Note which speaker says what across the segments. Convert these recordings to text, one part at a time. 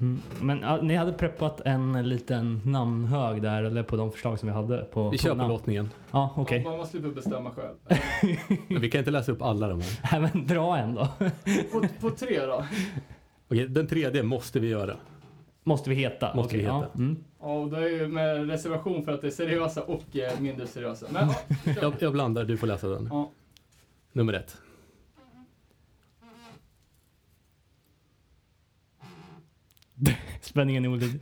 Speaker 1: Mm. Men ja, ni hade preppat en liten namnhög där, eller på de förslag som vi hade. På,
Speaker 2: Vi
Speaker 1: på
Speaker 2: kör på
Speaker 1: namn.
Speaker 2: lottningen.
Speaker 1: Ja, okej.
Speaker 3: Man måste ju typ bestämma själv.
Speaker 2: Men vi kan inte läsa upp alla de här.
Speaker 1: Nej, men dra en då.
Speaker 3: På, på tre då?
Speaker 2: Okej, den tredje måste vi göra.
Speaker 1: Måste vi heta?
Speaker 2: Måste vi
Speaker 1: Okej,
Speaker 2: heta.
Speaker 1: Ja. Mm.
Speaker 3: Ja, och det är ju med reservation för att det är seriösa och eh, mindre seriösa. Men ja, vi kör.
Speaker 2: Jag, jag blandar, du får läsa den.
Speaker 3: Ja.
Speaker 2: Nummer ett.
Speaker 1: Spänningen är olidlig.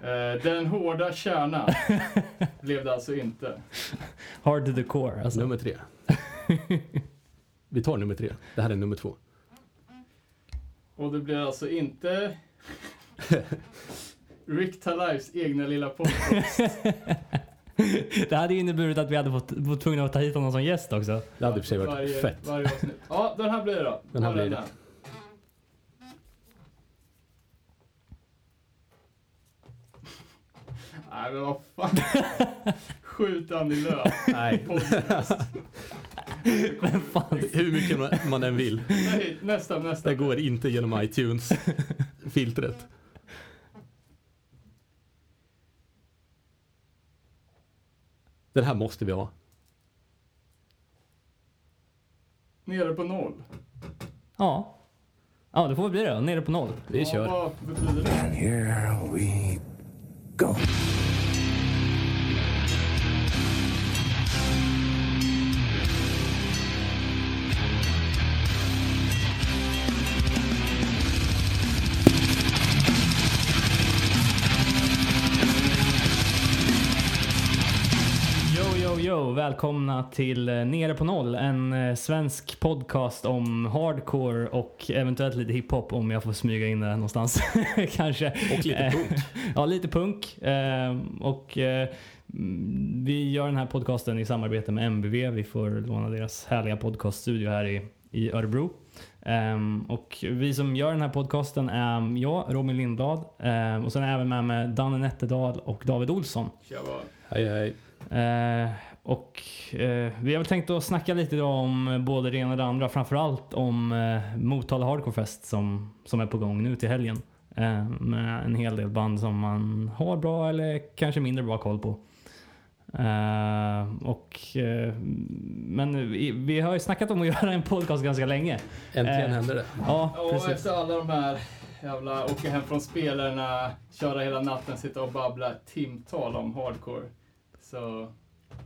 Speaker 3: Eh, den hårda kärnan blev det alltså inte.
Speaker 1: Hard to the core. Alltså.
Speaker 2: Nummer tre. Vi tar nummer tre. Det här är nummer två.
Speaker 3: Och det blir alltså inte Rick Talivs egna lilla podcast.
Speaker 1: Det hade ju inneburit att vi hade fått, varit tvungna att ta hit honom som gäst också.
Speaker 2: Det hade i och för sig varit
Speaker 3: varje,
Speaker 2: fett.
Speaker 3: varje avsnitt. Ja, den här blir det då.
Speaker 2: Den här
Speaker 3: Här
Speaker 2: blir
Speaker 3: är
Speaker 2: det.
Speaker 3: Nej men vad fan. Skjut Annie Lööf.
Speaker 2: Nej.
Speaker 3: Podcast.
Speaker 1: Men fan.
Speaker 2: Hur mycket man- man än vill.
Speaker 3: Nej, nästa, nästa.
Speaker 2: Det går inte genom iTunes-filtret. Den här måste vi ha.
Speaker 3: Nere på noll.
Speaker 1: Ja. Ja, det får väl bli det då. Nere på noll.
Speaker 2: Vi kör.
Speaker 3: Ja, vad betyder det?
Speaker 4: Here we go.
Speaker 1: Yo, yo, yo. Välkomna till eh, Nere på noll. En eh, svensk podcast om hardcore och eventuellt lite hiphop om jag får smyga in det någonstans. Kanske.
Speaker 2: Och lite
Speaker 1: Eh,
Speaker 2: punkt.
Speaker 1: Ja, lite punk. Eh, och eh, mm, vi gör den här podcasten i samarbete med MBV. Vi får låna deras härliga podcaststudio här i, i Örebro. Ehm, och vi som gör den här podcasten är mm, jag, Robin Lindblad. ehm, och sen är jag även med mig Danne Nätterdal och David Olsson.
Speaker 3: Jag bara,
Speaker 2: Hej, hej.
Speaker 1: Eh, och eh, vi har väl tänkt att snacka lite idag om både det ena och det andra. Framförallt om eh, Motala Hardcore Fest som, som är på gång nu till helgen. Eh, med en hel del band som man har bra eller kanske mindre bra koll på. Eh, och, eh, men vi, vi har ju snackat om att göra en podcast ganska länge.
Speaker 2: Äntligen
Speaker 1: Eh.
Speaker 2: hände det.
Speaker 1: Ja,
Speaker 3: Ja, och
Speaker 1: precis.
Speaker 3: efter alla de här jävla åka hem från spelarna, köra hela natten, sitta och babbla ett timtal om hardcore. Så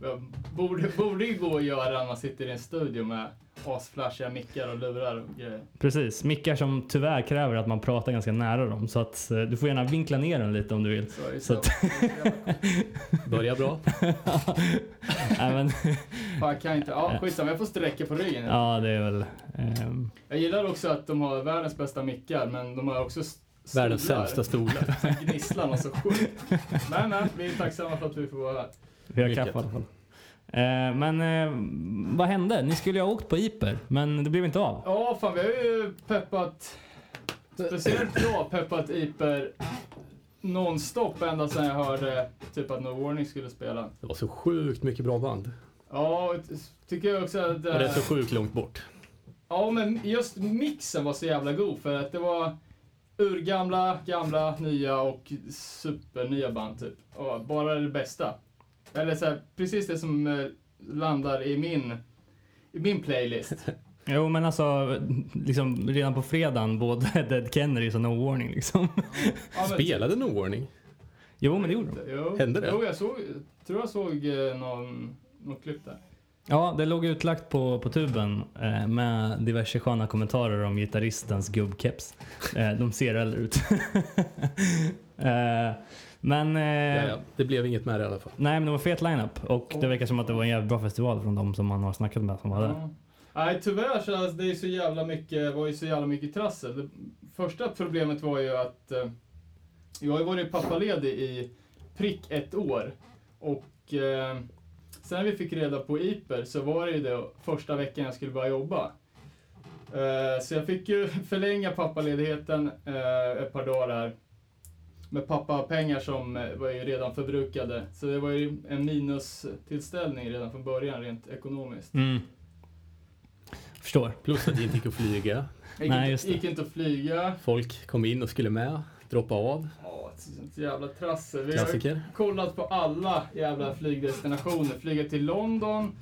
Speaker 3: ja, borde, borde ju gå att göra när man sitter i en studio med asflashiga mickar och lurar och grejer.
Speaker 1: precis. Mickar som tyvärr kräver att man pratar ganska nära dem. Så att, eh, du får gärna vinkla ner den lite om du vill.
Speaker 3: Så, är det
Speaker 1: Så
Speaker 3: så,
Speaker 2: Börja bra.
Speaker 1: Nej, men,
Speaker 3: fan, kan jag inte, ja, skitsamma, jag får sträcka på ryggen.
Speaker 1: ja, det är väl... ehm,
Speaker 3: Jag gillar också att de har världens bästa mickar, men de har också s-
Speaker 2: Världens
Speaker 3: stolar
Speaker 2: sämsta stolar.
Speaker 3: som gnisslar något så sjukt. Men, men, vi är tacksamma för att vi får vara här.
Speaker 1: Vi har
Speaker 2: Mycket.
Speaker 1: kaffe i alla fall. Eh, men eh, vad hände? Ni skulle ju ha åkt på Iper, men det blev inte av.
Speaker 3: Ja, fan vi har ju peppat, speciellt jag har peppat Iper nonstop ända sedan jag hörde typ att No Warning skulle spela.
Speaker 2: Det var så sjukt mycket bra band.
Speaker 3: Ja, och t- tycker jag också att...
Speaker 2: Och det är
Speaker 3: eh,
Speaker 2: så sjukt långt bort.
Speaker 3: Ja, men just mixen var så jävla god för att det var urgamla, gamla, nya och supernya band typ. Och bara det bästa. Eller så här, precis det som eh, landar i min, i min playlist.
Speaker 1: Jo, men alltså liksom, redan på fredagen både Dead Kennedys och No Warning liksom.
Speaker 3: Ja, men-
Speaker 2: Spelade No Warning?
Speaker 1: Eh. Jo, men det gjorde de.
Speaker 3: Jo.
Speaker 2: Hände det?
Speaker 3: Jo, jag såg, tror jag såg eh, någon, något klipp där.
Speaker 1: Ja, det låg utlagt på, på tuben eh, med diverse sköna kommentarer om gitarristens gubbkeps. Eh, de ser äldre ut. eh, men...
Speaker 2: Ja,
Speaker 1: Eh,
Speaker 2: ja. Det blev inget med det i alla fall.
Speaker 1: Nej, men det var fet lineup och det verkar som att det var en jävligt bra festival från de som man har snackat med som var där.
Speaker 3: Ja. Nej, tyvärr så alltså, det är så jävla mycket, var ju så jävla mycket trassel. Det första problemet var ju att eh, jag har ju varit pappaledig i prick ett år och eh, sen vi fick reda på Iper så var det ju det första veckan jag skulle börja jobba. Eh, så jag fick ju förlänga pappaledigheten eh, ett par dagar här med pappapengar som eh, var ju redan förbrukade. Så det var ju en minustillställning redan från början rent ekonomiskt.
Speaker 1: Mm. Förstår.
Speaker 2: Plus att det inte gick att flyga.
Speaker 3: Jag gick,
Speaker 1: Nej,
Speaker 3: inte,
Speaker 1: just det.
Speaker 3: gick inte att flyga.
Speaker 2: Folk kom in och skulle med. Droppa av.
Speaker 3: Ja, ett sånt jävla trassel. Vi har ju
Speaker 2: Klassiker.
Speaker 3: kollat på alla jävla flygdestinationer. Flyga till London.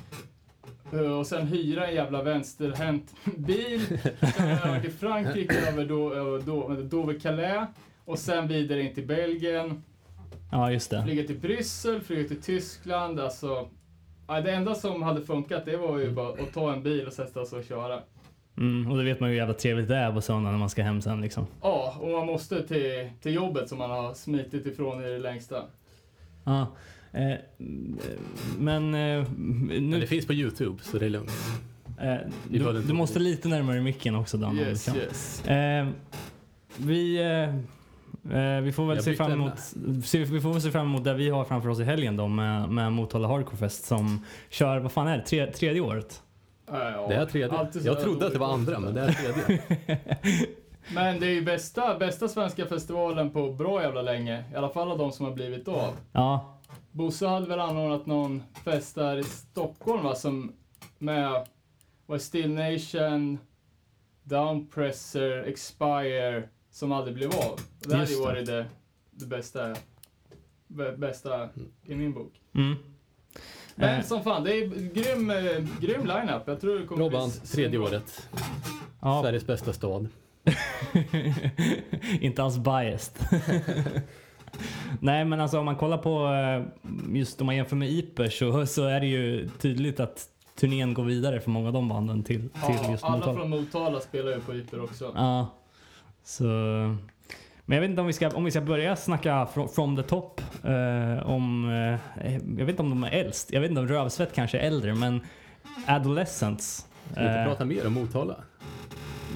Speaker 3: eh, Och sen hyra en jävla vänsterhänt bil. Sen har jag varit i Frankrike över, då, över, då, vänta, Dover-Calais. Och sen vidare in till Belgien.
Speaker 1: Ja, just det.
Speaker 3: Flyga till Bryssel, flyga till Tyskland. Alltså, ja, det enda som hade funkat det var ju bara att ta en bil och sätta sig och köra.
Speaker 1: Mm, och då vet man ju hur jävla trevligt det är på söndagen när man ska hem sen liksom.
Speaker 3: Ja, och man måste till, till jobbet som man har smitit ifrån i det längsta.
Speaker 1: Ja. Eh, men eh,
Speaker 2: Men det
Speaker 1: nu...
Speaker 2: finns på Youtube så det är lugnt.
Speaker 1: Eh,
Speaker 2: vi behöver
Speaker 1: du,
Speaker 2: inte-
Speaker 1: du måste lite närmare micken också Dan. om du
Speaker 3: Yes,
Speaker 1: kan.
Speaker 3: yes.
Speaker 1: Eh, vi, eh, eh, vi får väl
Speaker 2: Jag
Speaker 1: se
Speaker 2: bytte
Speaker 1: fram
Speaker 2: ämne.
Speaker 1: emot, se, vi får väl se fram emot det vi har framför oss i helgen då med, med Motala Hardcore Fest som kör, vad fan är det, tre, tredje året?
Speaker 3: Ja, ja.
Speaker 2: Det här är tredje.
Speaker 3: Alltid så
Speaker 2: Jag
Speaker 3: här
Speaker 2: trodde att det var
Speaker 3: dåligt.
Speaker 2: andra, men det här är tredje.
Speaker 3: Men det är ju bästa, bästa svenska festivalen på bra jävla länge. I alla fall av de som har blivit av.
Speaker 1: Ja,
Speaker 3: Bosse hade väl anordnat någon fest där i Stockholm va, som med var det Still Nation, Downpressor, Expire, som aldrig blev av. Och Det hade ju
Speaker 1: Just det.
Speaker 3: varit det, det bästa, bä- bästa i min bok.
Speaker 1: mm.
Speaker 3: Men
Speaker 1: Eh.
Speaker 3: som fan, det är grym, eh, grym line-up. Jag tror det kommer
Speaker 2: Bra band,
Speaker 3: bli s-
Speaker 2: tredje året.
Speaker 1: ja.
Speaker 2: Sveriges bästa stad.
Speaker 1: inte alls biased. Nej men alltså om man kollar på, eh, just om man jämför med Ipers så, så är det ju tydligt att turnén går vidare för många av de banden till, till
Speaker 3: Ja,
Speaker 1: just
Speaker 3: alla
Speaker 1: Motala.
Speaker 3: från Motala spelar ju på Yper också.
Speaker 1: Ja. Så... Men jag vet inte om vi ska, om vi ska börja snacka from, from the top. eh, om, eh, jag vet inte om de är äldst. Jag vet inte om Rövsvett kanske är äldre, men Adolescents.
Speaker 2: Ska vi inte
Speaker 1: eh,
Speaker 2: prata mer om Motala?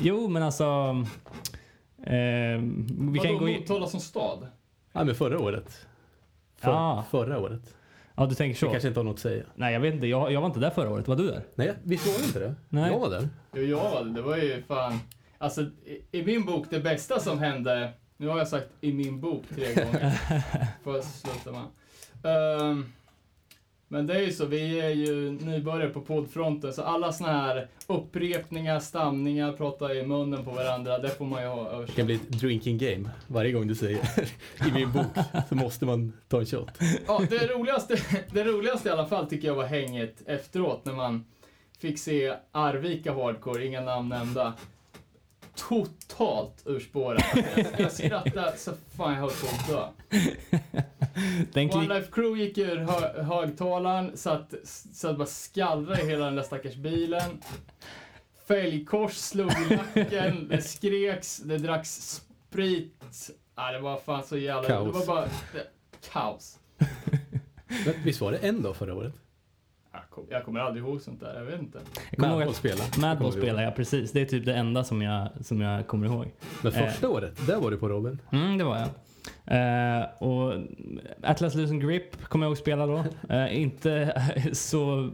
Speaker 1: jo, men alltså... eh, vi kan
Speaker 3: Vadå,
Speaker 1: gå in...
Speaker 3: Motala som stad?
Speaker 2: Nej, men förra året. För,
Speaker 1: Ja.
Speaker 2: Förra året.
Speaker 1: Ja, du tänker
Speaker 2: Du
Speaker 1: så.
Speaker 2: kanske inte har något att säga.
Speaker 1: Nej, jag vet inte. Jag, jag var inte där förra året. Var du där?
Speaker 2: Nej, visst var det inte det?
Speaker 1: Nej.
Speaker 2: Jag var där.
Speaker 3: Jo, ja, det var ju fan... Alltså, i, i min bok, det bästa som hände... Nu har jag sagt i min bok tre gånger. Får jag sluta med. Ehm, men det är ju så, vi är ju nybörjare på poddfronten, så alla såna här upprepningar, stamningar, prata i munnen på varandra, det får man ju ha
Speaker 2: Det kan
Speaker 3: översatt.
Speaker 2: bli ett drinking game. Varje gång du säger i min bok så måste man ta en shot.
Speaker 3: Ja, det, roligaste, det roligaste i alla fall tycker jag var hänget efteråt, när man fick se Arvika Hardcore, inga namn nämnda. Totalt ur spåren. Jag, jag skrattade så fan jag höll på att dö.
Speaker 1: Den klick...
Speaker 3: One Life Crew gick ur hö- högtalaren så att, så att det bara skallrade i hela den där stackars bilen. Fälgkors slog i nacken, det skreks, det dracks sprit. Ah, det var fan så jävla... Det var
Speaker 2: Kaos.
Speaker 3: bara det, kaos.
Speaker 2: Men visst var det en dag förra året?
Speaker 3: Jag kom- Jag kommer aldrig ihåg sånt där, jag vet inte.
Speaker 1: Jag kommer ihåg
Speaker 2: Madball
Speaker 1: att
Speaker 2: spelade. Det kommer
Speaker 1: Madball
Speaker 2: vi ihåg.
Speaker 1: spelar jag precis. Det är typ det enda som jag, som jag kommer ihåg.
Speaker 2: Men första
Speaker 1: Eh.
Speaker 2: året, där var du på Robin.
Speaker 1: Mm, det var jag. Eh, och Atlas Losing Grip kommer jag ihåg spela då. Eh, inte så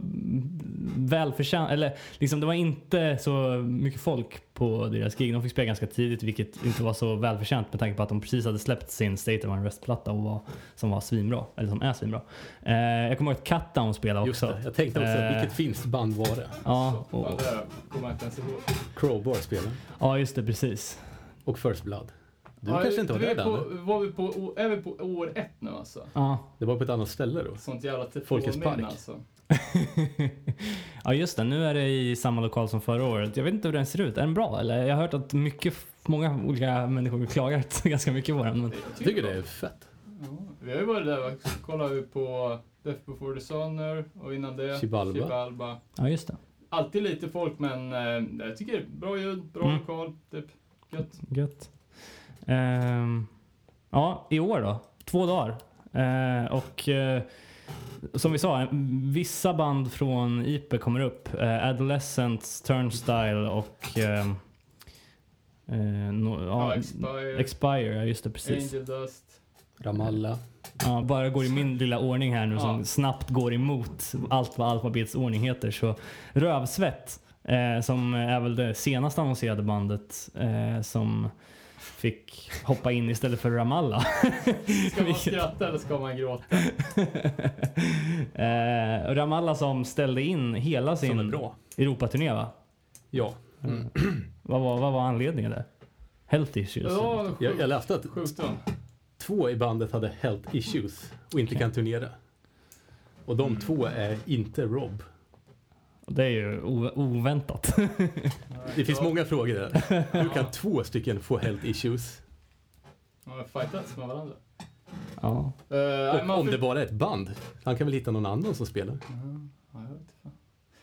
Speaker 1: välförtjänt, eller liksom det var inte så mycket folk på deras gig. De fick spela ganska tidigt vilket inte var så välförtjänt med tanke på att de precis hade släppt sin State of Unrest-platta och var, som var svinbra, eller som är svinbra. Eh, jag kommer ihåg att Cutdown spelade
Speaker 2: Just
Speaker 1: också.
Speaker 2: det. Jag tänkte också,
Speaker 1: Eh,
Speaker 2: vilket finskt band var det?
Speaker 1: Ja,
Speaker 3: Så, fan,
Speaker 1: och,
Speaker 3: det kommer jag inte ens ihåg.
Speaker 2: Crowbar spelade.
Speaker 1: ja, just det, precis.
Speaker 2: Och First Blood. Du
Speaker 3: Ja,
Speaker 2: kanske inte var
Speaker 3: vi
Speaker 2: där
Speaker 3: är på,
Speaker 2: Danne?
Speaker 3: var vi på, Är vi på år ett nu alltså?
Speaker 1: Ja.
Speaker 2: Det var på ett annat ställe då.
Speaker 3: Sånt jävla
Speaker 2: Folkets
Speaker 3: telefonminne
Speaker 2: park.
Speaker 3: alltså.
Speaker 1: Ja just det, nu är det i samma lokal som förra året. Jag vet inte hur den ser ut. Är den bra eller? Jag har hört att mycket, många olika människor klagat ganska mycket på den. Men,
Speaker 2: Jag tycker det är fett.
Speaker 3: typ Ja, vi har ju varit där och kollat ju på Death before Dishonor och innan det
Speaker 2: Chibalba.
Speaker 3: Chibalba.
Speaker 1: ja just det.
Speaker 3: Alltid lite folk men eh, jag tycker det är bra ljud, bra
Speaker 1: Mm.
Speaker 3: lokal, typ. Gött.
Speaker 1: Gött. Ehm, ja, i år då. Två dagar. Eh, och eh, som vi sa, vissa band från IP kommer upp. Eh, Adolescents, Turnstyle och ehm, eh, no, ja,
Speaker 3: Ja, Expire,
Speaker 1: Expire. Ja just det, precis.
Speaker 3: Angel Dust.
Speaker 2: Ramallah.
Speaker 1: Ja, bara går i min lilla ordning här nu
Speaker 3: Ja.
Speaker 1: som snabbt går emot allt vad alfabetets ordning heter. Så Rövsvett, eh, som är väl det senast annonserade bandet eh, som fick hoppa in istället för Ramallah.
Speaker 3: Ska man
Speaker 1: Vilket-
Speaker 3: skratta eller ska man gråta?
Speaker 1: eh, och Ramallah som ställde in hela
Speaker 2: Som är
Speaker 1: sin
Speaker 2: bra.
Speaker 1: Europaturné va?
Speaker 2: Ja.
Speaker 1: Vad var, vad var anledningen där? Health issues.
Speaker 3: Ja,
Speaker 2: Jag, jag
Speaker 3: sjuk,
Speaker 2: läste att
Speaker 3: sjukdom.
Speaker 2: två i bandet hade health issues och inte kan turnera. Och de
Speaker 1: Mm.
Speaker 2: två är inte Rob.
Speaker 1: Det är ju o- oväntat.
Speaker 2: Det finns
Speaker 3: Ja.
Speaker 2: många frågor där. Hur kan två stycken få health issues?
Speaker 3: De har fightats med varandra.
Speaker 1: ja.
Speaker 3: Eh, nej,
Speaker 2: Och
Speaker 3: man
Speaker 2: om
Speaker 3: för-
Speaker 2: det bara är ett band. Han kan väl hitta någon annan som spelar?
Speaker 3: Ja, jag vet inte fan.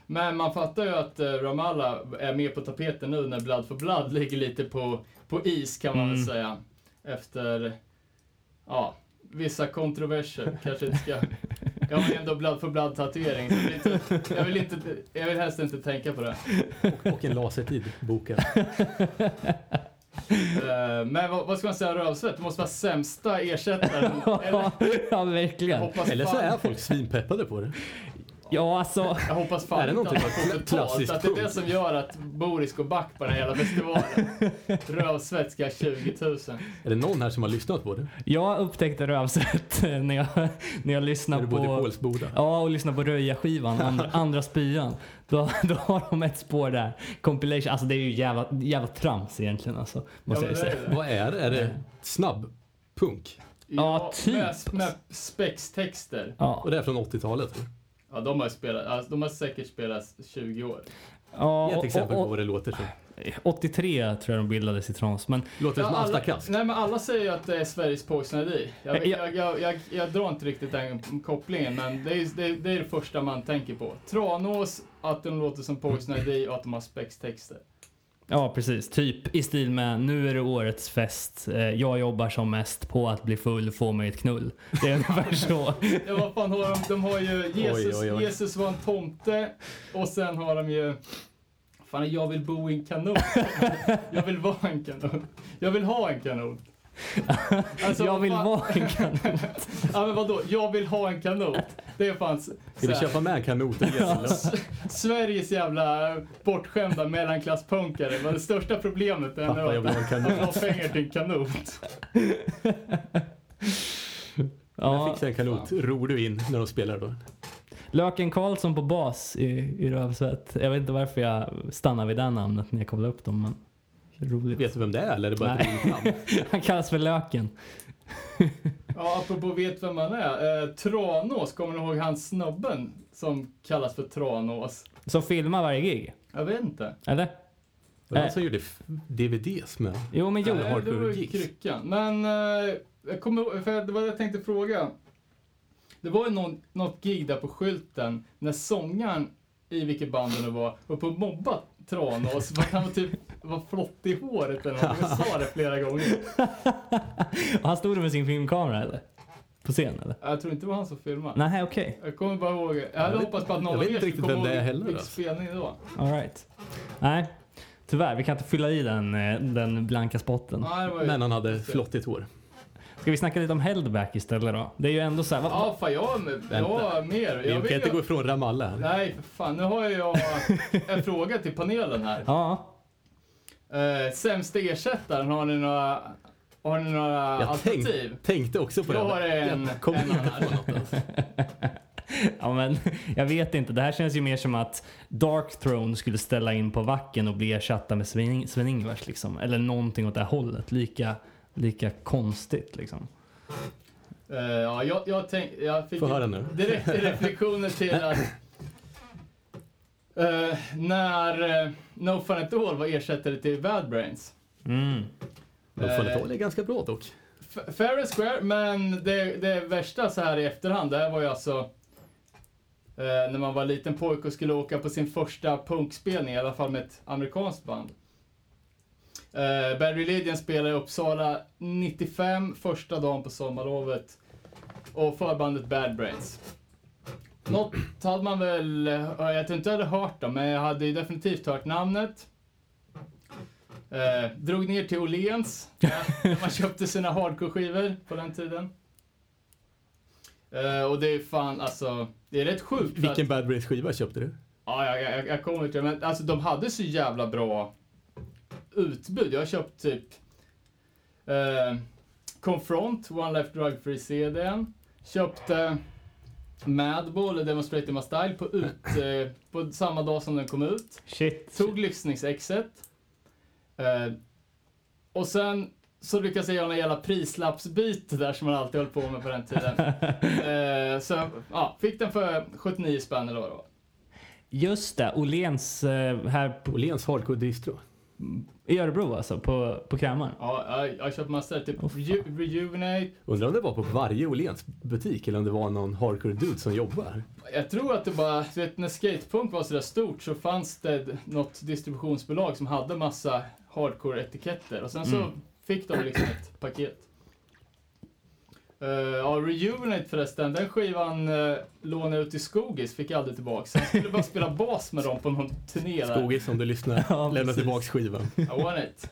Speaker 3: Men man fattar ju att eh, Ramallah är med på tapeten nu när Blood for Blood ligger lite på, på is kan man väl
Speaker 1: Mm.
Speaker 3: säga. Efter, ja, vissa kontroverser. Kanske inte ska... Jag har ju ändå Blood for Blood-tatuering, så jag vill, inte, jag, vill inte, jag vill helst inte tänka på det.
Speaker 2: Och en lasertid bokad.
Speaker 3: Eh, Men vad, vad ska man säga om Rövsvett? Det måste vara sämsta ersättaren. Eller?
Speaker 1: ja, verkligen.
Speaker 3: hoppas
Speaker 2: Eller så
Speaker 3: fan-
Speaker 2: är folk svinpeppade på det.
Speaker 1: Ja, alltså.
Speaker 3: Jag hoppas fan
Speaker 2: Är det
Speaker 3: inte
Speaker 2: någonting
Speaker 3: att han får
Speaker 2: kla-
Speaker 3: betalt.
Speaker 2: klassiskt
Speaker 3: Att det är det
Speaker 2: punkt?
Speaker 3: som gör att Boris går back på den här jävla festivalen. Rövsvett ska ha 20 000.
Speaker 2: Är det någon här som har lyssnat på det?
Speaker 1: Jag upptäckte rövsvett eh, när jag, när jag
Speaker 2: När du
Speaker 1: lyssnade
Speaker 2: bodde i
Speaker 1: på...
Speaker 2: Pålsboda?
Speaker 1: Ja, och lyssnade på Röja-skivan, andra, andra spyan. Då, då har de ett spår där. Compilation. Alltså det är ju jävla, jävla trams egentligen alltså. Måste
Speaker 3: Ja,
Speaker 1: jag säga.
Speaker 3: men det är det.
Speaker 2: Vad är det? Är det snabb punk?
Speaker 1: Ja, typ.
Speaker 3: Med, med spextexter.
Speaker 1: Ja.
Speaker 2: Och det är från 80-talet?
Speaker 3: Ja, de har, ju spelat, alltså, de har säkert spelats 20 år.
Speaker 1: ja
Speaker 2: Ge ett exempel
Speaker 1: och,
Speaker 2: på
Speaker 1: och,
Speaker 2: vad det låter som.
Speaker 1: 83 tror jag de bildades i trans. Men
Speaker 2: Låter det som
Speaker 3: alla,
Speaker 2: Asta Kask?
Speaker 3: nej, men alla säger ju att det är Sveriges Poison ID. Jag,
Speaker 1: Ja.
Speaker 3: jag, jag, jag, jag drar inte riktigt den kopplingen, men det är, ju- det, är, det är det första man tänker på. Tranås, att de låter som Poison ID och att de har spextexter.
Speaker 1: Ja, precis. Typ i stil med nu är det årets fest. Eh, Jag jobbar som mest på att bli full, få mig ett knull. Det är ungefär så.
Speaker 3: Ja, vad fan har de? De har ju Jesus,
Speaker 2: Oj, oj, oj.
Speaker 3: Jesus var en tomte och sen har de ju Fan, jag vill bo i en kanon. Jag vill vara en kanon. Jag vill ha en kanon. Alltså,
Speaker 1: jag
Speaker 3: vad
Speaker 1: vill
Speaker 3: fan-
Speaker 1: vara en kanon.
Speaker 3: Ja, men vadå? Jag vill ha en kanot. Det är fan s-
Speaker 2: Ska vi
Speaker 3: såhär,
Speaker 2: köpa med en kanot och gäsla?
Speaker 3: Sveriges jävla bortskämda mellanklasspunkare. Men det största problemet är
Speaker 2: Pappa, jag
Speaker 3: ändå
Speaker 2: vill
Speaker 3: att
Speaker 2: ha en
Speaker 3: de
Speaker 2: kanot.
Speaker 3: har pengar till en kanot.
Speaker 2: Jag
Speaker 1: Ja,
Speaker 2: fixar en kanot. Ror du in när de spelar då?
Speaker 1: Löken Karlsson på bas i, i Rövsvett. Jag vet inte varför jag stannar vid det namnet när jag kollar upp dem. Men roligt.
Speaker 2: Vet du vem det är eller är det bara ett
Speaker 1: Nej.
Speaker 2: roligt namn?
Speaker 1: Han kallas för Löken.
Speaker 3: Ja, apropå vet vem man är. Eh, Tranås, kommer ni ihåg han snubben som kallas för Tranås?
Speaker 1: Som filmar varje gig.
Speaker 3: Jag vet inte.
Speaker 1: Eller?
Speaker 2: Det var han
Speaker 1: Nej.
Speaker 2: som gjorde f- DVDs med.
Speaker 1: Jo, men jo.
Speaker 2: Nej.
Speaker 3: det var ju
Speaker 2: Gigs.
Speaker 3: kryckan. Men eh, jag kommer ihåg- för det var det jag tänkte fråga. Det var ju någon, något gig där på skylten när sångaren i vilket band det nu var, var på att mobba Tranås för att han var typ var flott i håret eller något. Jag sa det flera gånger.
Speaker 1: Han stod där med sin filmkamera eller? På scen eller?
Speaker 3: Jag tror inte det var han som filmade.
Speaker 1: Nej, okej.
Speaker 3: Jag kommer bara ihåg, jag hade
Speaker 2: vet-
Speaker 3: hoppats på att någon
Speaker 2: jag
Speaker 3: av
Speaker 2: vet
Speaker 3: er
Speaker 2: inte
Speaker 3: skulle
Speaker 2: riktigt vem
Speaker 3: komma
Speaker 2: det är
Speaker 3: ihåg
Speaker 2: heller,
Speaker 3: vilken
Speaker 2: alltså.
Speaker 3: spelning det var.
Speaker 1: All right. Nej, tyvärr. Vi kan inte fylla i den, eh, den blanka spotten.
Speaker 3: Nej, det var ju...
Speaker 2: Men han hade flottigt hår.
Speaker 1: Ska vi snacka lite om Heldback istället då? Det är ju ändå så här, vad,
Speaker 3: Ja, fan jag har mer. Jag har mer. Jag
Speaker 2: Vi
Speaker 3: vill
Speaker 2: kan inte
Speaker 3: ju-
Speaker 2: gå ifrån Ramallah här.
Speaker 3: Nej, för fan. Nu har jag en fråga till panelen här.
Speaker 1: ja.
Speaker 3: Eh, sämsta ersättaren, har ni några, har ni några
Speaker 2: Jag
Speaker 3: alternativ?
Speaker 2: tänk, tänkte också på
Speaker 3: Jag har
Speaker 2: det.
Speaker 3: en,
Speaker 2: Kom
Speaker 3: en
Speaker 2: inte
Speaker 3: annan.
Speaker 2: på något. alltså.
Speaker 1: ja, men jag vet inte. Det här känns ju mer som att Dark Throne skulle ställa in på vacken och bli ersatta med Sven- Sven-Ingvars liksom. Eller någonting åt det här hållet. Lika, lika konstigt liksom.
Speaker 3: Eh, ja, jag, jag, tänk, jag fick
Speaker 2: Få höra nu.
Speaker 3: direkt reflektioner till att eh, när eh, No Fun At All var ersättare till Bad Brains.
Speaker 1: Mm.
Speaker 2: Men
Speaker 3: Eh,
Speaker 2: fan, det var ganska bra dock.
Speaker 3: F- fair and square, men det, det värsta så här i efterhand, det här var ju alltså eh, när man var liten pojke och skulle åka på sin första punkspelning, i alla fall med ett amerikanskt band. Eh, Bad Religion spelade i Uppsala 95, första dagen på sommarlovet. Och förbandet Bad Brains. Något hade man väl, eh, jag tror inte jag hade hört dem, men jag hade ju definitivt hört namnet. Eh, drog ner till Åhléns, när man köpte sina hardcore-skivor på den tiden. Eh, och det är fan alltså, det är rätt sjukt. att-
Speaker 2: Vilken Bad Brains skiva köpte du?
Speaker 3: Ja, jag, jag, jag kommer till det. Men alltså, de hade så jävla bra utbud. Jag har köpt typ eh, Confront, One Life Drug Free CDn. Köpte Madball, Demonstrating My Style, på, ut, eh, på samma dag som den kom ut.
Speaker 1: Shit.
Speaker 3: Tog lyssningsexet. Eh, Och sen så lyckas jag göra en jävla prislappsbyte där som man alltid höll på med på den tiden. eh, så ja, fick den för 79 spänn eller vad det var.
Speaker 1: Just det, Åhléns eh, här på,
Speaker 2: Åhléns hardcore distro.
Speaker 1: i Örebro alltså, på, på Krämaren.
Speaker 3: Ja, jag, jag har köpt massor. Typ Reju- Rejuvenate.
Speaker 2: Undrar om det var på varje Åhléns butik eller om det var någon hardcore dude som jobbar.
Speaker 3: Jag tror att det bara, du vet när skatepunk var sådär stort så fanns det något distributionsbolag som hade massa hardcore-etiketter och sen så fick de liksom ett paket. Eh, ja, Rejuvenate förresten, den skivan uh, lånade jag ut till Skogis, fick jag aldrig tillbaks. Jag skulle bara spela bas med dem på någon turné där.
Speaker 2: Skogis om du lyssnar,
Speaker 1: Ja,
Speaker 2: lämna
Speaker 1: precis.
Speaker 2: tillbaks skivan.
Speaker 3: I want it.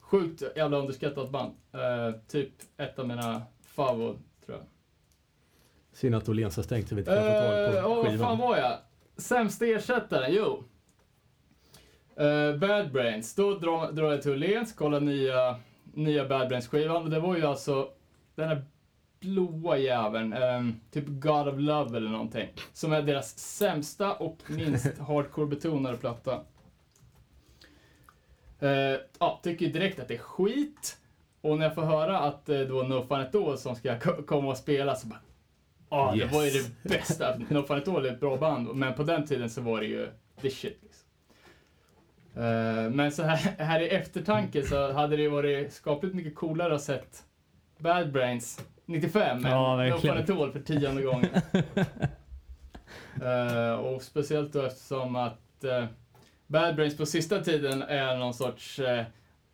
Speaker 3: Sjukt jävla underskattat band. Eh, typ ett av mina favor, tror jag.
Speaker 2: Synd att Åhléns har stängt så vi inte kan
Speaker 3: Eh,
Speaker 2: få tag
Speaker 3: Ja,
Speaker 2: på
Speaker 3: vad fan
Speaker 2: skivan.
Speaker 3: var jag? Sämsta ersättaren, jo. Eh, Bad Brains. Då drar, drar jag till Åhléns, kollar nya, nya Bad Brains-skivan. Och det var ju alltså den här blåa jäveln, ehm, typ God of Love eller någonting. Som är deras sämsta och minst hardcore-betonade platta. Eh, ja, tycker ju direkt att det är skit. Och när jag får höra att eh, det var No Fun At All som ska ko- komma och spela så bara Ja,
Speaker 2: Yes.
Speaker 3: det var ju det bästa. No Fun At All är ett bra band, men på den tiden så var det ju the shit. Liksom. Eh, men så här, här i eftertanke så hade det varit skapligt mycket coolare att sett Bad Brains 95
Speaker 1: Ja,
Speaker 3: än No Fun
Speaker 1: verkligen.
Speaker 3: At All för tionde gången. Eh, och speciellt då eftersom att eh, Bad Brains på sista tiden är någon sorts, eh,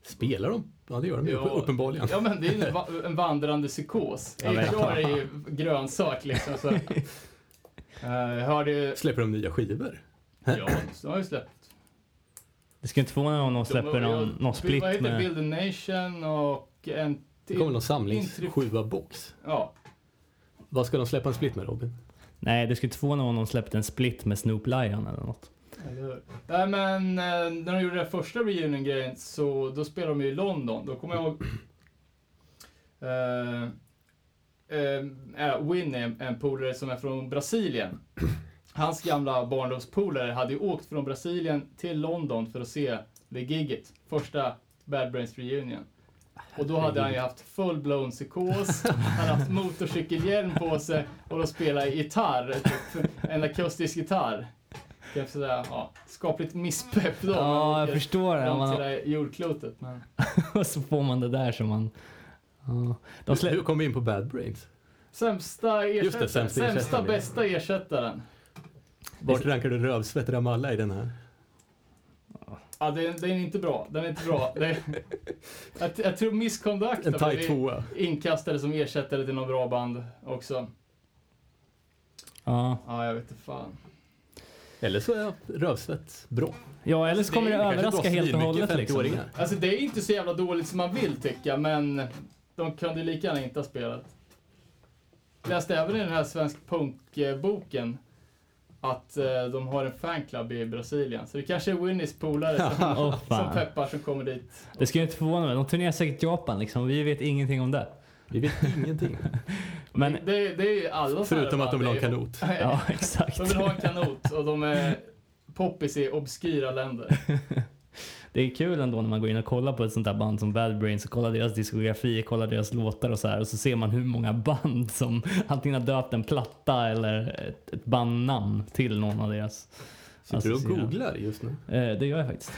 Speaker 2: Spelar de? Ja, det gör de ju
Speaker 3: Ja.
Speaker 2: uppenbarligen.
Speaker 3: ja men det är en, va- en vandrande psykos.
Speaker 1: Ja, verkligen.
Speaker 3: AHR är ju grönsak liksom. Så. Eh, jag hörde ju,
Speaker 2: Släpper de nya skivor?
Speaker 3: ja, de har ju släppt.
Speaker 1: Det skulle inte förvåna mig om de släpper
Speaker 3: de,
Speaker 1: någon, någon split
Speaker 3: Vad heter
Speaker 1: med...
Speaker 3: Build a Nation och en
Speaker 2: Det kommer
Speaker 3: till.
Speaker 2: någon samlings
Speaker 3: Intryck.
Speaker 2: sjua box.
Speaker 3: Ja,
Speaker 2: Vad ska de släppa en split med Robin?
Speaker 1: Nej, det skulle inte förvåna mig om de släppte en split med Snoop Lion eller något.
Speaker 3: eller hur? Nej men eh, när de gjorde den första reunion-grejen så då spelade de ju i London. Då kommer jag ihåg Eh, eh, eh, Winnie, en- en polare som är från Brasilien. Hans gamla barndomspolare hade ju åkt från Brasilien till London för att se det gigget. Första Bad Brains Reunion. Och då hade han ju haft full-blown psykos, han hade haft motorcykelhjälm på sig och då spelade gitarr, typ, en akustisk gitarr. Kan jag säga, ja, skapligt misspepp då.
Speaker 1: Ja, jag
Speaker 3: men-
Speaker 1: förstår det.
Speaker 3: Fram till det
Speaker 1: Man,
Speaker 3: här jordklotet. Men...
Speaker 1: och så får man det där som man... Ja. De
Speaker 2: Hur- Hur
Speaker 1: slä...
Speaker 2: kom vi in på Bad Brains?
Speaker 3: Sämsta
Speaker 2: Just
Speaker 3: ersättaren.
Speaker 2: det, sämsta
Speaker 3: sämsta,
Speaker 2: ersättaren, ja.
Speaker 3: bästa ersättaren.
Speaker 2: Vart rankar du Rövsvett Ramallah i den här?
Speaker 3: Ja, den, den är inte bra. Den är inte bra. Det, jag, jag tror Misconduct
Speaker 2: En
Speaker 3: har
Speaker 2: tight
Speaker 3: blivit
Speaker 2: tvåa.
Speaker 3: inkastade som ersättare till något bra band också.
Speaker 1: ja.
Speaker 3: Ja, jag vet inte fan.
Speaker 2: Eller så är Rövsvett bra.
Speaker 1: ja, eller så kommer Alltså, det
Speaker 3: Det
Speaker 1: överraska helt och hållet. Liksom.
Speaker 2: Liksom.
Speaker 3: Alltså det är inte så jävla dåligt som man vill tycka, men de kunde lika gärna inte ha spelat. Jag läste även i den här Svensk Punk-boken att eh, de har en fanclub i Brasilien, så det kanske är Winnies polare som,
Speaker 1: Åh,
Speaker 3: som
Speaker 1: fan.
Speaker 3: peppar som kommer dit.
Speaker 1: Det skulle inte förvåna mig. De turnerar säkert i Japan liksom. Vi vet ingenting om det.
Speaker 2: Vi vet ingenting.
Speaker 1: Men
Speaker 3: Det, det är ju alla så här
Speaker 2: Förutom att de vill ha en
Speaker 3: band. Det är-
Speaker 2: kanot.
Speaker 1: ja, exakt.
Speaker 3: De vill ha en kanot och de är poppis i obskyra länder.
Speaker 1: Det är kul ändå när man går in och kollar på ett sånt där band som Bad Brains och kollar deras diskografi, kollar deras låtar och så här och så ser man hur många band som antingen har döpt en platta eller ett, ett bandnamn till någon av deras.
Speaker 2: Sitter du och
Speaker 1: Associerar.
Speaker 2: googlar just nu?
Speaker 1: Eh, det gör jag faktiskt.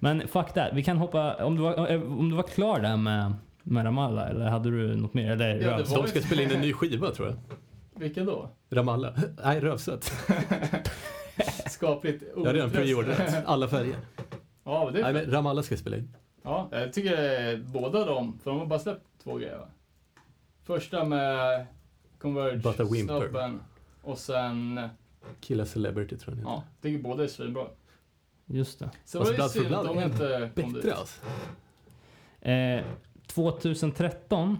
Speaker 1: Men fuck that. Vi kan hoppa, om du var, eh, om du var klar där med, med Ramallah eller hade du något mer? Eller
Speaker 3: Ja, det
Speaker 1: Rövs-
Speaker 3: var-
Speaker 2: De ska spela in en ny skiva tror jag.
Speaker 3: Vilka då?
Speaker 2: Ramallah. Nej, Rövsvett.
Speaker 3: Skapligt
Speaker 2: Jag har redan
Speaker 3: ointresse.
Speaker 2: preorderat alla färger.
Speaker 3: Ja, men det
Speaker 2: Nej,
Speaker 3: är
Speaker 2: men Ramallah ska spela in.
Speaker 3: ja, jag tycker båda de, för de har bara släppt två grejer va? Första med
Speaker 2: But a
Speaker 3: Converge,
Speaker 2: whimper.
Speaker 3: Snubben och sen,
Speaker 2: Killa Celebrity tror jag
Speaker 3: ja, jag tycker båda är svinbra.
Speaker 1: Just det.
Speaker 3: Så
Speaker 2: Alltså,
Speaker 3: var det ju
Speaker 2: Blood for
Speaker 3: synd att de
Speaker 2: Blood är
Speaker 3: inte kom dit.
Speaker 2: Bättre alltså.
Speaker 1: Eh, 2013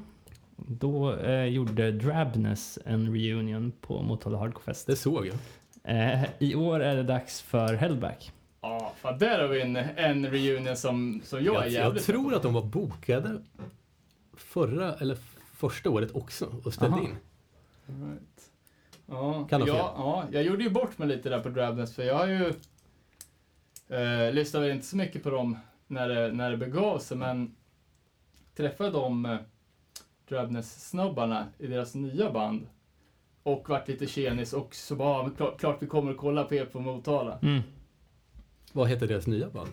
Speaker 1: då eh, gjorde Drabness en reunion på Motala Hardcore Fest.
Speaker 2: Det såg jag.
Speaker 1: Eh, I år är det dags för Hellback.
Speaker 3: Ja, fan där har vi en, en reunion som, som jag är
Speaker 2: Jag, jag
Speaker 3: jävligt
Speaker 2: tror att de var bokade förra eller första året också och ställde
Speaker 1: Aha.
Speaker 2: in.
Speaker 3: Right. Ja,
Speaker 2: Kan
Speaker 3: ja,
Speaker 2: ha fel.
Speaker 3: ja, jag gjorde ju bort mig lite där på Drabness för jag har ju eh, lyssnade väl inte så mycket på dem när det, när det begav sig men träffade de eh, Drabness-snubbarna i deras nya band och vart lite tjenis och så bara, "Ja, men klart, klart vi kommer att kolla på er på Motala.
Speaker 1: Mm.
Speaker 2: Vad heter deras nya band?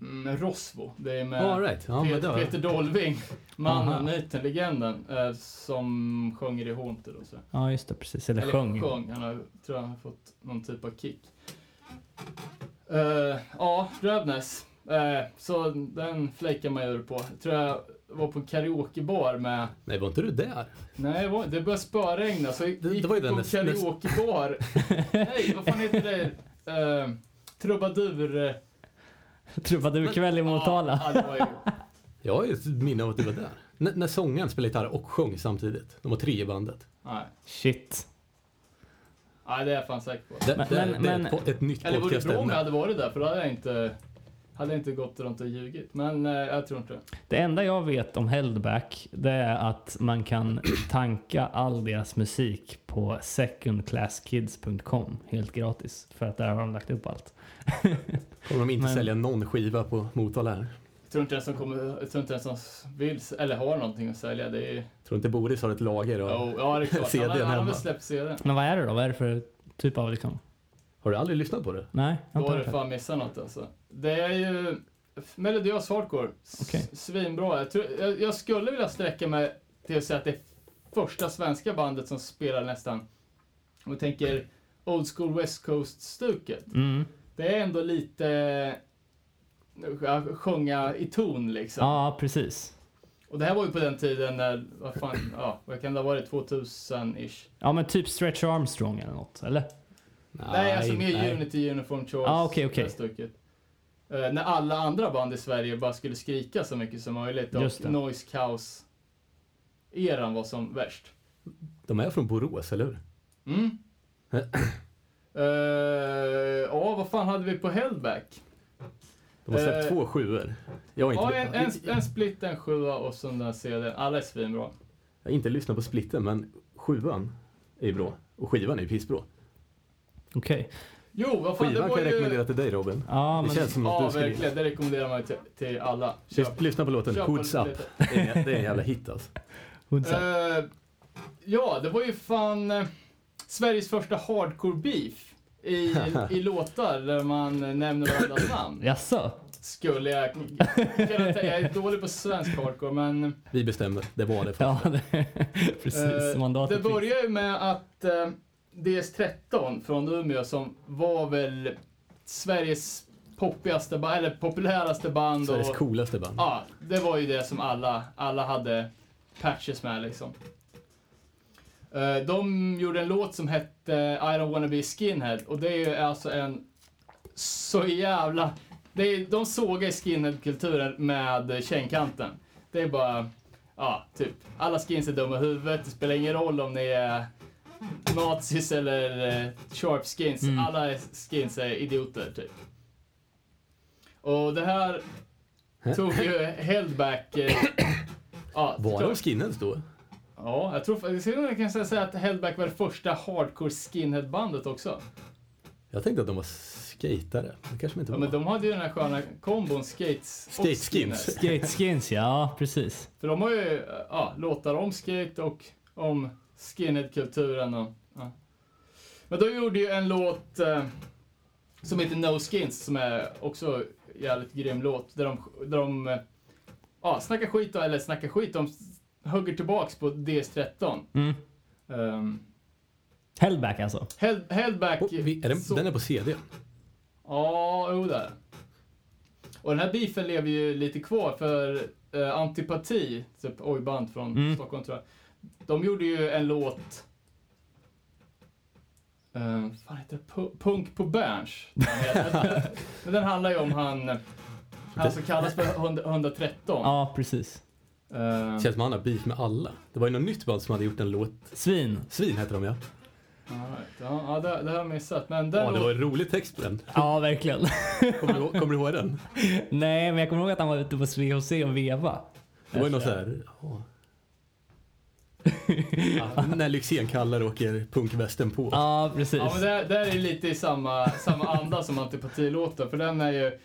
Speaker 3: Mm, Rosvo, det är med
Speaker 2: All right. Ja, men det
Speaker 3: Eh, Peter,
Speaker 2: var...
Speaker 3: Peter Dolving, mannen,
Speaker 1: Aha.
Speaker 3: myten, legenden, eh, som sjunger i Haunted och så.
Speaker 1: Ja, just det. Precis. Eller, sjöng.
Speaker 3: Han har, tror jag, han har fått någon typ av kick. Eh, ja, Dröbnäs. Eh, så den fläkar man ur på. Tror jag var på en karaokebar med...
Speaker 2: Nej, var inte du där?
Speaker 3: Nej, det var- det började spöregna så gick
Speaker 2: Det- det var ju den
Speaker 3: på en
Speaker 2: näst- näst-
Speaker 3: karaokebar. Nej, vad fan heter det? Uh, trubadur... eh,
Speaker 1: Trubadurkväll i Motala.
Speaker 3: Ja, ja, det var ju-
Speaker 2: Jag har ju ett minne av att du var där. N- när sångaren spelade gitarr och sjöng samtidigt. De var tre i bandet.
Speaker 3: Nej,
Speaker 1: Shit.
Speaker 3: nej, det är jag fan säker på.
Speaker 2: Det,
Speaker 1: Men-
Speaker 2: det,
Speaker 1: men-
Speaker 2: det är
Speaker 1: men-
Speaker 2: ett, po- ett nytt
Speaker 3: Eller vore det bra om jag
Speaker 2: podcastämne.
Speaker 3: hade varit där för då hade jag inte, hade jag inte gått runt och ljugit. Men eh, jag tror inte det.
Speaker 1: Det enda jag vet om Heldback det är att man kan tanka all deras musik på secondclasskids.com helt gratis. För att där har de lagt upp allt.
Speaker 2: Kommer de inte
Speaker 1: Men-
Speaker 2: sälja någon skiva på Motala här?
Speaker 3: Jag tror inte ens de kommer, jag tror inte ens de vill, s- eller har någonting att sälja. Det är ju,
Speaker 2: Tror inte Boris har ett lager? Och...
Speaker 3: oh, ja det är klart.
Speaker 2: CD:n
Speaker 3: Han, han har
Speaker 2: hemma.
Speaker 3: väl släppt CDn.
Speaker 1: Men vad är det då? Vad är det för typ av liksom?
Speaker 2: Har du aldrig lyssnat på det?
Speaker 1: Nej, jag
Speaker 3: Då
Speaker 1: har inte
Speaker 3: har du
Speaker 1: hört det.
Speaker 3: fan missat något alltså. Det är ju melodiös hardcore. S-
Speaker 1: Okej.
Speaker 3: Svinbra. Jag, tror, jag, jag skulle vilja sträcka mig till att säga att det är första svenska bandet som spelar nästan, om vi tänker old school west coast-stuket.
Speaker 1: Mm.
Speaker 3: Det är ändå lite eh, sjunga i ton liksom.
Speaker 1: Ja, precis.
Speaker 3: Och det här var ju på den tiden när, vad fan, ja, vad kan det ha varit, 2000-ish?
Speaker 1: Ja, men typ Stretch Armstrong eller något, eller?
Speaker 3: Nej, alltså mer
Speaker 2: nej.
Speaker 3: Unity Uniform Choice.
Speaker 1: Ah, okej, okej.
Speaker 3: det här stycket. Eh, när alla andra band i Sverige bara skulle skrika så mycket som möjligt och
Speaker 1: Just det.
Speaker 3: noise kaos eran var som värst.
Speaker 2: De är från Borås, eller hur?
Speaker 3: Mm. Eh, Ja, vad fan hade vi på Hellback?
Speaker 2: De har släppt
Speaker 3: Eh,
Speaker 2: två sjuor. Jag har inte,
Speaker 3: Ja, en, en,
Speaker 2: jag,
Speaker 3: en split, en sjua och så den där CDn. Alla är svinbra.
Speaker 2: har inte lyssnat på splitten, men sjuan är ju bra. Och skivan är ju pissbra.
Speaker 1: Okej.
Speaker 3: Jo, vad fan,
Speaker 2: Skivan
Speaker 3: det
Speaker 2: kan
Speaker 3: var
Speaker 2: jag
Speaker 3: ju...
Speaker 2: rekommendera till dig Robin.
Speaker 1: Ja,
Speaker 2: Det
Speaker 1: men...
Speaker 2: känns som något
Speaker 3: Ja,
Speaker 2: du skulle...
Speaker 3: verkligen. Det rekommenderar man ju till, till alla. Köp,
Speaker 2: Lys- Lyssna på låten
Speaker 3: köp
Speaker 2: Hoods
Speaker 3: en
Speaker 2: Up.
Speaker 3: split.
Speaker 2: Det är, en- det är en jävla hit alltså.
Speaker 1: Hoods up.
Speaker 3: Eh, ja, det var ju fan eh, Sveriges första hardcore beef i, i låtar där man eh, nämner varandras namn.
Speaker 1: Jaså?
Speaker 3: Skulle jag kunna tänka. Jag är dålig på svensk hardcore, men eh,
Speaker 2: Vi bestämmer. Det var det.
Speaker 1: Ja, det, precis.
Speaker 3: det
Speaker 1: Mandatet finns.
Speaker 3: börjar ju med att eh, DS13 från Umeå som var väl Sveriges poppigaste band, eller populäraste band.
Speaker 2: Sveriges
Speaker 3: och-
Speaker 2: coolaste band.
Speaker 3: Ja, det var ju det som alla, alla hade patches med liksom. Eh, De gjorde en låt som hette I don't wanna be skinhead och det är ju alltså en så jävla... Det är, de sågar skinhead-kulturen med kängkanten. Det är bara, ja, typ. Alla skins är dumma i huvudet, det spelar ingen roll om ni är nazis eller eh, sharp skins.
Speaker 1: Mm.
Speaker 3: Alla skins är idioter, typ. Och det här tog ju Hellback... Eh, ja,
Speaker 2: Var de
Speaker 3: klart.
Speaker 2: skinheads då?
Speaker 3: ja, jag tror faktiskt jag kan säga att Hellback var det första hardcore skinheadbandet också.
Speaker 2: Jag tänkte att de var skatare. Det kanske de inte
Speaker 3: Ja,
Speaker 2: var.
Speaker 3: men de hade ju den här sköna kombon skates och
Speaker 2: Skate
Speaker 3: skinhead.
Speaker 2: skins.
Speaker 1: Skate skins, ja precis.
Speaker 3: För de har ju eh, ja, låtar om skate och om skinheadkulturen och... Ja. Men de gjorde ju en låt eh, som heter No Skins som är också jävligt grym låt där de, där de eh, ja, snackar skit, eller snackar skit, de hugger tillbaks på DS13.
Speaker 1: Mm.
Speaker 3: Um,
Speaker 1: Hellback alltså.
Speaker 3: Hell, Hellback...
Speaker 2: Och vi, är den,
Speaker 3: så-
Speaker 2: den är på CD.
Speaker 3: Ja, jo det är det. Och den här beefen lever ju lite kvar för eh, Antipati, typ ojband från
Speaker 1: Mm.
Speaker 3: Stockholm tror jag. De gjorde ju en låt... Eh, vad fan heter det? Pu- Punk på Berns. den heter. Men den handlar ju om han, han som kallas för 100, 113.
Speaker 1: Ja, precis.
Speaker 3: Eh,
Speaker 2: Det känns som att han har beef med alla. Det var ju något nytt band som hade gjort en låt.
Speaker 1: Svin.
Speaker 2: Svin heter de ja.
Speaker 3: all right. ja, ja, det, det har jag missat. Men den
Speaker 2: Ja, det
Speaker 3: låten-
Speaker 2: var en rolig text på den.
Speaker 1: Ja, verkligen.
Speaker 2: Kommer du, ihåg- kommer du ihåg den?
Speaker 1: Nej, men jag kommer ihåg att han var ute på VHC och veva.
Speaker 2: Det var ju något såhär... Ja. Ja, när Lyxzén kallar åker punkvästen på.
Speaker 1: Ja, precis.
Speaker 3: Ja, men där, där är lite i samma, samma anda som antipatilåten, för den är ju...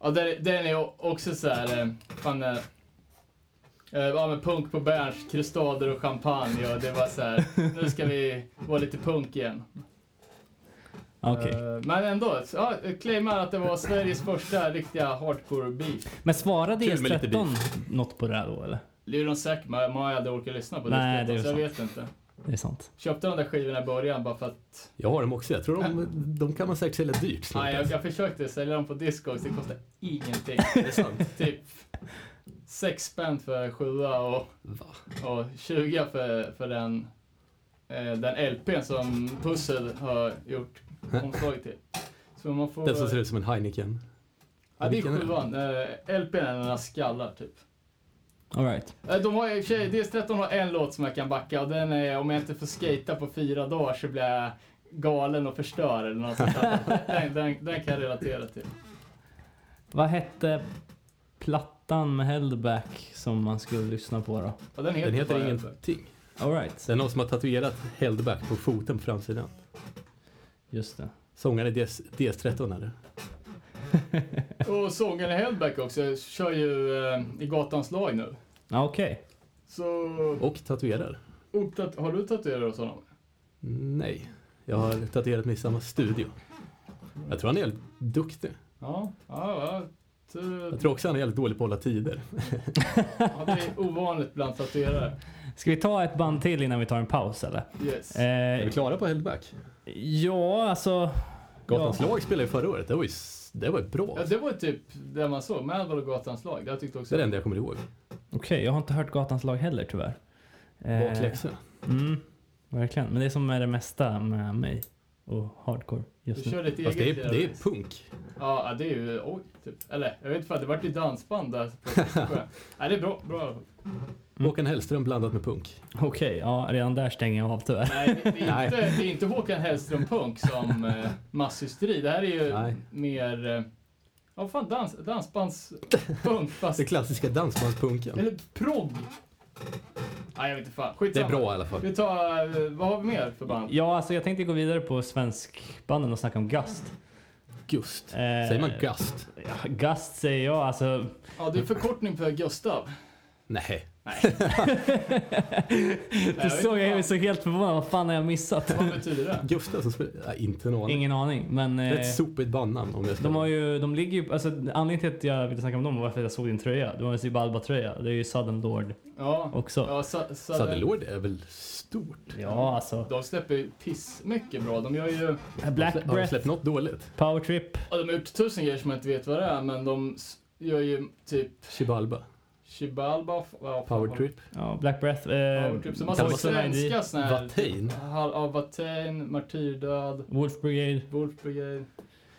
Speaker 3: Ja, där, den är ju också så här... eh, Fan, eh, Eh, ja, men punk på Berns, kristaller och champagne och det var så här. nu ska vi vara lite punk igen.
Speaker 1: Okej.
Speaker 3: Eh, men ändå, ja, claimar att det var Sveriges första riktiga hardcore beef.
Speaker 1: Men svarade
Speaker 2: Kul med lite
Speaker 1: ES13 något på det här då eller?
Speaker 3: Luron Sack, man har aldrig orkat lyssna på
Speaker 1: Nej, det är
Speaker 3: så jag
Speaker 1: sant.
Speaker 3: vet inte.
Speaker 1: Det är sant.
Speaker 3: Köpte de där skivorna i början bara för att
Speaker 2: Jag har dem också. Jag tror de, de kan man säkert sälja dyrt. snart.
Speaker 3: Nej, jag, jag försökte sälja dem på Discogs, det kostar ingenting.
Speaker 2: Det är sant.
Speaker 3: typ 6 spänn för sjua och,
Speaker 2: Va?
Speaker 3: och 20 för, för den, eh, den LPn som Pussel har gjort omslag till. Så man får...
Speaker 2: Den som ser ut som en Heineken.
Speaker 3: ja, det är
Speaker 2: Vilken är det?
Speaker 3: sjuan. Eh, LPn är några skallar typ.
Speaker 1: All right.
Speaker 3: Eh, De har i och för sig, DS13 har en låt som jag kan backa och den är om jag inte får skata på fyra dagar så blir jag galen och förstör eller något sånt där. den, den, den kan jag relatera till.
Speaker 1: Vad hette plattan med Heldback som man skulle lyssna på då?
Speaker 3: Ja, den heter,
Speaker 2: Den heter
Speaker 3: bara
Speaker 2: ingenting.
Speaker 1: All right.
Speaker 2: Det är någon som har tatuerat Heldback på foten på framsidan.
Speaker 1: Just det.
Speaker 2: Sångaren i DS, DS13 är det.
Speaker 3: Och sångaren i Hellback också kör ju eh, i Gatans lag nu.
Speaker 1: Ja, Okej.
Speaker 3: Så,
Speaker 2: Och tatuerar.
Speaker 3: och tat- har du tatuerat hos honom?
Speaker 2: Nej, jag har tatuerat mig i samma studio. Jag tror han är jävligt duktig.
Speaker 3: Ja. ja, ja.
Speaker 2: Jag
Speaker 3: Ty-
Speaker 2: tror också han är jävligt dålig på att hålla tider.
Speaker 3: ja det är ovanligt bland tatuerare.
Speaker 1: Ska vi ta ett band till innan vi tar en paus eller?
Speaker 3: Yes.
Speaker 2: Är vi
Speaker 1: Eh,
Speaker 2: klara på Heldback?
Speaker 1: ja, alltså.
Speaker 2: Gatans
Speaker 1: ja.
Speaker 2: lag spelade ju förra året. Det var ju s- det var ju bra.
Speaker 3: Ja, det var typ det man såg. Madball och Gatans lag. Jag tyckte
Speaker 2: Det
Speaker 3: också
Speaker 2: är det enda jag kommer ihåg.
Speaker 1: Okej, jag har inte hört Gatans lag heller tyvärr. Eh,
Speaker 2: Bakläxa.
Speaker 1: Mm, verkligen. Men det är som är det mesta med mig och hardcore
Speaker 3: Du
Speaker 1: just nu.
Speaker 3: kör ditt eget
Speaker 2: Fast det är,
Speaker 3: lilla
Speaker 2: det är
Speaker 3: race.
Speaker 2: punk.
Speaker 3: Ja, ja, det är ju... Oj, typ. Eller, jag vet inte, för att det vart ju dansband där. på Siksjö. Nej, det är bra. bra.
Speaker 1: Mm.
Speaker 2: Håkan Hellström blandat med punk.
Speaker 1: Okej, ja redan där stänger jag av tyvärr.
Speaker 3: Nej, det, det, är
Speaker 2: Nej.
Speaker 3: inte, det är inte Håkan Hellström Punk som eh, masshysteri. Det här är ju
Speaker 2: Nej.
Speaker 3: mer... Eh, ja, fan, dans, dansbandspunk fast...
Speaker 2: Den klassiska dansbandspunken.
Speaker 3: Eller progg. Nej, jag vet inte fan.
Speaker 2: Det är
Speaker 3: Skitsamma.
Speaker 2: bra i alla fall.
Speaker 3: Vi tar... Eh, vad har vi mer för band?
Speaker 1: Ja, alltså jag tänkte gå vidare på svenskbanden och snacka om Gust.
Speaker 2: Gust.
Speaker 1: Eh,
Speaker 2: Säger man gust?
Speaker 1: Ja, Gust säger jag, alltså.
Speaker 3: Ja, det är förkortning för Gustav.
Speaker 2: Nej.
Speaker 1: Du såg jag är så helt förvånad. Vad fan har jag missat?
Speaker 3: Vad betyder det?
Speaker 2: Gustav som spelar... Nej, alltså, inte en aning.
Speaker 1: Ingen aning, men.
Speaker 2: Det
Speaker 1: eh,
Speaker 2: är ett sopigt bandnamn om jag ska...
Speaker 1: De har ju, de ligger ju, alltså anledningen till att jag ville snacka om dem var för att jag såg din tröja. Du har en Zibalba-tröja. Det är ju Sudden Lord
Speaker 3: Ja.
Speaker 1: också.
Speaker 3: ja sa, sa,
Speaker 2: Sadelord är väl stort?
Speaker 1: Ja, alltså.
Speaker 3: De släpper ju piss mycket bra. De gör ju...
Speaker 1: Black
Speaker 2: Har de
Speaker 1: Breath,
Speaker 2: släppt något dåligt?
Speaker 1: Power Trip.
Speaker 3: Ja, de har gjort tusen grejer som jag inte vet vad det är, men de s- gör ju typ
Speaker 2: Chibalba.
Speaker 3: Chibalba... Ja,
Speaker 2: Power Trip.
Speaker 1: Ja, Black Breath. Eh,
Speaker 3: Power Trip. Så massa
Speaker 1: Poison Ivy,
Speaker 3: svenska såna här...
Speaker 2: Vatain.
Speaker 3: Hall av Vatain, Martyrdöd,
Speaker 1: Wolf Brigade.
Speaker 3: Wolf Brigade.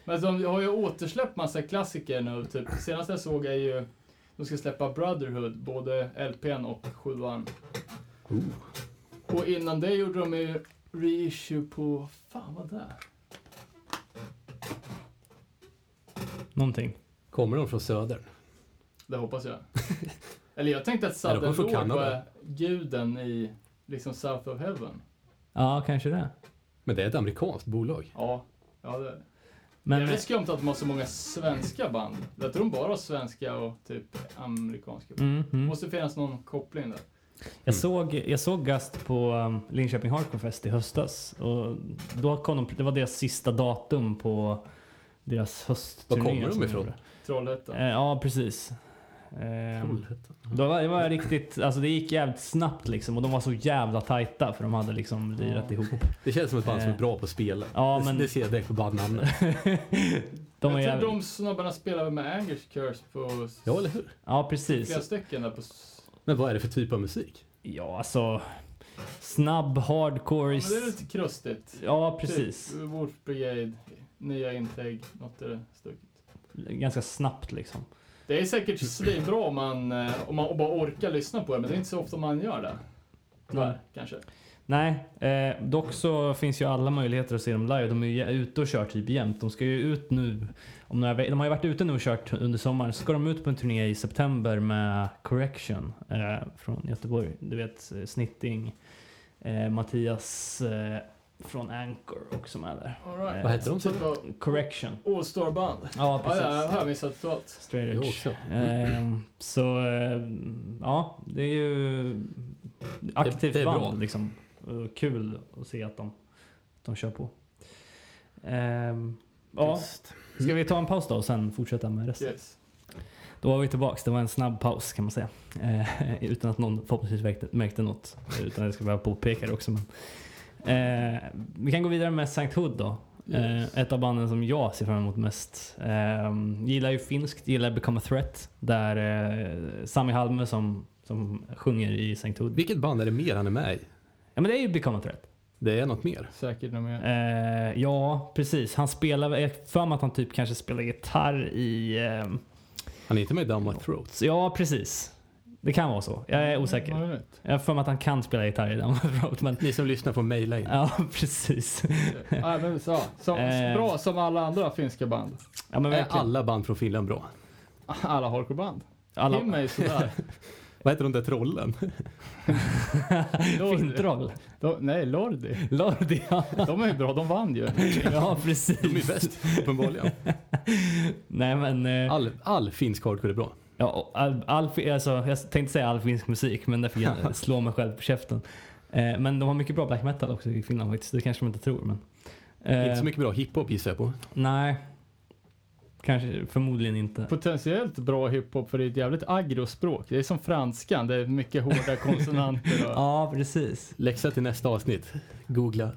Speaker 3: Men de har ju återsläppt massa klassiker nu. Typ. Senast jag såg är ju de ska släppa Brotherhood, både LPn och 7an.
Speaker 2: Oh.
Speaker 3: Och innan det gjorde de ju reissue på, fan vad det är?
Speaker 1: Någonting.
Speaker 2: Kommer de från södern?
Speaker 3: Det hoppas jag. Eller jag tänkte att
Speaker 2: Nej, de
Speaker 3: Southern
Speaker 2: kommer från
Speaker 3: Lord var
Speaker 2: Kanada.
Speaker 3: guden i liksom South of Heaven.
Speaker 1: Ja, kanske det.
Speaker 2: Men det är ett amerikanskt bolag.
Speaker 3: Ja, ja det
Speaker 1: Men
Speaker 3: det är rätt skumt att de har så många svenska band. Jag tror de bara har svenska och typ amerikanska.
Speaker 1: mm,
Speaker 3: Det
Speaker 1: mm.
Speaker 3: måste finnas någon koppling där. Mm.
Speaker 1: Jag, såg, jag såg Gast på um, Linköping Hardcore Fest i höstas. Och då kom de, det var deras sista datum på deras höstturné.
Speaker 2: Var kommer de
Speaker 1: som
Speaker 2: ifrån?
Speaker 1: gjorde.
Speaker 3: Trollhättan.
Speaker 1: Eh, ja, precis. Ehm,
Speaker 2: Trollhättan.
Speaker 1: Det var, det var riktigt, alltså det gick jävligt snabbt liksom och de var så jävla tajta för de hade liksom lirat ihop.
Speaker 2: Det känns som ett band som
Speaker 1: Eh.
Speaker 2: är bra på att spela.
Speaker 1: Ja,
Speaker 2: Det-
Speaker 1: men-
Speaker 2: Det ser jag direkt på bandnamnet.
Speaker 1: De var
Speaker 3: jag tror
Speaker 1: jävligt,
Speaker 3: de snubbarna spelar väl med Angers Curse på s-
Speaker 2: Ja, eller hur?
Speaker 1: ja
Speaker 3: flera
Speaker 1: precis.
Speaker 3: stycken där på... s-
Speaker 2: Men vad är det för typ av musik?
Speaker 1: Ja alltså, snabb hardcore.
Speaker 3: Ja,
Speaker 1: i-
Speaker 3: men det är typ- lite krustigt.
Speaker 1: Ja precis.
Speaker 3: Typ Wolf Brigade, nya integ, något i det stucket.
Speaker 1: Ganska snabbt liksom.
Speaker 3: Det är säkert svinbra om man, eh, om man och bara orkar lyssna på det, men det är inte så ofta man gör det. Tyvärr,
Speaker 1: Nej.
Speaker 3: kanske.
Speaker 1: Nej, eh, dock så finns ju alla möjligheter att se dem live. De är ju ute och kör typ jämt. De ska ju ut nu. Om några, ve- de har ju varit ute nu och kört under sommaren. Så ska de ut på en turné i september med Correction eh, från Göteborg. Du vet eh, Snitting, eh, Mattias eh, från Anchor också med där.
Speaker 3: All right.
Speaker 1: Vad
Speaker 2: heter de, sa
Speaker 3: Typ av
Speaker 1: Correction.
Speaker 3: All Star Band.
Speaker 1: Ja,
Speaker 3: Ja,
Speaker 1: precis.
Speaker 3: ja, jag har missat totalt.
Speaker 1: Straight
Speaker 2: Jag
Speaker 1: edge.
Speaker 2: också.
Speaker 1: Ehm, så eh, ja, det är ju aktivt
Speaker 2: Det- det är
Speaker 1: band
Speaker 2: bra.
Speaker 1: liksom. Och Kul att se att de, att de kör på. Ehm, ja,
Speaker 2: Just.
Speaker 1: ska vi ta en paus då och sen fortsätta med resten?
Speaker 3: Yes.
Speaker 1: Då var vi tillbaks. Det var en snabb paus kan man säga. Eh, utan att någon förhoppningsvis märkte, märkte något. Utan jag ska behöva påpeka det också. Men. Eh, vi kan gå vidare med Sankt Hood då. Eh, ett av banden som jag ser fram emot mest. Eh, gillar ju finskt, gillar Become a Threat. Där eh, Sami Halme som, som sjunger i Sankt Hood.
Speaker 2: Vilket band är det mer han är med i?
Speaker 1: Ja men det är ju Become a Threat.
Speaker 2: Det är något mer.
Speaker 3: Säkert något mer.
Speaker 1: Eh, ja, precis. Han spelar, jag har för mig att han typ kanske spelar gitarr i... Eh,
Speaker 2: Han är inte med i Down My Throat.
Speaker 1: så ja, precis. Det kan vara så. Jag är osäker.
Speaker 3: Ja, jag vet.
Speaker 1: Jag har för mig att han kan spela gitarr i Down Road, men
Speaker 2: Ni som lyssnar får mejla in.
Speaker 1: Ja, precis.
Speaker 3: Ja, men, så, som,
Speaker 1: Eh.
Speaker 3: Bra som alla andra finska band.
Speaker 1: Ja, men
Speaker 2: Är
Speaker 1: verkligen.
Speaker 2: alla band från Finland bra?
Speaker 3: Alla hardcoreband.
Speaker 1: Alla-
Speaker 3: Kim är ju sådär.
Speaker 2: Vad heter de där trollen?
Speaker 1: Fintroll.
Speaker 3: De, nej, Lordi.
Speaker 1: Lordi, ja.
Speaker 3: De är ju bra, de vann ju.
Speaker 1: ja
Speaker 2: De är
Speaker 1: precis.
Speaker 2: bäst, uppenbarligen.
Speaker 1: Nej men, eh,
Speaker 2: All, all finsk hardcore är bra.
Speaker 1: ja, och all, all, fi- alltså, jag tänkte säga all finsk musik men där fick jag slå mig själv på käften. Eh, men de har mycket bra black metal också i Finland faktiskt. Det kanske man inte tror men. Eh,
Speaker 2: Inte så mycket bra hiphop gissar jag på.
Speaker 1: Nej. Kanske, förmodligen inte.
Speaker 3: Potentiellt bra hiphop för det är ett jävligt aggrospråk. Det är som franskan, det är mycket hårda konsonanter och...
Speaker 1: Ja, precis.
Speaker 2: Läxa till nästa avsnitt. Googla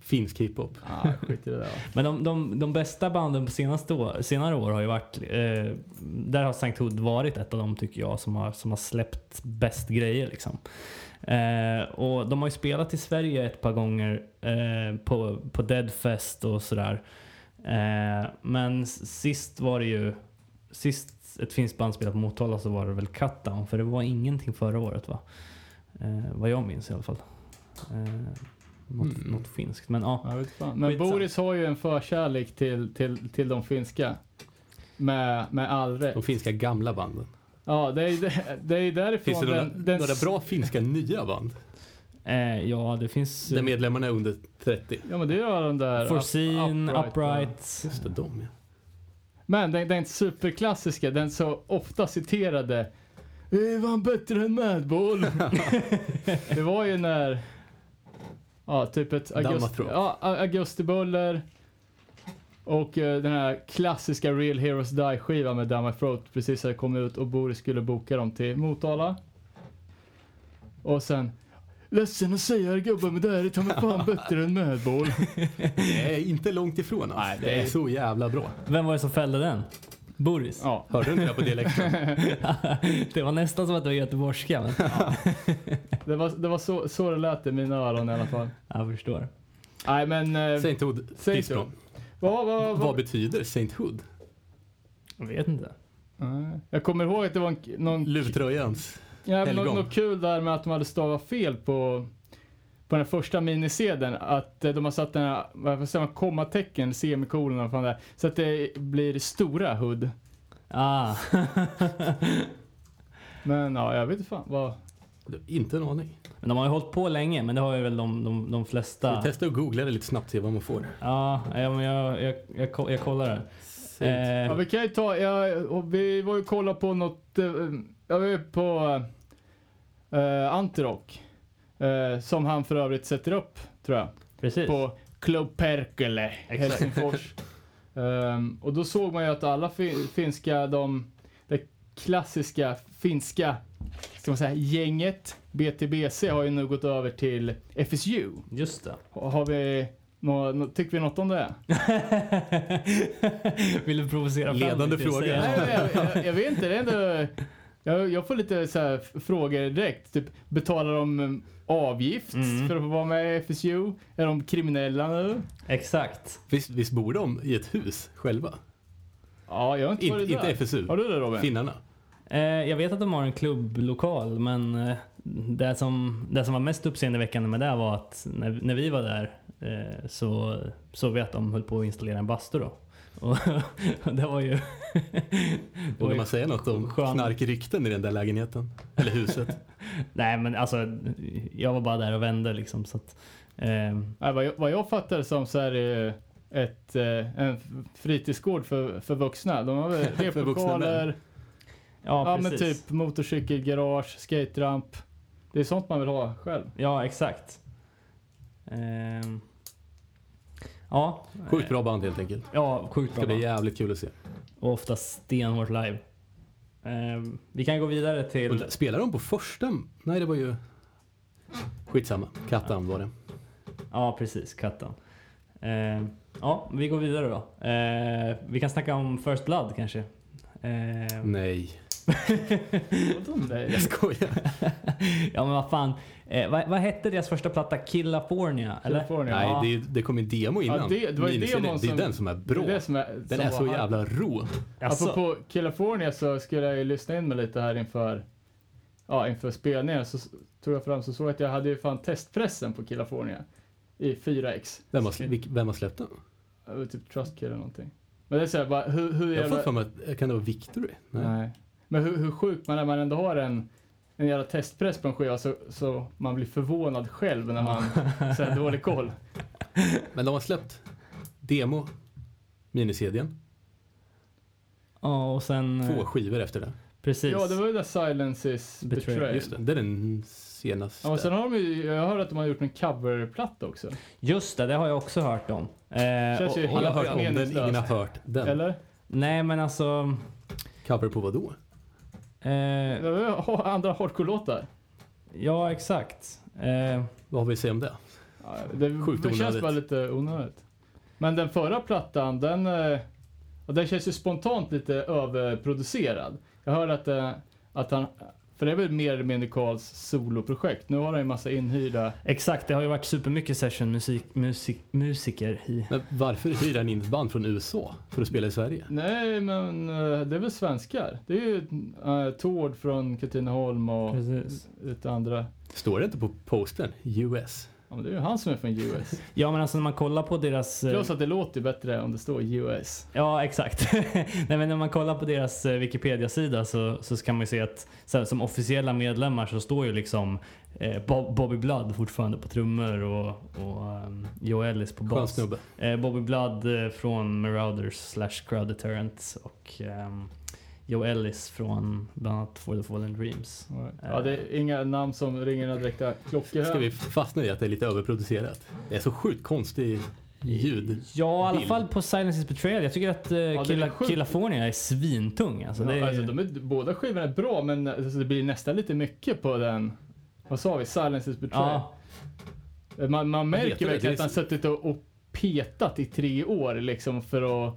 Speaker 2: finsk hiphop.
Speaker 3: Ah, skit i det där.
Speaker 1: Men de, de, de bästa banden på senaste år, senare år har ju varit, eh, där har Sankt Hood varit ett av dem tycker jag som har, som har släppt bäst grejer liksom. Eh, och de har ju spelat i Sverige ett par gånger eh, på, på Deadfest och sådär. Eh, men s- sist var det ju, sist ett finskt band spelade på Motala så var det väl Cutdown för det var ingenting förra året va? Eh, vad jag minns i alla fall. Eh, något,
Speaker 2: Mm.
Speaker 1: något finskt men ja.
Speaker 3: Jag vet fan. Men
Speaker 1: Skitsamma.
Speaker 3: Boris har ju en förkärlek till, till, till de finska. Med, med all rätt.
Speaker 2: De finska gamla banden.
Speaker 3: Ja, det är, det är därifrån
Speaker 2: Finns det några,
Speaker 3: den, den,
Speaker 2: några bra finska nya band?
Speaker 1: Eh, ja, det finns
Speaker 2: Där
Speaker 1: eh,
Speaker 2: medlemmarna är under 30?
Speaker 3: Ja men det gör de där.
Speaker 1: Forsin,
Speaker 3: Up-
Speaker 1: Upright.
Speaker 3: Upright, ja.
Speaker 2: Just det, de ja.
Speaker 3: Men den, den superklassiska, den så ofta citerade. "Eh, Var han bättre än Madball? det var ju när, ja typ ett augusti,
Speaker 2: Dammatråk.
Speaker 3: ja, a- augustibuller och eh, den här klassiska Real Heroes Die skivan med Damma Throat precis hade kommit ut och Boris skulle boka dem till Motala. Och sen, ledsen att säga det gubbar men det här är ta mig fan bättre än Madball.
Speaker 2: Det är inte långt ifrån oss.
Speaker 3: Nej, det
Speaker 2: det är
Speaker 3: är-
Speaker 2: så jävla bra.
Speaker 1: Vem var det som fällde den? Boris?
Speaker 3: Ja,
Speaker 2: Hörde du inte det på dialekten?
Speaker 1: det var nästan som att det var göteborgska. Men,
Speaker 3: det var, det var så, så det lät i mina öron i alla fall.
Speaker 1: jag förstår.
Speaker 3: Nej men... Eh,
Speaker 2: Saint Hood,
Speaker 3: Saint
Speaker 2: diss
Speaker 3: Hood.
Speaker 2: dem.
Speaker 3: vad, vad,
Speaker 2: Vad
Speaker 3: vad,
Speaker 2: betyder Saint Hood?
Speaker 1: Jag vet inte.
Speaker 3: Nej. jag kommer ihåg att det var en, k- någon,
Speaker 2: Luvtröjans.
Speaker 3: ja, men något,
Speaker 2: helgon.
Speaker 3: något kul där med att de hade stavat fel på, på den första minisedeln. Att eh, de har satt den här, varför säger man, kommatecken, semikolon och fan där. Så att det blir stora hud.
Speaker 1: Ah.
Speaker 3: Men ja, jag vet inte fan vad.
Speaker 2: Inte en aning.
Speaker 1: men de har ju hållit på länge, men det har ju väl de, de, de
Speaker 2: Vi
Speaker 1: flesta.
Speaker 2: testar att googla det lite snabbt se vad man får.
Speaker 1: Ja, ja, men jag, jag, jag, ko- jag kollar det.
Speaker 2: Saint.
Speaker 3: Ja,
Speaker 1: Eh,
Speaker 3: vi kan ju ta, ja, och vi var ju och kollade på något, eh, jag var ju på eh, Antirock. Eh, som han för övrigt sätter upp, tror jag.
Speaker 1: precis.
Speaker 3: på Club Perkele,
Speaker 1: Exakt.
Speaker 3: Helsingfors. Ehm, och då såg man ju att alla fi- finska, de, det klassiska finska, ska man säga, gänget, BTBC, har ju nu gått över till FSU.
Speaker 1: Just det.
Speaker 3: Har har vi, nå, nå, tycker vi något om det?
Speaker 1: Vill du provocera fram
Speaker 2: Ledande
Speaker 1: lite?
Speaker 2: fråga.
Speaker 1: Säg-
Speaker 3: Nej, jag, jag, jag vet inte, det är ändå, jag, jag får lite så här f- frågor direkt. Typ, betalar de mm, avgift
Speaker 1: Mm.
Speaker 3: för att få vara med i FSU? Är de kriminella nu?
Speaker 1: Exakt.
Speaker 2: Visst, visst bor de i ett hus själva?
Speaker 3: Ja, jag har inte
Speaker 2: In,
Speaker 3: varit
Speaker 2: inte
Speaker 3: där.
Speaker 2: FSU,
Speaker 3: Har du det Robin?
Speaker 2: finnarna.
Speaker 1: Eh, jag vet att de har en klubblokal men eh, det som, det som var mest uppseendeväckande med det var att när, när vi var där eh, så såg vi att de höll på att installera en bastu då. Och det var ju... det var
Speaker 2: Vågar
Speaker 1: ju
Speaker 2: man säga något om
Speaker 1: skön-
Speaker 2: knarkrykten i den där lägenheten? Eller huset?
Speaker 1: nej men alltså jag var bara där och vände liksom. Så att, Eh,
Speaker 3: Nej, vad, jag, vad jag fattar som så är det ett, eh, en fritidsgård för, för vuxna. De har väl
Speaker 2: För vuxna män.
Speaker 3: replokaler,
Speaker 1: ja,
Speaker 3: ja, men
Speaker 1: precis.
Speaker 3: typ motorcykelgarage, skateramp. Det är sånt man vill ha själv.
Speaker 1: Ja, exakt. Ehm. ja.
Speaker 2: Sjukt bra band helt enkelt.
Speaker 1: Ja, sjukt
Speaker 2: Det
Speaker 1: bra.
Speaker 2: ska bli
Speaker 1: band.
Speaker 2: jävligt kul att se.
Speaker 1: Och ofta stenhårt live. Ehm, vi kan gå vidare
Speaker 2: Och
Speaker 1: till...
Speaker 2: där- Spelar de på första? Nej, det var ju... Skitsamma. Kattan var det.
Speaker 1: Ja, precis. Kattan. Ehm, ja, vi går vidare då. Ehm, vi kan snacka om First Blood kanske. Ehm,
Speaker 2: Nej,
Speaker 3: Vadå nej?
Speaker 2: jag skojar.
Speaker 1: ja, men vad fan. Eh, vad, vad hette deras första platta? Killafornia? Eller?
Speaker 3: California.
Speaker 2: Nej, det, är- det kom en demo innan.
Speaker 3: Ja, det- det var ju
Speaker 2: Miniserien.
Speaker 3: demon
Speaker 2: det är
Speaker 3: som-
Speaker 2: den som är bra.
Speaker 3: Det är det som är,
Speaker 2: den
Speaker 3: som
Speaker 2: är så
Speaker 3: var-
Speaker 2: jävla rå.
Speaker 1: Alltså,
Speaker 3: Apropå California så skulle jag ju lyssna in mig lite här inför, ja, inför spelningen. Så s- tog jag fram så såg jag att jag hade ju fan testpressen på California i 4X.
Speaker 2: Vem har, sl- vilk- vem har släppt den?
Speaker 3: Det var Typ Trustkill eller någonting. Men det är såhär, bara, hur, hur
Speaker 2: Jag har
Speaker 3: jävla...
Speaker 2: fått för mig att, kan det vara Victory? Nej.
Speaker 3: Nej. Men hur, hur sjukt man är, man ändå har en, en jävla testpress på en skiva så, så man blir förvånad själv när man så här, dålig koll.
Speaker 2: Men de har släppt demo, miniserien,
Speaker 1: ja, och sen... eh,
Speaker 2: två skivor efter det.
Speaker 1: Precis.
Speaker 3: Ja, det var ju där Silence is
Speaker 1: Betrayal.
Speaker 3: betrayal.
Speaker 2: Just det, det är den senaste.
Speaker 3: Ja, och sen har de ju, jag hör att de har gjort en coverplatta också.
Speaker 1: Just det, det har jag också hört om. Eh,
Speaker 3: Känns ju-
Speaker 2: Alla har hört
Speaker 3: Ja,
Speaker 2: om den,
Speaker 3: meningslöst.
Speaker 2: ingen har hört den.
Speaker 3: Eller?
Speaker 1: nej, men alltså...
Speaker 2: Cover på vad då?
Speaker 1: Eh,
Speaker 3: Det var ju ha- andra hardcore-låtar.
Speaker 1: Ja, exakt. Eh,
Speaker 2: Vad har vi att säga om det?
Speaker 3: Ja, Det
Speaker 2: Sjukt
Speaker 3: det känns
Speaker 2: onödigt.
Speaker 3: bara lite onödigt. Men den förra plattan, den, eh, ja, den känns ju spontant lite överproducerad. Jag hör att, eh, att han, för det är väl mer eller mindre Karls soloprojekt. Nu har han ju massa inhyrda.
Speaker 1: exakt, det har ju varit supermycket sessionmusik, musik, musiker i.
Speaker 2: Men varför hyr han in ett band från USA för att spela i Sverige?
Speaker 3: Nej, men eh, det är väl svenskar. Det är ju eh, Tord från Katrineholm och
Speaker 1: Precis.
Speaker 3: lite andra.
Speaker 2: Står det inte på postern US?
Speaker 3: Ja, men det är ju han som är från US.
Speaker 1: Ja, men alltså när man kollar på deras... eh,
Speaker 3: Plus att det låter ju bättre om det står US.
Speaker 1: Ja, exakt. Nej, men när man kollar på deras eh, Wikipedia-sida så, så kan man ju se att så här, som officiella medlemmar så står ju liksom eh, Bob, Bobby Blood fortfarande på trummor och, och ehm, Joe Ellis på
Speaker 2: Skön
Speaker 1: bas.
Speaker 2: snubbe.
Speaker 1: Eh, Bobby Blood eh, från Marauders slash Crowd Deterrent och ehm, Joe Ellis från bland annat For the Fallen Dreams.
Speaker 3: Ja, det är inga namn som ringer några direkta klockor här.
Speaker 2: Ska vi fastna i att det är lite överproducerat? Det är så sjukt konstig ljud.
Speaker 1: Ja, i alla
Speaker 2: Bild.
Speaker 1: fall på Silence is Betrayal. Jag tycker att eh,
Speaker 3: är
Speaker 1: Killa,
Speaker 3: sjukt.
Speaker 1: Killafornia är svintung. Alltså, det är,
Speaker 3: ja, alltså, de är, båda skivorna är bra, men alltså, det blir nästan lite mycket på den. Vad sa vi? Silence is betrayal.
Speaker 1: ja,
Speaker 3: Man, man
Speaker 2: vet du
Speaker 3: märker
Speaker 2: det?
Speaker 3: verkligen att
Speaker 2: Det är-
Speaker 3: han suttit och, och petat i tre år liksom för att,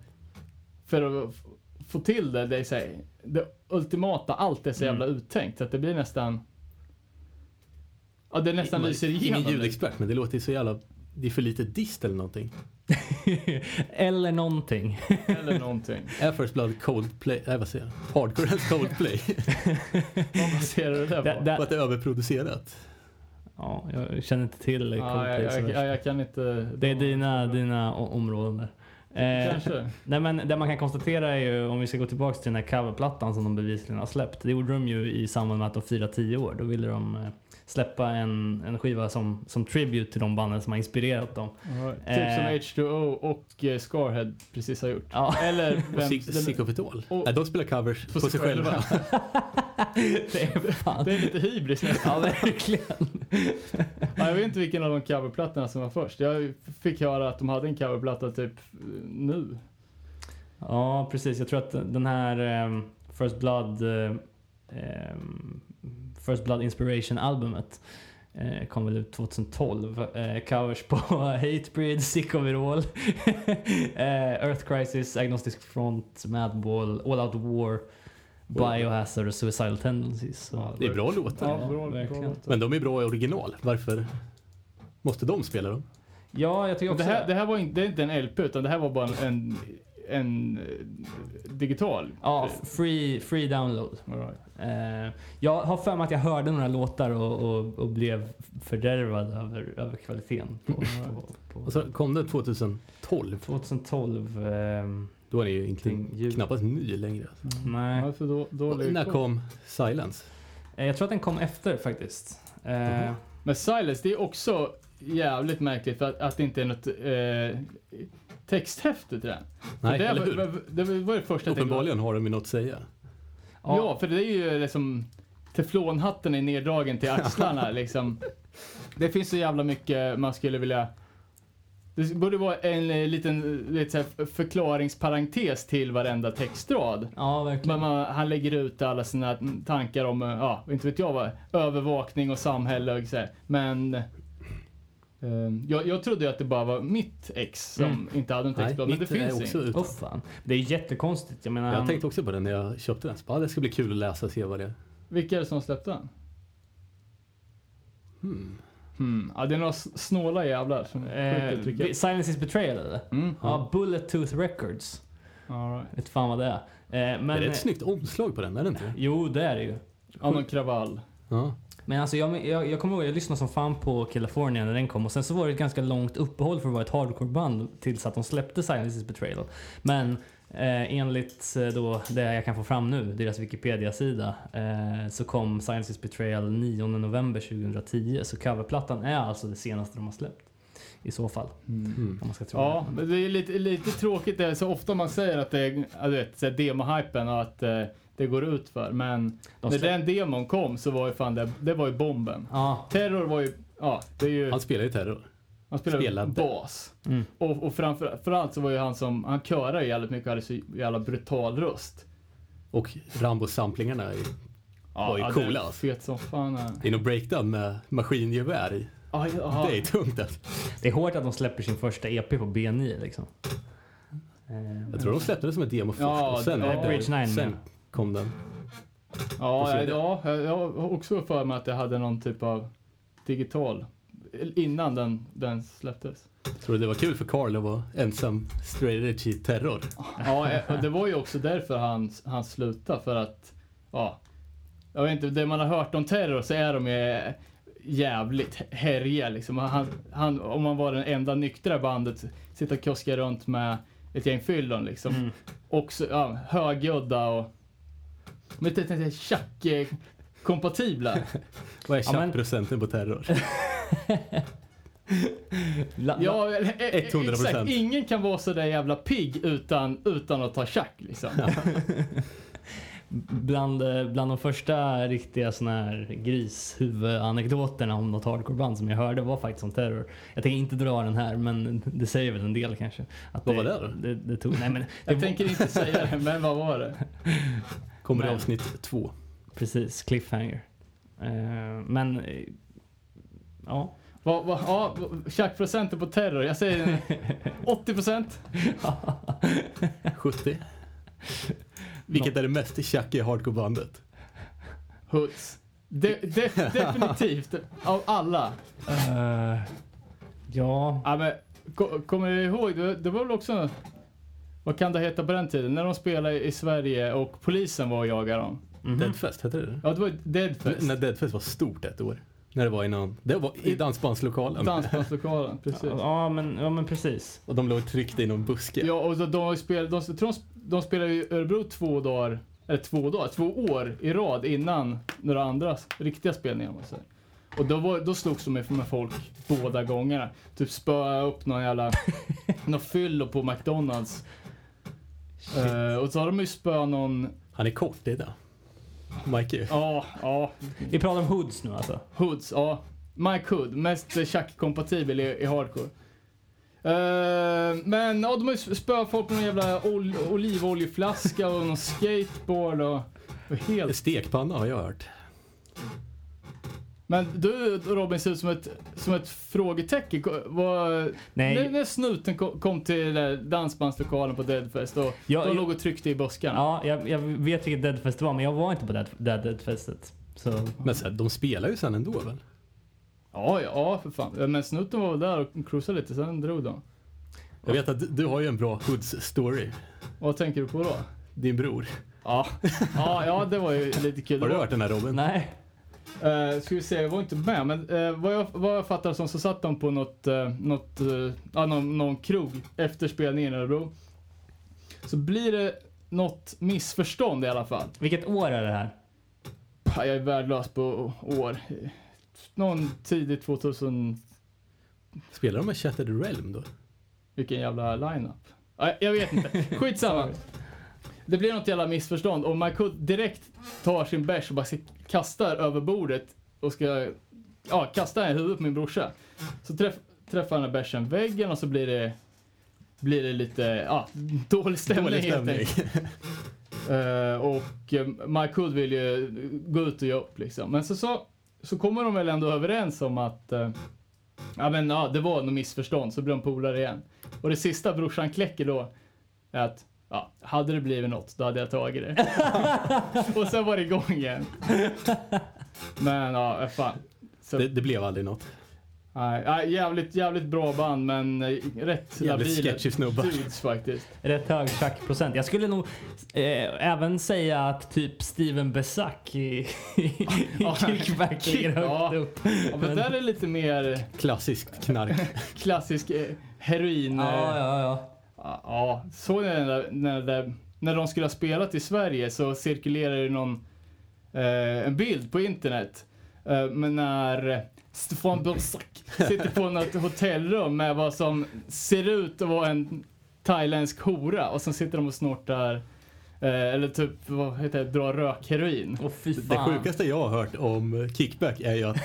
Speaker 3: för att f- få till det. Det, är så här, det ultimata, allt är så jävla uttänkt så att det blir nästan... Ja, det nästan lyser igenom.
Speaker 2: Ingen
Speaker 3: liksom.
Speaker 2: ljudexpert, men det låter ju så jävla... Det är för lite dist eller någonting.
Speaker 1: eller någonting.
Speaker 3: Eller någonting.
Speaker 2: Är First Blood Coldplay? Nej, vad säger jag? Hardcore as Coldplay.
Speaker 3: Vad baserar du det
Speaker 1: Där-
Speaker 3: på?
Speaker 1: där-
Speaker 2: För att det är överproducerat.
Speaker 1: ja, jag känner inte till eh,
Speaker 3: Ja, jag,
Speaker 1: Coldplay. så
Speaker 3: jag, jag,
Speaker 1: värst.
Speaker 3: jag kan inte...
Speaker 1: Det är dina, dina o- områden där. Eh,
Speaker 3: Kanske.
Speaker 1: nej, men det man kan konstatera är ju, om vi ska gå tillbaka till den här coverplattan som de bevisligen har släppt. Det gjorde de ju i samband med att de firade 10 år. Då ville de eh, släppa en, en skiva som, som tribute till de banden som har inspirerat dem.
Speaker 3: Ja,
Speaker 1: Eh.
Speaker 3: Typ som H2O och eh, Scarhead precis har gjort.
Speaker 1: Ja.
Speaker 3: Eller
Speaker 2: Och
Speaker 3: vem,
Speaker 2: Sick- Sick
Speaker 3: den,
Speaker 2: of It All.
Speaker 3: och-
Speaker 2: Nej, de spelar covers på, sig själva.
Speaker 1: Det är fan.
Speaker 3: det är lite hybris nästan.
Speaker 1: Ja, verkligen.
Speaker 3: Ja, jag vet inte vilken av de coverplattorna som var först. Jag fick höra att de hade en coverplatta typ eh, nu.
Speaker 1: Ja, precis. Jag tror att den här ehm, First Blood ehm, ehm, First Blood Inspiration-albumet eh, kom väl ut 2012. Eh, covers på Hatebreed, Sick of It All, eh, Earth Crisis, Agnostic Front, Madball, All Out War, Biohazard och Suicidal Tendencies. Så.
Speaker 2: Det är bra låtar.
Speaker 1: Ja, verkligen.
Speaker 3: låtar.
Speaker 2: Men de är bra i original. Varför måste de spela dem?
Speaker 1: Ja, jag tycker
Speaker 3: Men det,
Speaker 1: också
Speaker 3: här, det här var inte, det är inte en LP utan det här var bara en, en, en eh, digital.
Speaker 1: Ja, free, free download.
Speaker 3: All right.
Speaker 1: Eh, jag har för mig att jag hörde några låtar och, och, och blev fördärvad över, över kvaliteten. På, på,
Speaker 2: Och
Speaker 1: på.
Speaker 2: så kom den 2012.
Speaker 1: 2012. ehm,
Speaker 2: Då är det ju egentligen
Speaker 1: Ting- ljud.
Speaker 2: knappast ny längre.
Speaker 1: nej.
Speaker 3: Ja, för då,
Speaker 2: Och
Speaker 3: dålig
Speaker 2: när
Speaker 3: koll.
Speaker 2: kom Silence?
Speaker 1: Eh, jag tror att den kom efter faktiskt. Eh,
Speaker 2: Mhm.
Speaker 3: Men Silence, det är också jävligt märkligt för att, att det inte är något eh, texthäfte till den.
Speaker 2: Nej,
Speaker 3: det,
Speaker 2: eller
Speaker 3: var,
Speaker 2: hur?
Speaker 3: var- det var det första jag tänkte.
Speaker 2: Uppenbarligen har de ju något att säga.
Speaker 3: Ja. för det är ju liksom teflonhatten är neddragen till axlarna liksom. Det finns så jävla mycket man skulle vilja... Det borde vara en eh, liten eh, lite så här förklaringsparentes till varenda textrad.
Speaker 1: Ja, verkligen.
Speaker 3: Men man, han lägger ut alla sina tankar om, eh, ja, inte vet jag vad, övervakning och samhälle och så här. Men eh, jag, jag trodde ju att det bara var mitt ex som
Speaker 1: Mm.
Speaker 3: inte hade en textblad. Men det
Speaker 2: mitt är
Speaker 3: finns
Speaker 2: också
Speaker 3: inget.
Speaker 1: Åh
Speaker 2: utan.
Speaker 1: fan. Det är jättekonstigt. Jag menar,
Speaker 2: Jag tänkte också på det när jag köpte den. Så bara, Det ska bli kul att läsa och se vad det är.
Speaker 3: Vilka är det som släppte den?
Speaker 2: Hmm.
Speaker 3: Hmm. Ja, det är några s- snåla jävlar som
Speaker 1: eh,
Speaker 3: skjuter
Speaker 1: vi-
Speaker 3: trycker.
Speaker 1: Silence is betrayal eller?
Speaker 3: Mm.
Speaker 1: Ja, Bullet Tooth Records.
Speaker 3: All right.
Speaker 1: Vet fan vad det är. Eh, men,
Speaker 2: Det är ett snyggt omslag på den, är det inte?
Speaker 1: Jo, det är det ju.
Speaker 3: Ja, någon kravall.
Speaker 2: Ja.
Speaker 1: Men alltså jag, jag, jag kommer ihåg, jag lyssnade som fan på California när den kom och sen så var det ett ganska långt uppehåll för att vara ett hardcore-band tills att de släppte Silence is Betrayal. Men eh, enligt eh, då det jag kan få fram nu, deras Wikipedia-sida, eh, så kom Silence is Betrayal 9 november 2010. Så coverplattan är alltså det senaste de har släppt. I så fall,
Speaker 2: Mm.
Speaker 1: om man ska tro
Speaker 3: Ja, men det är lite, lite tråkigt. Det är så ofta man säger att det är ja, du vet, så här demo-hypen och att eh, det går ut för. Men
Speaker 1: De
Speaker 3: när
Speaker 1: slä-
Speaker 3: den demon kom så var ju fan det, det var ju bomben.
Speaker 1: Ja,
Speaker 3: Terror var ju, ja, det är ju,
Speaker 2: Han spelar ju terror.
Speaker 3: han spelade,
Speaker 2: spelade.
Speaker 3: bas.
Speaker 1: Mm.
Speaker 3: Och, och framför, framförallt så var ju han som, han körade ju jävligt mycket och hade så jävla brutal röst.
Speaker 2: Och Rambo-samplingarna är, var ju
Speaker 3: det är
Speaker 2: coola. alltså.
Speaker 3: Fet som fan. Ja,
Speaker 2: Det är nog breakdown med maskingevär i.
Speaker 3: ja, ja.
Speaker 2: Det är tungt alltså.
Speaker 1: det är hårt att de släpper sin första EP på B9 liksom. Eh,
Speaker 2: Jag tror de släppte det som ett demo först
Speaker 3: Ja,
Speaker 2: och sen,
Speaker 3: det- ja.
Speaker 1: Bridge Nine,
Speaker 2: sen
Speaker 1: ja.
Speaker 2: kom den. På
Speaker 3: Ja,
Speaker 2: CD.
Speaker 3: ja, ja, jag har också för mig att det hade någon typ av digital innan den, den släpptes.
Speaker 2: Tror du det var kul för Carl att vara ensam strategy terror?
Speaker 3: Ja, eh, och det var ju också därför han, han slutade för att, ja, jag vet inte, det man har hört om terror så är de ju jävligt härjiga liksom. Han, han, om man var den enda nyktra bandet, sitta och kuska runt med ett gäng fyllon liksom.
Speaker 1: Mm.
Speaker 3: Också, ja, högljudda och, men det är tjack-kompatibla.
Speaker 2: Vad är
Speaker 1: Ja, men-
Speaker 2: tjackprocenten på terror?
Speaker 1: La-
Speaker 3: Ja, eller, e- e-
Speaker 2: 100%.
Speaker 3: exakt. Ingen kan vara så där jävla pigg utan, utan att ta tjack liksom.
Speaker 1: Bland, eh, bland de första riktiga såna här grishuvudanekdoterna om något hardcoreband som jag hörde var faktiskt om terror. Jag tänker inte dra den här men det säger väl en del kanske. Att
Speaker 2: Vad var det då?
Speaker 1: Det, det tog, nej, men det
Speaker 3: Jag
Speaker 1: var,
Speaker 3: tänker inte säga det, men vad var det?
Speaker 2: Kommer i
Speaker 1: Men-
Speaker 2: avsnitt två.
Speaker 1: Precis, cliffhanger. Eh, men eh, ja.
Speaker 3: Vad, vad, ja, tjackprocenten på terror. Jag säger 80 procent.
Speaker 2: 70. Vilket är det mest tjackiga hardcore-bandet?
Speaker 3: Huts. De, de, definitivt. Av alla.
Speaker 1: Eh, ja.
Speaker 3: Ja, men, ko- kommer du ihåg? Det, det var väl också... Vad kan det heta på den tiden? När de spelade i Sverige och polisen var och jagade dem.
Speaker 1: mhm.
Speaker 2: Deadfest, hette det det
Speaker 3: Ja, det var ju Deadfest.
Speaker 2: N- När Deadfest var stort ett år. När det var i någon, det var i dansbandslokalen.
Speaker 3: Dansbandslokalen, precis.
Speaker 1: Ja, men, ja men precis.
Speaker 2: Och de låg tryckta i någon buske.
Speaker 3: Ja, och de, de, har ju spel, de, jag tror de, sp- de spelade i Örebro två dagar, eller två dagar, två år i rad innan några andra s- riktiga spelningar. om man säger. Och då, var, då slogs de med med folk båda gångerna. Typ spöa upp någon jävla, någon fyllo på McDonalds. Eh, och så har de ju spö någon,
Speaker 2: Han är kort idag. Mikey.
Speaker 3: ja, ja,
Speaker 1: Vi pratar om hoods nu alltså.
Speaker 3: Hoods, ja. Mike Hood, mest eh, tjack-kompatibel i, i hardcore. Eh, men ja, de har ju spöat folk med någon jävla ol- olivoljeflaska och någon skateboard och, och helt.
Speaker 2: Stekpanna har jag hört. Men,
Speaker 3: Men du Robin ser ut som ett, som ett frågetecken. Ko- Vad,
Speaker 1: Nej.
Speaker 3: När, när snuten ko- kom till den där dansbandslokalen på Deadfest och
Speaker 1: Ja,
Speaker 3: de
Speaker 1: jag-
Speaker 3: låg och tryckte i buskarna.
Speaker 1: Ja, jag, jag vet vilket Deadfest det var men jag var inte på Dead, Dead, Deadfestet. Så
Speaker 2: men så här, de spelar ju sen ändå väl?
Speaker 3: Ja, ja, ja, för fan. Men snuten var väl där och cruisade lite, sen drog de.
Speaker 2: Jag vet att du- du har ju en bra Hoods-story.
Speaker 3: Vad tänker du på då?
Speaker 2: Din bror.
Speaker 3: Ja, ja, ja det var ju lite kul.
Speaker 2: Har
Speaker 3: Det
Speaker 2: du
Speaker 3: var-
Speaker 2: hört den här Robin?
Speaker 1: nej.
Speaker 3: Uh, ska vi se, jag var inte med, men eh, vad, jag, vad jag fattar som så satt de på något, eh, något, eh, ja, någon, någon krog efter spelningen i Örebro. Så blir det något missförstånd i alla fall.
Speaker 1: Vilket år är det här?
Speaker 3: Pah, Jag är värdelös på år. Någon tidigt 2000,
Speaker 2: Spelar de med Shattered Realm då?
Speaker 3: Vilken jävla line-up. Nej, Jag vet inte. Skitsamma. Det blir något jävla missförstånd och Marcus direkt tar sin bärs och bara se- kastar över bordet och ska ja, kasta den i huvudet på min brorsa. Så träff, träffar han bärsen väggen och så blir det, blir det lite ja, dålig stämning,
Speaker 2: Dålig
Speaker 3: helt
Speaker 2: stämning.
Speaker 3: enkelt. Eh, och eh, Marcus vill ju gå ut och ge upp liksom. Men så, så, så kommer de väl ändå överens om att eh, ja, men, ja, det var något missförstånd, så blir de polare igen. Och det sista brorsan kläcker då är att ja, hade det blivit något, då hade jag tagit det. och sen var det igång igen. Men ja, eh, fan. Så,
Speaker 2: Det, det blev aldrig något.
Speaker 3: nej, nej, jävligt, jävligt bra band, men eh, rätt
Speaker 2: Jävligt
Speaker 3: labila
Speaker 2: sketchy snubbar.
Speaker 3: dudes faktiskt.
Speaker 1: Rätt hög tjackprocent. Jag skulle nog eh, även säga att typ Steven Besack i, i
Speaker 3: Ja.
Speaker 1: Kickback ligger högt
Speaker 3: Ja.
Speaker 1: upp.
Speaker 3: Ja, men där är lite mer
Speaker 2: Klassiskt knark.
Speaker 3: klassisk eh, heroin... eh,
Speaker 1: Ja, ja, ja.
Speaker 3: Ja, Ja, såg ni den där, när, där, när de skulle ha spelat i Sverige så cirkulerade det någon, eh, en bild på internet. Eh, men när eh, Stefan Bursak sitter på något hotellrum med vad som ser ut att vara en thailändsk hora och sen sitter de och snortar eh, eller typ, vad heter det, drar rökheroin.
Speaker 1: Åh fy
Speaker 2: Det
Speaker 1: fan.
Speaker 2: sjukaste jag har hört om Kickback är ju att,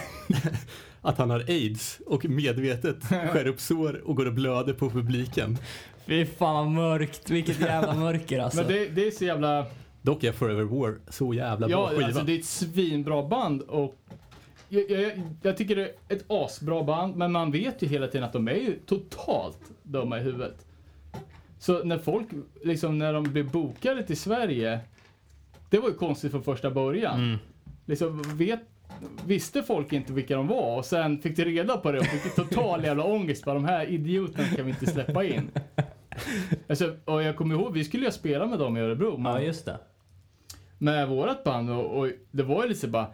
Speaker 2: att han har aids och medvetet skär upp sår och går och blöder på publiken.
Speaker 1: Fy fan vad mörkt. Vilket jävla mörker alltså.
Speaker 3: Men det, det är så jävla...
Speaker 2: Dock är Forever War så jävla bra
Speaker 3: Ja,
Speaker 2: skiva.
Speaker 3: alltså det är ett svinbra band och jag, jag, jag- jag tycker det är ett asbra band, men man vet ju hela tiden att de är ju totalt dumma i huvudet. Så när folk, liksom när de blev bokade till Sverige, det var ju konstigt från första början.
Speaker 1: Mm.
Speaker 3: Liksom, vet, visste folk inte vilka de var och sen fick de reda på det och fick total jävla ångest. Bara, de här idioterna kan vi inte släppa in. Alltså, och jag kommer ihåg, vi skulle ju spela med dem i Örebro. men-
Speaker 1: Ja, just det.
Speaker 3: med vårat band och, och det var ju lite så bara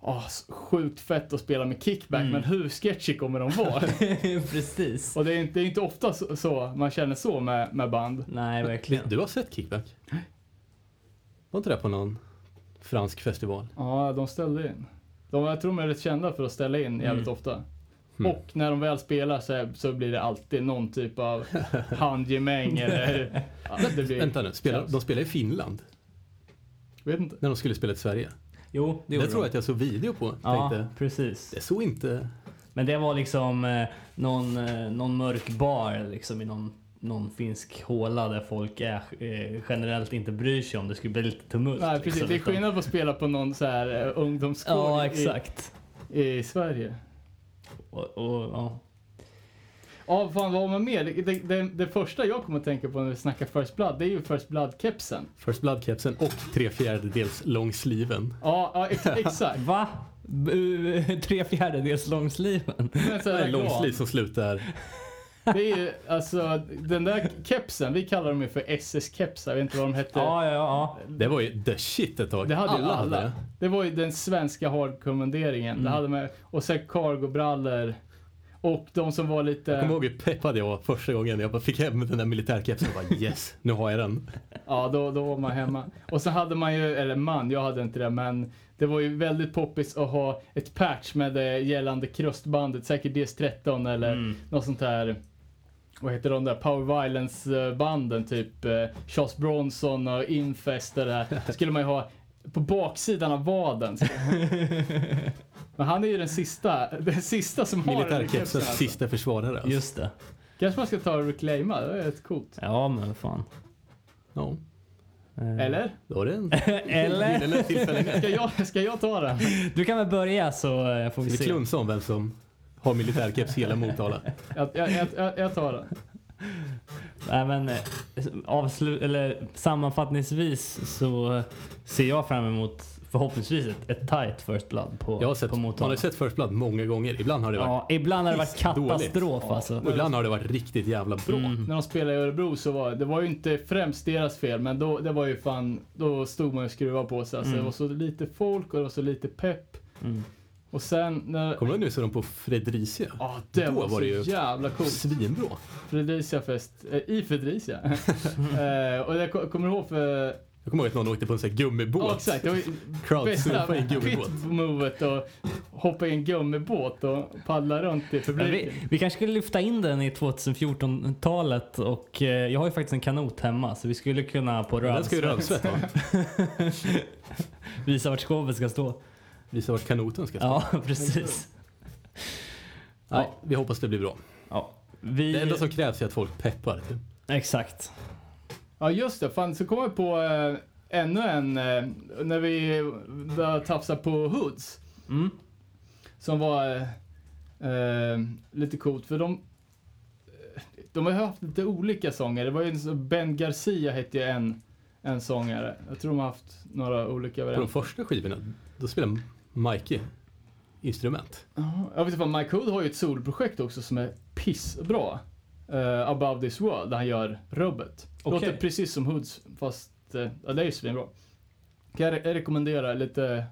Speaker 3: ah, s- sjukt fett att spela med kickback men hur sketchy kommer de vara?
Speaker 1: Precis.
Speaker 3: och det är, inte, det är inte ofta så, så man känner så med, med band.
Speaker 1: Nej, verkligen.
Speaker 2: Du har sett Kickback? Var inte det på någon fransk festival?
Speaker 3: Ja, de ställde in. De, jag tror de är rätt kända för att ställa in jävligt ofta.
Speaker 2: Mm.
Speaker 3: Och när de väl spelar så, är- så blir det alltid någon typ av handgemäng eller... Ja, det blir,
Speaker 2: Vänta nu, spelar, de spelar i Finland
Speaker 3: vet inte.
Speaker 2: när de skulle spela i Sverige.
Speaker 1: Jo, det
Speaker 2: Det,
Speaker 1: gjorde
Speaker 2: tror jag
Speaker 1: de.
Speaker 2: att jag såg video på.
Speaker 1: Ja,
Speaker 2: Tänkte,
Speaker 1: precis.
Speaker 2: det såg inte...
Speaker 1: Men det var liksom eh, någon, eh, någon mörk bar liksom i någon, någon finsk håla där folk är, eh, generellt inte bryr sig om det skulle bli lite tumult.
Speaker 3: Nej, precis.
Speaker 1: liksom,
Speaker 3: Det är
Speaker 1: utan-
Speaker 3: skillnad på att spela på någon så här eh, ungdomsgård
Speaker 1: Ja,
Speaker 3: i,
Speaker 1: exakt.
Speaker 3: i Sverige.
Speaker 1: Och, och, ja.
Speaker 3: Ja, fan vad har man mer? Det, det, det, det första jag kommer att tänka på när vi snackar First Blood, det är ju First Blood-kepsen.
Speaker 2: First Blood-kepsen och tre fjärdedels långsliven.
Speaker 3: Ja, ja ex, exakt.
Speaker 1: Va? B- Tre fjärdedels långsliven?
Speaker 3: Men så
Speaker 2: Det är
Speaker 3: här,
Speaker 2: långsliv
Speaker 3: gran.
Speaker 2: som slutar.
Speaker 3: det är ju alltså, den där kepsen, vi kallar dem ju för SS-kepsar, jag vet inte vad de hette.
Speaker 1: Ja, ja, ja.
Speaker 2: Det var ju the shit ett tag.
Speaker 3: Det hade alla.
Speaker 2: det.
Speaker 3: alla. Det var ju den svenska hardkommenderingen.
Speaker 2: Mm.
Speaker 3: Det hade med, och sen cargo-brallor. Och de som var
Speaker 2: Jag kommer
Speaker 3: lite,
Speaker 2: ihåg hur peppad jag var första gången jag bara fick hem den där militärkepsen och bara yes, nu har jag den.
Speaker 3: ja då, då var man hemma. Och så hade man ju, eller man, jag hade inte det, men det var ju väldigt poppis att ha ett patch med det gällande krustbandet, säkert DS13 eller
Speaker 1: Mm.
Speaker 3: något sånt här vad heter de där Power Violence eh, banden typ eh, Charles Bronson och Infest och det här. Skulle man ju ha på baksidan av vaden. Men han är ju den sista, den sista som har den i kepsen,
Speaker 2: Militärkepsens
Speaker 3: alltså.
Speaker 2: sista försvarare. Alltså.
Speaker 1: Just det.
Speaker 3: Kanske man ska ta och reclaima, det är rätt coolt.
Speaker 1: Ja, men fan.
Speaker 2: Ja,
Speaker 1: Eh,
Speaker 3: Eller?
Speaker 2: då är det en
Speaker 1: Eller?
Speaker 2: gyllene tillfälle.
Speaker 3: Ska jag, ska jag ta den?
Speaker 1: Du kan väl börja så eh, får vi
Speaker 2: Vi
Speaker 1: se.
Speaker 2: klunsar om vem som har militärkeps hela Motala.
Speaker 3: Jag, jag, jag, jag, jag tar den.
Speaker 1: Nej, men, eh, avslu- eller, sammanfattningsvis så eh, ser jag fram emot förhoppningsvis ett, ett tight first blood på,
Speaker 2: Jag har sett,
Speaker 1: på
Speaker 2: man
Speaker 1: Motala.
Speaker 2: har sett First Blood många gånger. Ibland har det varit
Speaker 1: ja, ibland har det varit
Speaker 2: pissdåligt.
Speaker 1: katastrof
Speaker 3: Ja. Mm.
Speaker 1: alltså.
Speaker 2: och ibland har det varit riktigt jävla bra.
Speaker 3: När de spelade i Örebro så var det var ju inte främst deras fel, men då, det var ju fan, då stod man ju och skruvade på sig. Alltså,
Speaker 1: Mm.
Speaker 3: Det var så lite folk och det var så lite pepp.
Speaker 1: Mm.
Speaker 3: Och sen när...
Speaker 2: Kommer du ihåg nu så de på Fredricia?
Speaker 3: Ja, det
Speaker 2: Då
Speaker 3: var,
Speaker 2: var
Speaker 3: så
Speaker 2: det ju-
Speaker 3: jävla coolt.
Speaker 2: Svinbra.
Speaker 3: Fredriciafest, eh, i Fredricia. eh, och jag ko- kommer ihåg för
Speaker 2: Jag kommer ihåg att någon åkte på en sån här gummibåt.
Speaker 3: Ja, exakt. Det var ju
Speaker 2: Crowdsurfa i en
Speaker 3: bästa
Speaker 2: gummibåt.
Speaker 3: pit-movet och hoppa i en gummibåt och paddla runt i
Speaker 1: Vi,
Speaker 3: publiken.
Speaker 1: vi kanske skulle lyfta in den i 2014-talet och eh, jag har ju faktiskt en kanot hemma så vi skulle kunna på
Speaker 2: Den ska ju
Speaker 1: rövsvett
Speaker 2: rövsvett va?
Speaker 1: visa vart skåpet ska stå.
Speaker 2: Visa vart kanoten ska stå.
Speaker 1: Ja, precis.
Speaker 2: Nej, vi hoppas det blir bra.
Speaker 1: Ja. Vi,
Speaker 2: Det enda som krävs är att folk peppar. Typ.
Speaker 1: Exakt.
Speaker 3: Ja just det, fan så kom jag på eh, ännu en, eh, när vi började tafsa på hoods.
Speaker 1: Mm.
Speaker 3: Som var eh, eh, lite coolt för de, eh, de har ju haft lite olika sånger. Det var ju en, sån- Ben Garcia hette ju en, en sångare. Jag tror de har haft några olika
Speaker 2: På de
Speaker 3: varianter.
Speaker 2: första skivorna, då spelar Mikey instrument.
Speaker 3: Ja, Jag vet inte, fan, Mike Hood har ju ett solprojekt också som är pissbra. Eh, Above this world, där han gör rubbet.
Speaker 1: Okej.
Speaker 3: Låter precis som Hoods, fast eh, ja, det är ju svinbra. Kan jag re- rekommendera, lite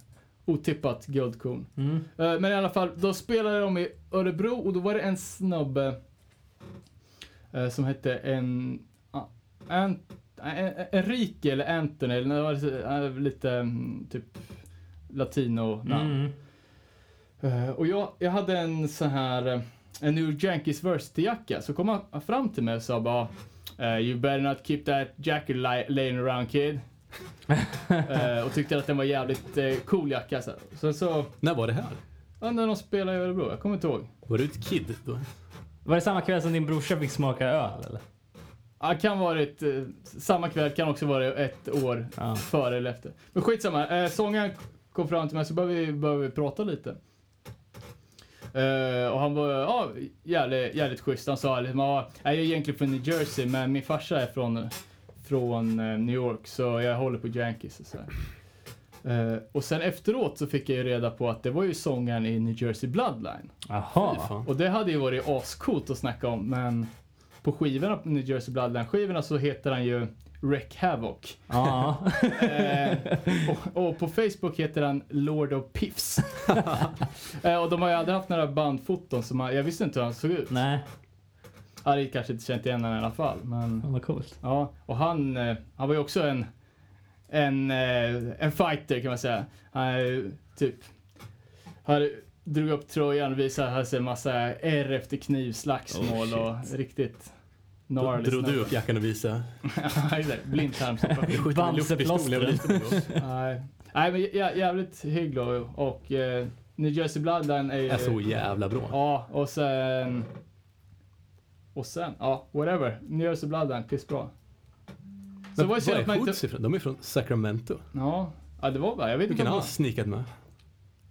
Speaker 3: otippat guldkorn.
Speaker 1: Mm.
Speaker 3: Eh, Men i alla fall, då spelade de i Örebro och då var det en snubbe eh, som hette en... ah, en en- eh, Enrique eller Anthony, eller det var lite- eh, lite mm, typ latino-namn.
Speaker 1: Mm.
Speaker 3: Eh, och jag, jag hade en så här, eh, en New Yankees Versity-jacka. Så kom han fram till mig och sa bara eh, You better not keep that jacket li- laying around kid. Eh, och tyckte att den var jävligt eh, cool jacka. Så, så, så
Speaker 2: När var det här?
Speaker 3: ja, när de spelade i Örebro, jag kommer inte ihåg.
Speaker 2: Var du ett kid då?
Speaker 1: Var det samma kväll som din brorsa fick smaka öl eller?
Speaker 3: Ja, kan varit eh, samma kväll, kan också vara ett år
Speaker 1: Ja.
Speaker 3: före eller efter. Men skitsamma, eh, sången kom fram till mig så började vi, började vi prata lite. Eh, och han var ja, jävligt, jävligt schysst. Han sa liksom, ja, jag är egentligen från New Jersey men min farsa är från, från eh, New York så jag håller på Yankees och sådär. Eh, och sen efteråt så fick jag ju reda på att det var ju sångaren i New Jersey Bloodline.
Speaker 2: Fy
Speaker 1: Jaha.
Speaker 2: fan.
Speaker 3: Och det hade ju varit ascoolt att snacka om, men på skivorna, på New Jersey Bloodline-skivorna så heter han ju Wreck Havoc.
Speaker 1: Ja.
Speaker 3: Eh, och, och på Facebook heter han Lord of Piffs. eh, och de har ju aldrig haft några bandfoton, så man, jag visste inte hur han såg ut.
Speaker 1: Nej,
Speaker 3: Jag hade kanske inte känt igen honom i alla fall. Men,
Speaker 1: fan vad coolt.
Speaker 3: ja. Och han, eh, han var ju också en, en, eh, en fighter kan man säga. Han är typ, han drog upp tröjan och visade här sig massa ärr efter knivslagsmål
Speaker 1: Oh,
Speaker 3: och riktigt
Speaker 2: Då
Speaker 3: gnarlig
Speaker 2: drog du
Speaker 3: snubbe.
Speaker 2: upp jackan och visade.
Speaker 3: Ja, exakt. Blindtarmsoperation.
Speaker 2: Jag skjuter med luftpistol när jag var liten då.
Speaker 3: Nej. Nej, men jä- jävligt hygglig och, och eh, New Jersey Bloodline är ju...
Speaker 2: Är så jävla bra.
Speaker 3: Ja, och sen... Och sen, ja, whatever. New Jersey Bloodline, pissbra. Så
Speaker 2: Men
Speaker 3: det var ju
Speaker 2: var
Speaker 3: synd
Speaker 2: är
Speaker 3: att man inte...
Speaker 2: Hoods ifrån? De är från Sacramento.
Speaker 3: Ja, ja, det var bara, jag vet
Speaker 2: Hur
Speaker 3: inte
Speaker 2: kan
Speaker 3: om
Speaker 2: han
Speaker 3: han...
Speaker 2: ha sneakat med?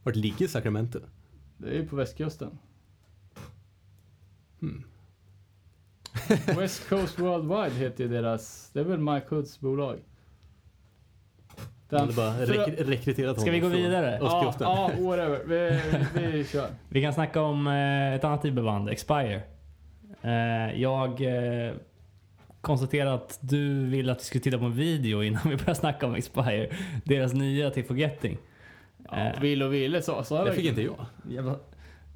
Speaker 2: Vart ligger Sacramento?
Speaker 3: Det är ju på västkusten.
Speaker 2: Hmm.
Speaker 3: West Coast Worldwide heter ju deras... Det är väl Mike Hoods bolag?
Speaker 2: De hade bara
Speaker 3: För-
Speaker 2: rek- rekryterat honom.
Speaker 1: Ska vi gå
Speaker 2: från
Speaker 1: vidare?
Speaker 3: Ja,
Speaker 2: Östkusten.
Speaker 3: ja, whatever. Vi, vi kör.
Speaker 1: Vi kan snacka om eh, ett annat typ av band, Expire. Eh, jag eh, konstaterar att du ville att vi skulle titta på en video innan vi börjar snacka om Expire. Deras nya till Forgetting.
Speaker 3: Ja, vill och ville sa sa jag.
Speaker 2: Det fick
Speaker 3: verkligen.
Speaker 2: inte jag.
Speaker 1: Jävla...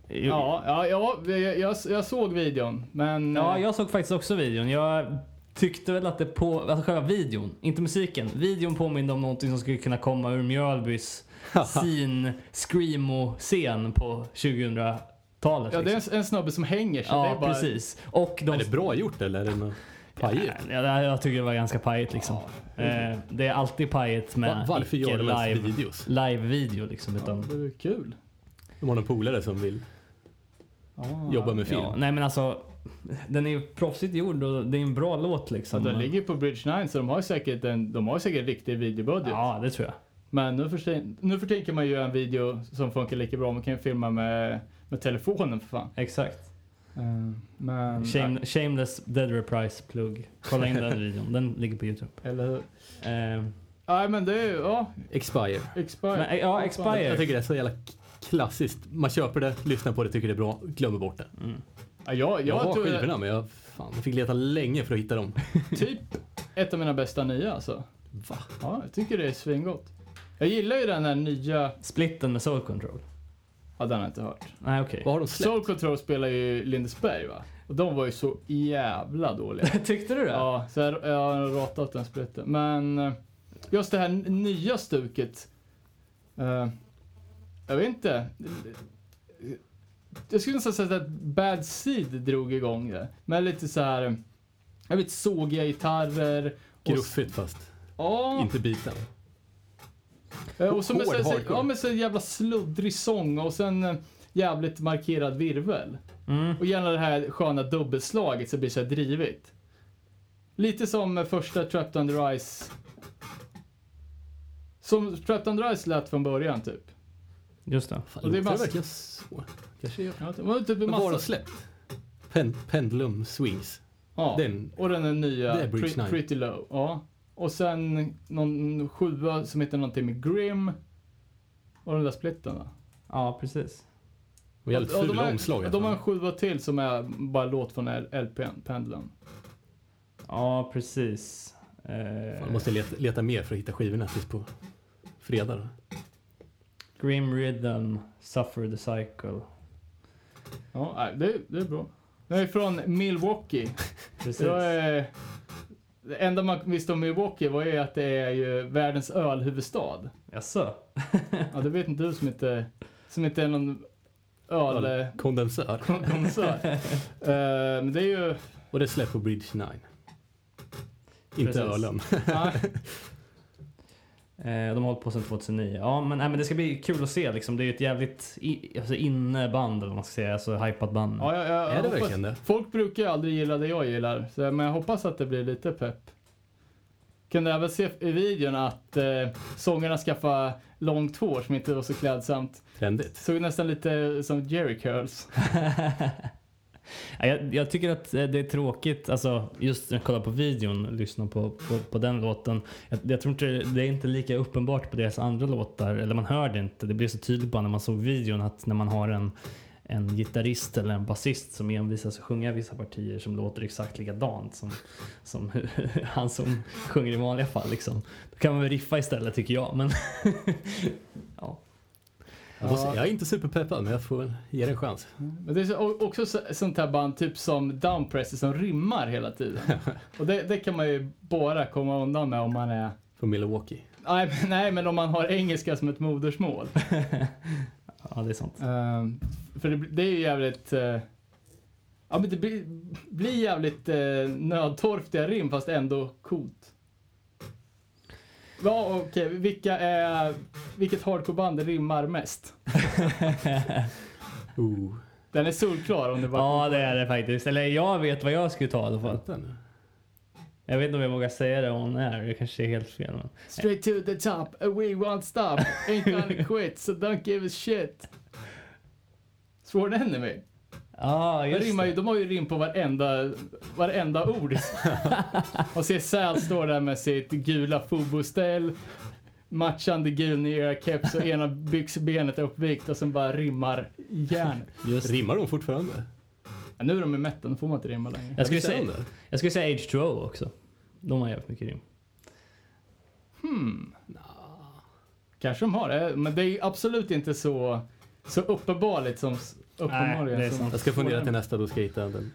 Speaker 1: Ja.
Speaker 3: Ja, ja, ja jag, jag, jag såg videon, men...
Speaker 1: ja,
Speaker 3: eh,
Speaker 1: jag såg faktiskt också videon. Jag tyckte väl att det på... Alltså själva videon, inte musiken. Videon påminner om någonting som skulle kunna komma ur Mjölbys sin screamo-scen på 2000-talet.
Speaker 3: ja, det är
Speaker 1: liksom.
Speaker 3: en, en snubbe som hänger sig. det
Speaker 1: ja
Speaker 3: är bara,
Speaker 1: precis. Och de
Speaker 2: Är det bra gjort eller är det något pajigt?
Speaker 1: Ja, det- jag tycker det var ganska pajigt liksom. Eh, det är alltid pajigt med
Speaker 2: Va- varför gör
Speaker 1: icke
Speaker 2: de ens
Speaker 1: live,
Speaker 2: videos?
Speaker 1: live-video liksom.
Speaker 3: Ja,
Speaker 1: Utan,
Speaker 3: det är ju kul.
Speaker 2: De har någon polare som vill
Speaker 3: Ja,
Speaker 2: jobba med film.
Speaker 1: ja, nej men alltså, den är ju proffsigt gjord och det är en bra låt
Speaker 3: Så
Speaker 1: liksom.
Speaker 3: de ligger på Bridge 9 så de har ju säkert en, de har ju säkert en riktig videobudget.
Speaker 1: Ja, det tror jag.
Speaker 3: Men nu för, sin- nu för tiden kan man ju göra en video som funkar lika bra. Man kan ju filma med, med telefonen för fan.
Speaker 1: Exakt.
Speaker 3: Eh, Men,
Speaker 2: Mm.
Speaker 1: Shame, shameless Dead Reprise-plugg. Kolla in den videon. Den ligger på Youtube.
Speaker 3: Eller hur?
Speaker 1: Eh,
Speaker 3: Nej men det är ju, ja,
Speaker 2: Expire.
Speaker 3: Expire.
Speaker 1: Men, ja, Expire.
Speaker 2: Jag tycker det är så jävla klassiskt. Man köper det, lyssnar på det, tycker det är bra, glömmer bort det.
Speaker 3: Ja, jag, jag,
Speaker 2: Jag har
Speaker 3: tror-
Speaker 2: skivorna men jag fan, jag fick leta länge för att hitta dem.
Speaker 3: typ ett av mina bästa nya alltså.
Speaker 2: Va?
Speaker 3: Ja, jag tycker det är svingott. Jag gillar ju den här nya,
Speaker 1: Splitten med Soul Control.
Speaker 3: ja den har jag inte hört.
Speaker 1: Nej, okej.
Speaker 2: Vad har de släppt?
Speaker 3: Soul Control spelar ju Lindesberg va? Och de var ju så jävla dåliga.
Speaker 1: Tyckte du det?
Speaker 3: ja, så jag, jag har ratat den splitten. Men eh, just det här n- nya stuket. Eh, jag vet inte. Jag skulle nästan säga att Bad Seed drog igång det. Med lite så här, jag vet sågiga gitarrer. och-
Speaker 2: Gruffigt fast
Speaker 3: Ja.
Speaker 2: inte biten.
Speaker 3: Eh, Och så med, så,
Speaker 2: Hård
Speaker 3: så,
Speaker 2: hardcore.
Speaker 3: ja, men så jävla sluddrig sång och sen eh, jävligt markerad virvel.
Speaker 1: Mm.
Speaker 3: Och gärna det här sköna dubbelslaget så det blir så här drivigt. Lite som eh, första Trapped Under Ice. Som Trapped Under Ice lät från början typ.
Speaker 1: Just det.
Speaker 2: Fan,
Speaker 3: Och det är
Speaker 2: låter det
Speaker 3: massa-
Speaker 2: verkligen så? Kanske jag.
Speaker 3: Ja, det var typ en
Speaker 2: Men vad har de
Speaker 3: massa...
Speaker 2: släppt? Pen, pendulum Swings.
Speaker 3: Ja.
Speaker 2: Den.
Speaker 3: Och den är nya
Speaker 2: Det är Bridge
Speaker 3: Pre-
Speaker 2: Nine.
Speaker 3: Pretty Low. Ja. Och sen någon sjua som heter någonting med Grim. Och den där splitten va?
Speaker 1: Ja, precis.
Speaker 2: Och jävligt
Speaker 3: Ja, de
Speaker 2: fula
Speaker 3: har-
Speaker 2: omslag.
Speaker 3: De har en sjua till som är bara låt från L- LPn, Pendulum.
Speaker 1: Ja, precis. Eh,
Speaker 2: Fan, måste leta, leta mer för att hitta skivorna tills på fredag. då.
Speaker 1: Grim Rhythm, Suffer the Cycle.
Speaker 3: Ja, nej, det, det är bra. Jag är från Milwaukee.
Speaker 1: Precis.
Speaker 3: Jag är, det enda man visste om Milwaukee var ju att det är ju världens ölhuvudstad.
Speaker 1: Jaså?
Speaker 3: Ja, det vet inte du som inte, som inte är någon
Speaker 2: Kondensör.
Speaker 3: ölkonsert. Eh, Men det är ju...
Speaker 2: Och det släpper på Bridge 9.
Speaker 1: Precis.
Speaker 2: Inte ölen.
Speaker 3: ja,
Speaker 1: Eh, de har hållit på sedan 2009. Ja, men, nej, men det ska bli kul att se. Liksom. Det är ju ett jävligt i, alltså, inneband, eller vad man ska säga. Alltså hypat band.
Speaker 3: ja, jag, jag
Speaker 2: Är det
Speaker 3: hoppas-
Speaker 2: verkligen det?
Speaker 3: Folk brukar ju aldrig gilla det jag gillar, så, men jag hoppas att det blir lite pepp. Kunde även se i videon att eh, sångarna skaffade långt hår som inte var så klädsamt.
Speaker 2: Trendigt.
Speaker 3: Såg nästan lite som Jerry Curls.
Speaker 1: Ja, jag, jag tycker att eh, det är tråkigt, alltså, just när jag kollar på videon och lyssnar på, på, på den låten. Jag, jag tror inte det är inte lika uppenbart på deras andra låtar, eller man hör det inte. Det blir så tydligt bara när man såg videon att när man har en, en gitarrist eller en basist som envisas att sjunga vissa partier som låter exakt likadant som, som han som sjunger i vanliga fall. Liksom. Då kan man väl riffa istället tycker jag. Men ja.
Speaker 2: Jag, får se. jag är inte superpeppad men jag får väl ge det en chans.
Speaker 3: Mm. Men det är så- o- också så- sånt här band, typ som Downpresses, som rimmar hela tiden. Och det, det kan man ju bara komma undan med om man är...
Speaker 2: Från Milwaukee.
Speaker 3: Nej, men- nej men om man har engelska som ett modersmål.
Speaker 1: ja, det är sant.
Speaker 3: Ehm, för det, blir- det är ju jävligt... eh, ja, men det blir, blir jävligt uh, nödtorftiga rim, fast ändå coolt. Ja, okej. Vilka är... Vilket hardcoreband rimmar mest?
Speaker 2: Ooh.
Speaker 3: Den är solklar om det bara...
Speaker 1: Ja, det är det faktiskt. Eller jag vet vad jag skulle ta i alla fall.
Speaker 2: Vänta nu.
Speaker 1: Jag vet inte om jag vågar säga det on air. Det kanske är helt fel. Men...
Speaker 3: Straight to the top, uh, we won't stop. Ain't gonna quit, so don't give a shit. Sworn Enemy.
Speaker 1: Ah,
Speaker 3: De,
Speaker 1: just
Speaker 3: rimmar ju,
Speaker 1: det.
Speaker 3: de har ju rim på varenda, varenda ord. Och ser Säl står där med sitt gula Fubo-ställ, matchande gul Niera-keps och ena byxbenet är uppvikt och sen bara rimmar järn.
Speaker 1: Just.
Speaker 2: Rimmar de fortfarande?
Speaker 3: Ja, nu är de i mätten, då får man inte rimma längre.
Speaker 1: Jag, skulle
Speaker 2: Visst är
Speaker 1: säga,
Speaker 2: de det?
Speaker 1: jag skulle säga H2O också. De har jävligt mycket rim.
Speaker 3: Kanske de har det, men det är ju absolut inte så, så uppenbarligt som uppenbarligen
Speaker 1: det är
Speaker 3: som-
Speaker 1: sant.
Speaker 2: Jag ska fundera till nästa, då ska jag hitta den. bästa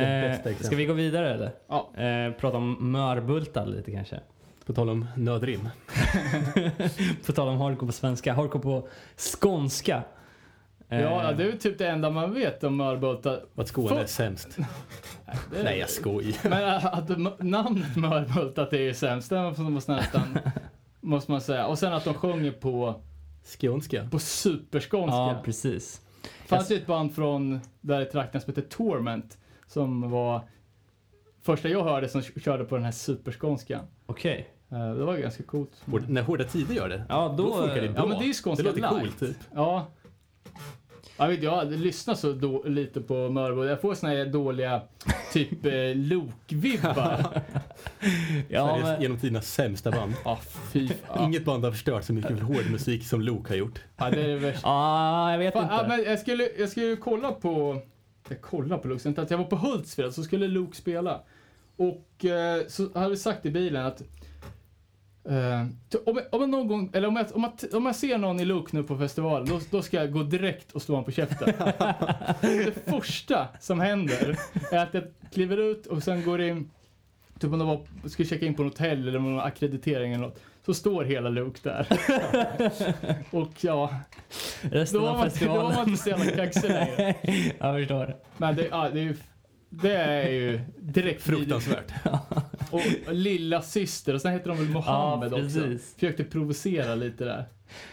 Speaker 1: Eh, ska
Speaker 2: exempel.
Speaker 1: vi gå vidare eller?
Speaker 3: Ja.
Speaker 1: Eh, prata om mörbultar lite kanske.
Speaker 2: På tal om nödrim.
Speaker 1: På tal om hardcore på svenska. Hardcore på skånska. Eh,
Speaker 3: Ja, det är ju typ det enda man vet om Mörbulta.
Speaker 2: Att Skåne är
Speaker 3: Fuck.
Speaker 2: sämst.
Speaker 3: Det är-
Speaker 2: Nej, jag skojar.
Speaker 3: Men äh, att m- namnet Mörbulta det är ju sämst, det måste man nästan, måste man säga. Och sen att de sjunger på,
Speaker 2: Skånska.
Speaker 3: på superskånska.
Speaker 1: Ja, precis.
Speaker 3: fanns ju ett band från där i trakten som hette Torment, som var första jag hörde som körde på den här superskånskan.
Speaker 1: Okej.
Speaker 3: Eh, Det var ganska coolt.
Speaker 2: Hård- När Hårda Tider gör det.
Speaker 1: Ja, då...
Speaker 2: Då funkar det
Speaker 1: eh,
Speaker 2: bra.
Speaker 3: Ja, men det är ju skånska
Speaker 2: Det låter
Speaker 3: live.
Speaker 2: coolt typ.
Speaker 3: Ja. Jag vet, jag har aldrig lyssnat så då, lite på Mörbo. Jag får såna här dåliga typ eh, Lok-vibbar.
Speaker 1: Ja,
Speaker 2: Sveriges
Speaker 1: men,
Speaker 2: genom tiderna sämsta band.
Speaker 3: Ja, fy fan.
Speaker 2: Inget band har förstört så mycket hård musik som Luke har gjort.
Speaker 3: Ja, det är det värsta.
Speaker 1: ah, jag vet
Speaker 3: Fan, ja,
Speaker 1: inte.
Speaker 3: men jag skulle jag skulle ju kolla på... Jag kollade på Luke, inte att jag var på Hultsfred så skulle Luke spela. Och eh, så hade vi sagt i bilen att eh, om, jag, om jag någon gång, eller om jag, om, jag, om jag ser någon i Luke nu på festivalen, då, då ska jag gå direkt och slå honom på käften. det första som händer är att jag kliver ut och sen går in, typ om det var, ska checka in på något hotell eller någon akkreditering eller något. Så står hela Luke där. och ja,
Speaker 1: Resten
Speaker 3: då var
Speaker 1: av
Speaker 3: man, då
Speaker 1: festivalen.
Speaker 3: var man inte så jävla kaxig längre.
Speaker 1: jag förstår.
Speaker 3: Men det, ja, det, är, ju- det är ju direkt
Speaker 2: Fruktansvärt.
Speaker 3: Och lilla syster och sen heter de väl Mohammed
Speaker 1: Ja,
Speaker 3: också.
Speaker 1: precis.
Speaker 3: Försökte provocera lite där.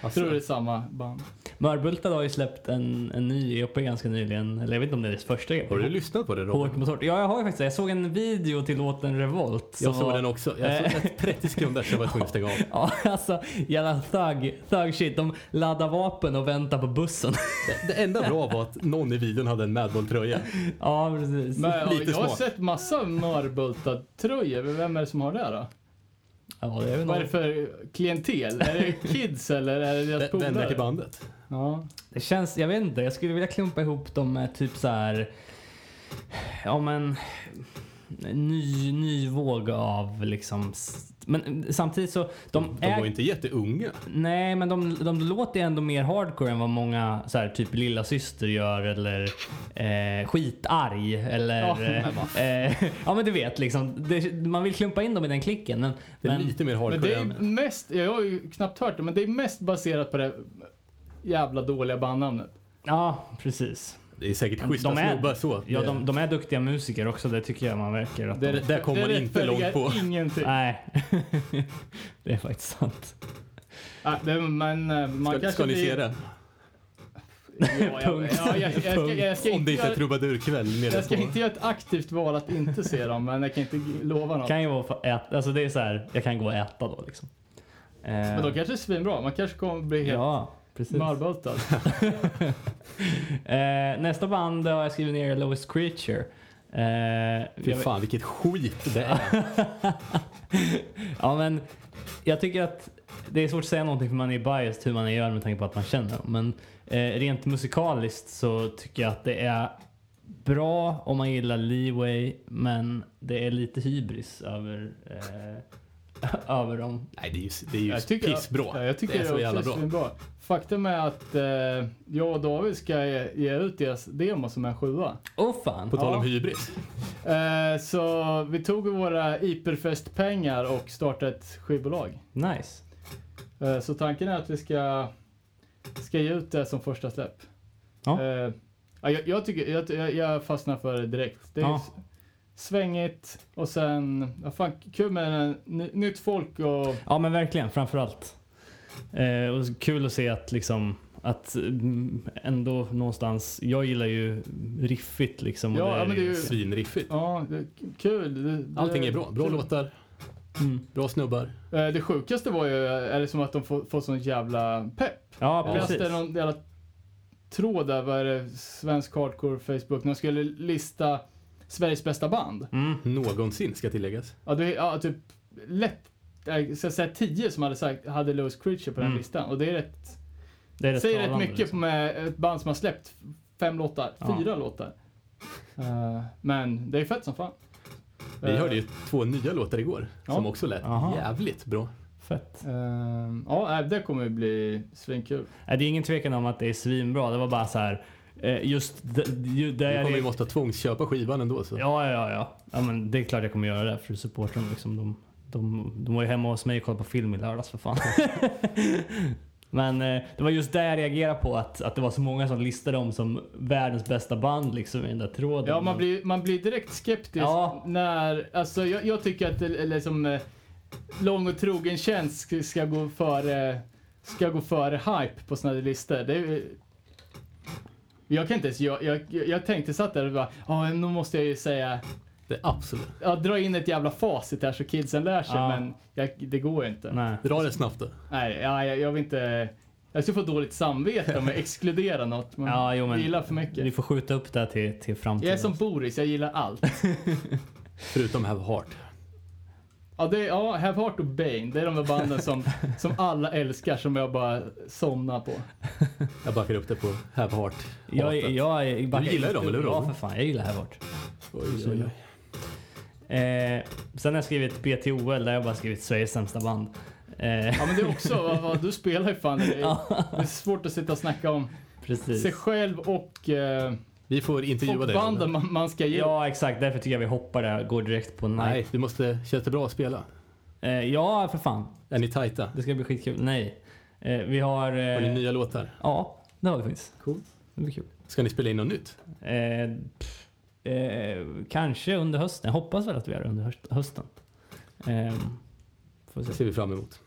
Speaker 3: Jag tror det är
Speaker 2: Alltså,
Speaker 3: samma band.
Speaker 1: Mörbultad har ju släppt en, en ny EP ganska nyligen. Eller jag vet inte om det är deras första EP.
Speaker 2: Har du lyssnat på det Robin?
Speaker 1: Hårt mot hårt. Ja, jag har ju faktiskt det. Jag såg en video till låten Revolt. som
Speaker 2: Jag såg
Speaker 1: var-
Speaker 2: den också. Jag såg ett 30 sekunder så jag var tvungen att stänga av.
Speaker 1: Ja, alltså jävla thug, thug shit. De laddar vapen och väntar på bussen.
Speaker 2: Det- Det enda bra var att någon i videon hade en Madball-tröja.
Speaker 1: ja, precis.
Speaker 3: Men, ja,
Speaker 2: Lite
Speaker 3: jag har
Speaker 2: smak.
Speaker 3: sett massa Mörbultad-tröjor. Vem är det som har det då?
Speaker 1: ja, det är väl
Speaker 3: Vad är
Speaker 1: något.
Speaker 3: det för klientel? Är det kids eller är det deras
Speaker 2: V- Vänner till
Speaker 3: polare?
Speaker 2: bandet.
Speaker 3: Ja.
Speaker 1: Det känns, jag vet inte. Jag skulle vilja klumpa ihop dem med typ så här. Ja men. Ny, ny våg av liksom. s- Men samtidigt så. De,
Speaker 2: De
Speaker 1: äg-
Speaker 2: var inte jätteunga.
Speaker 1: Nej, men de, de låter ju ändå mer hardcore än vad många så här, typ lilla syster gör eller eh, skitarg eller...
Speaker 3: Ja, men
Speaker 1: eh, eh, ja, men du vet liksom. Det, man vill klumpa in dem i den klicken. Men,
Speaker 2: Det är
Speaker 1: men
Speaker 2: lite mer
Speaker 3: Men det
Speaker 2: hardcore
Speaker 3: är
Speaker 2: än...
Speaker 3: mest, jag har ju knappt hört det, men det är mest baserat på det jävla dåliga bandnamnet.
Speaker 1: ja, precis.
Speaker 2: Det är säkert
Speaker 1: De
Speaker 2: schyssta
Speaker 1: är-
Speaker 2: snubbar så.
Speaker 1: Ja,
Speaker 2: Det-
Speaker 1: de, de är duktiga musiker också. Det tycker jag man verkar att
Speaker 2: Det-
Speaker 1: de,
Speaker 2: där kom
Speaker 3: Det
Speaker 2: man inte långt
Speaker 3: rättfärdigar
Speaker 2: på.
Speaker 3: Ingenting.
Speaker 1: Nej. det är faktiskt sant.
Speaker 3: Ja, det, men eh, man
Speaker 2: Ska,
Speaker 3: kanske
Speaker 2: ska ni
Speaker 3: blir-
Speaker 2: se det?
Speaker 3: Ja, jag, ja, jag, jag, jag, ska- jag, ska
Speaker 2: Om det inte
Speaker 3: inte
Speaker 2: är
Speaker 3: göra,
Speaker 2: trubadurkväll med
Speaker 3: jag ska
Speaker 2: det
Speaker 3: inte göra ett aktivt val att inte se dem, men jag kan inte g- lova något.
Speaker 1: Kan ju vara fa- ät, alltså det är så här, jag kan gå och äta då liksom. Eh,
Speaker 3: Men då kanske det är svinbra. Man kanske kommer bli helt
Speaker 1: ja, precis.
Speaker 3: mörbultad.
Speaker 1: Eh, nästa band har jag skrivit ner Lowest Creature. Eh,
Speaker 2: Fy
Speaker 1: jag-
Speaker 2: fan vilket skit det är.
Speaker 1: ja, men jag tycker att det är svårt att säga någonting för man är biased hur man gör med tanke på att man känner dem. Men eh, rent musikaliskt så tycker jag att det är bra om man gillar Leeway men det är lite hybris över, eh, över dem.
Speaker 2: Nej det är ju, det är ju
Speaker 3: Jag tycker-
Speaker 2: pissbra.
Speaker 3: Ja, jag tycker
Speaker 2: det är så jävla bra.
Speaker 3: Svinbra. Faktum är att eh, jag och David ska ge, ge ut deras demo som en sjua.
Speaker 1: Åh fan!
Speaker 2: På tal om
Speaker 3: Ja.
Speaker 2: hybris.
Speaker 3: Eh, så vi tog våra Iperfest-pengar och startade ett skivbolag.
Speaker 1: Nice.
Speaker 3: Eh, så tanken är att vi ska, ska ge ut det som första släpp.
Speaker 1: Ja.
Speaker 3: Eh, ja, jag, jag, tycker, jag, jag, jag fastnar för det direkt. Det är
Speaker 1: Ja.
Speaker 3: s- svängigt och sen, ja, fan, kul med en, ny, nytt folk och
Speaker 1: Ja men verkligen, framförallt. Eh, och så kul att se att liksom att mm, ändå någonstans, jag gillar ju riffigt liksom. och
Speaker 3: Ja,
Speaker 1: är
Speaker 3: ja, men det är ju-
Speaker 2: Svinriffigt.
Speaker 3: ja, det, kul. Det, det,
Speaker 2: Allting är bra. Bra
Speaker 3: kul.
Speaker 2: låtar,
Speaker 1: Mm.
Speaker 2: bra snubbar.
Speaker 3: Eh, Det sjukaste var ju, eh, är det som att de får, får sån jävla pepp.
Speaker 1: Ja,
Speaker 3: Jag
Speaker 1: precis.
Speaker 3: läste någon jävla tråd där, vad är det, svensk hardcore Facebook, när de skulle lista Sveriges bästa band.
Speaker 1: Mm.
Speaker 2: Någonsin ska tilläggas.
Speaker 3: Ja, det, ja typ lätt, jag ska säga tio som hade sagt, hade Lewis Creature på den
Speaker 1: Mm.
Speaker 3: listan. Och det är rätt,
Speaker 1: Det är rätt
Speaker 3: säger rätt
Speaker 1: talande,
Speaker 3: mycket
Speaker 1: liksom.
Speaker 3: med ett band som har släppt fem låtar,
Speaker 1: Ja.
Speaker 3: fyra låtar. Eh, men det är fett som fan.
Speaker 2: Vi
Speaker 3: Eh,
Speaker 2: hörde ju två nya låtar igår
Speaker 3: Ja.
Speaker 2: som också lät
Speaker 1: Aha.
Speaker 2: jävligt bra.
Speaker 1: Fett.
Speaker 3: eh, ja, det kommer ju bli svinkul.
Speaker 1: Nej, det är ingen tvekan om att det är svinbra. Det var bara så här, eh, just d- ju- där jag...
Speaker 2: Nu kommer vi
Speaker 1: reagerade-
Speaker 2: måste tvångsköpa skivan ändå så.
Speaker 1: Ja, ja, ja. ja men det är klart jag kommer göra det för att supporta dem. Liksom. De, de, de var ju hemma hos mig och kollade på film i lördags för fan. men eh, det var just där jag reagerade på att, att det var så många som listade dem som världens bästa band liksom, i den där tråden.
Speaker 3: Ja, man blir, man blir direkt skeptisk
Speaker 1: Ja.
Speaker 3: när, alltså jag, jag tycker att det, eller som, eh, lång och trogen tjänst ska- ska gå före, ska gå före hype på sådana listor. Det, är- eh, jag kan inte ens, jag, jag, jag tänkte satt där och bara, ja nu måste jag ju säga,
Speaker 2: Det är absolut.
Speaker 3: ja, dra in ett jävla facit här så kidsen lär sig,
Speaker 1: Ja.
Speaker 3: men jag, det går ju inte. Nej,
Speaker 1: Nej.
Speaker 2: Dra det snabbt då.
Speaker 3: ja, jag, jag vill inte, jag skulle få dåligt samvete om jag exkluderar något. Man
Speaker 1: Ja, jo, men
Speaker 3: gillar för mycket.
Speaker 1: Vi får skjuta upp det här till, till framtiden.
Speaker 3: Jag är som Boris, jag gillar allt.
Speaker 2: Förutom Have Heart.
Speaker 3: Ja, det är, ja, Have Heart och Bane, det är de där banden som, som alla älskar som jag bara somnar på.
Speaker 2: Jag backar upp det på Have Heart.
Speaker 1: jag, jag, jag, jag
Speaker 2: Du gillar ju dem, eller hur?
Speaker 1: Ja, för fan. Jag gillar här bort.
Speaker 2: Oj, oj, oj.
Speaker 1: Eh, sen har jag skrivit BTOL där jag bara skrivit Sveriges sämsta band. Eh,
Speaker 3: Ja men det är också, vad, vad, du spelar ju fan det är, det är svårt att sitta och snacka om sig
Speaker 1: precis.
Speaker 3: själv och, eh,
Speaker 2: Vi får intervjua
Speaker 3: och
Speaker 2: dig.
Speaker 3: banden man, man ska ge.
Speaker 1: Ja, exakt. Därför tycker jag vi hoppar där och går direkt på
Speaker 2: Nej, du måste känns det bra att spela?
Speaker 1: Eh, ja, för fan.
Speaker 2: Är ni tajta?
Speaker 1: Det ska bli skitkul. Nej. Eh, vi har...
Speaker 2: Har ni
Speaker 1: Eh,
Speaker 2: nya låtar?
Speaker 1: ja, det har vi faktiskt.
Speaker 2: Cool.
Speaker 1: Det blir kul.
Speaker 2: Ska ni spela in något nytt?
Speaker 1: Eh, pff, eh, kanske under hösten. Jag hoppas väl att vi gör det under höst- hösten. Eh, får vi
Speaker 2: Det
Speaker 1: se.
Speaker 2: ser vi fram emot.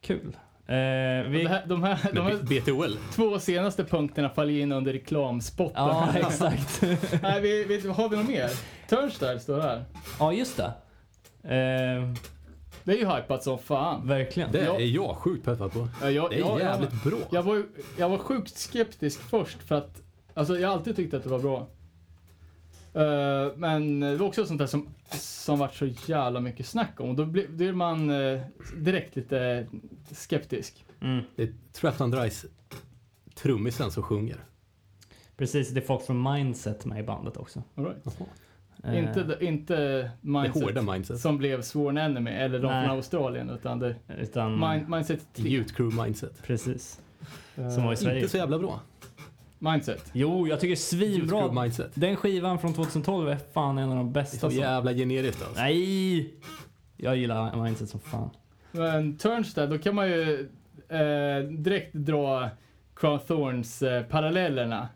Speaker 1: Kul. Eh,
Speaker 3: De
Speaker 1: vi,
Speaker 3: här, de här, de här
Speaker 2: Men B- BTOL?
Speaker 3: två senaste punkterna faller in under reklamspotten.
Speaker 1: ja, exakt.
Speaker 3: Nej, vi, vi, har vi något mer? Turnstyle står här.
Speaker 1: ja, just det. Eh,
Speaker 3: Det är ju hypat som fan.
Speaker 1: verkligen.
Speaker 2: Det
Speaker 3: Ja.
Speaker 2: är jag sjukt peppad på.
Speaker 3: Ja, jag,
Speaker 2: Det är
Speaker 3: jag,
Speaker 2: jävligt
Speaker 3: jag,
Speaker 2: bra.
Speaker 3: jag, var, ju- jag var sjukt skeptisk först för att alltså, jag har alltid tyckt att det var bra. Eh, men det var också sånt där som, som vart så jävla mycket snack om och då blir, då är man eh, direkt lite skeptisk.
Speaker 1: Mm,
Speaker 2: Det är Trapped and Rice trummisen som sjunger.
Speaker 1: precis, det är folk från Mindset med i bandet också.
Speaker 3: All right.
Speaker 2: Jaha.
Speaker 1: Eh,
Speaker 3: Inte, inte
Speaker 2: Det
Speaker 3: mindset
Speaker 2: hårda mindset.
Speaker 3: som blev Sworn Enemy eller de
Speaker 1: Nej. Mm.
Speaker 3: från Australien utan det,
Speaker 1: Utan,
Speaker 3: mind, mindset typ- 3.
Speaker 2: Youth crew mindset.
Speaker 1: precis. Som var i Sverige.
Speaker 2: Inte så jävla bra.
Speaker 3: Mindset.
Speaker 1: Jo, jag tycker
Speaker 2: Youth crew
Speaker 1: svinbra.
Speaker 2: mindset.
Speaker 1: Den skivan från 2012 är fan en av de
Speaker 2: Det är
Speaker 1: bästa.
Speaker 2: så
Speaker 1: som-
Speaker 2: jävla generiskt alltså.
Speaker 1: Nej! Jag gillar Mindset som fan.
Speaker 3: Men Turnstile, då kan man ju eh, direkt dra Crown Thorns-parallellerna.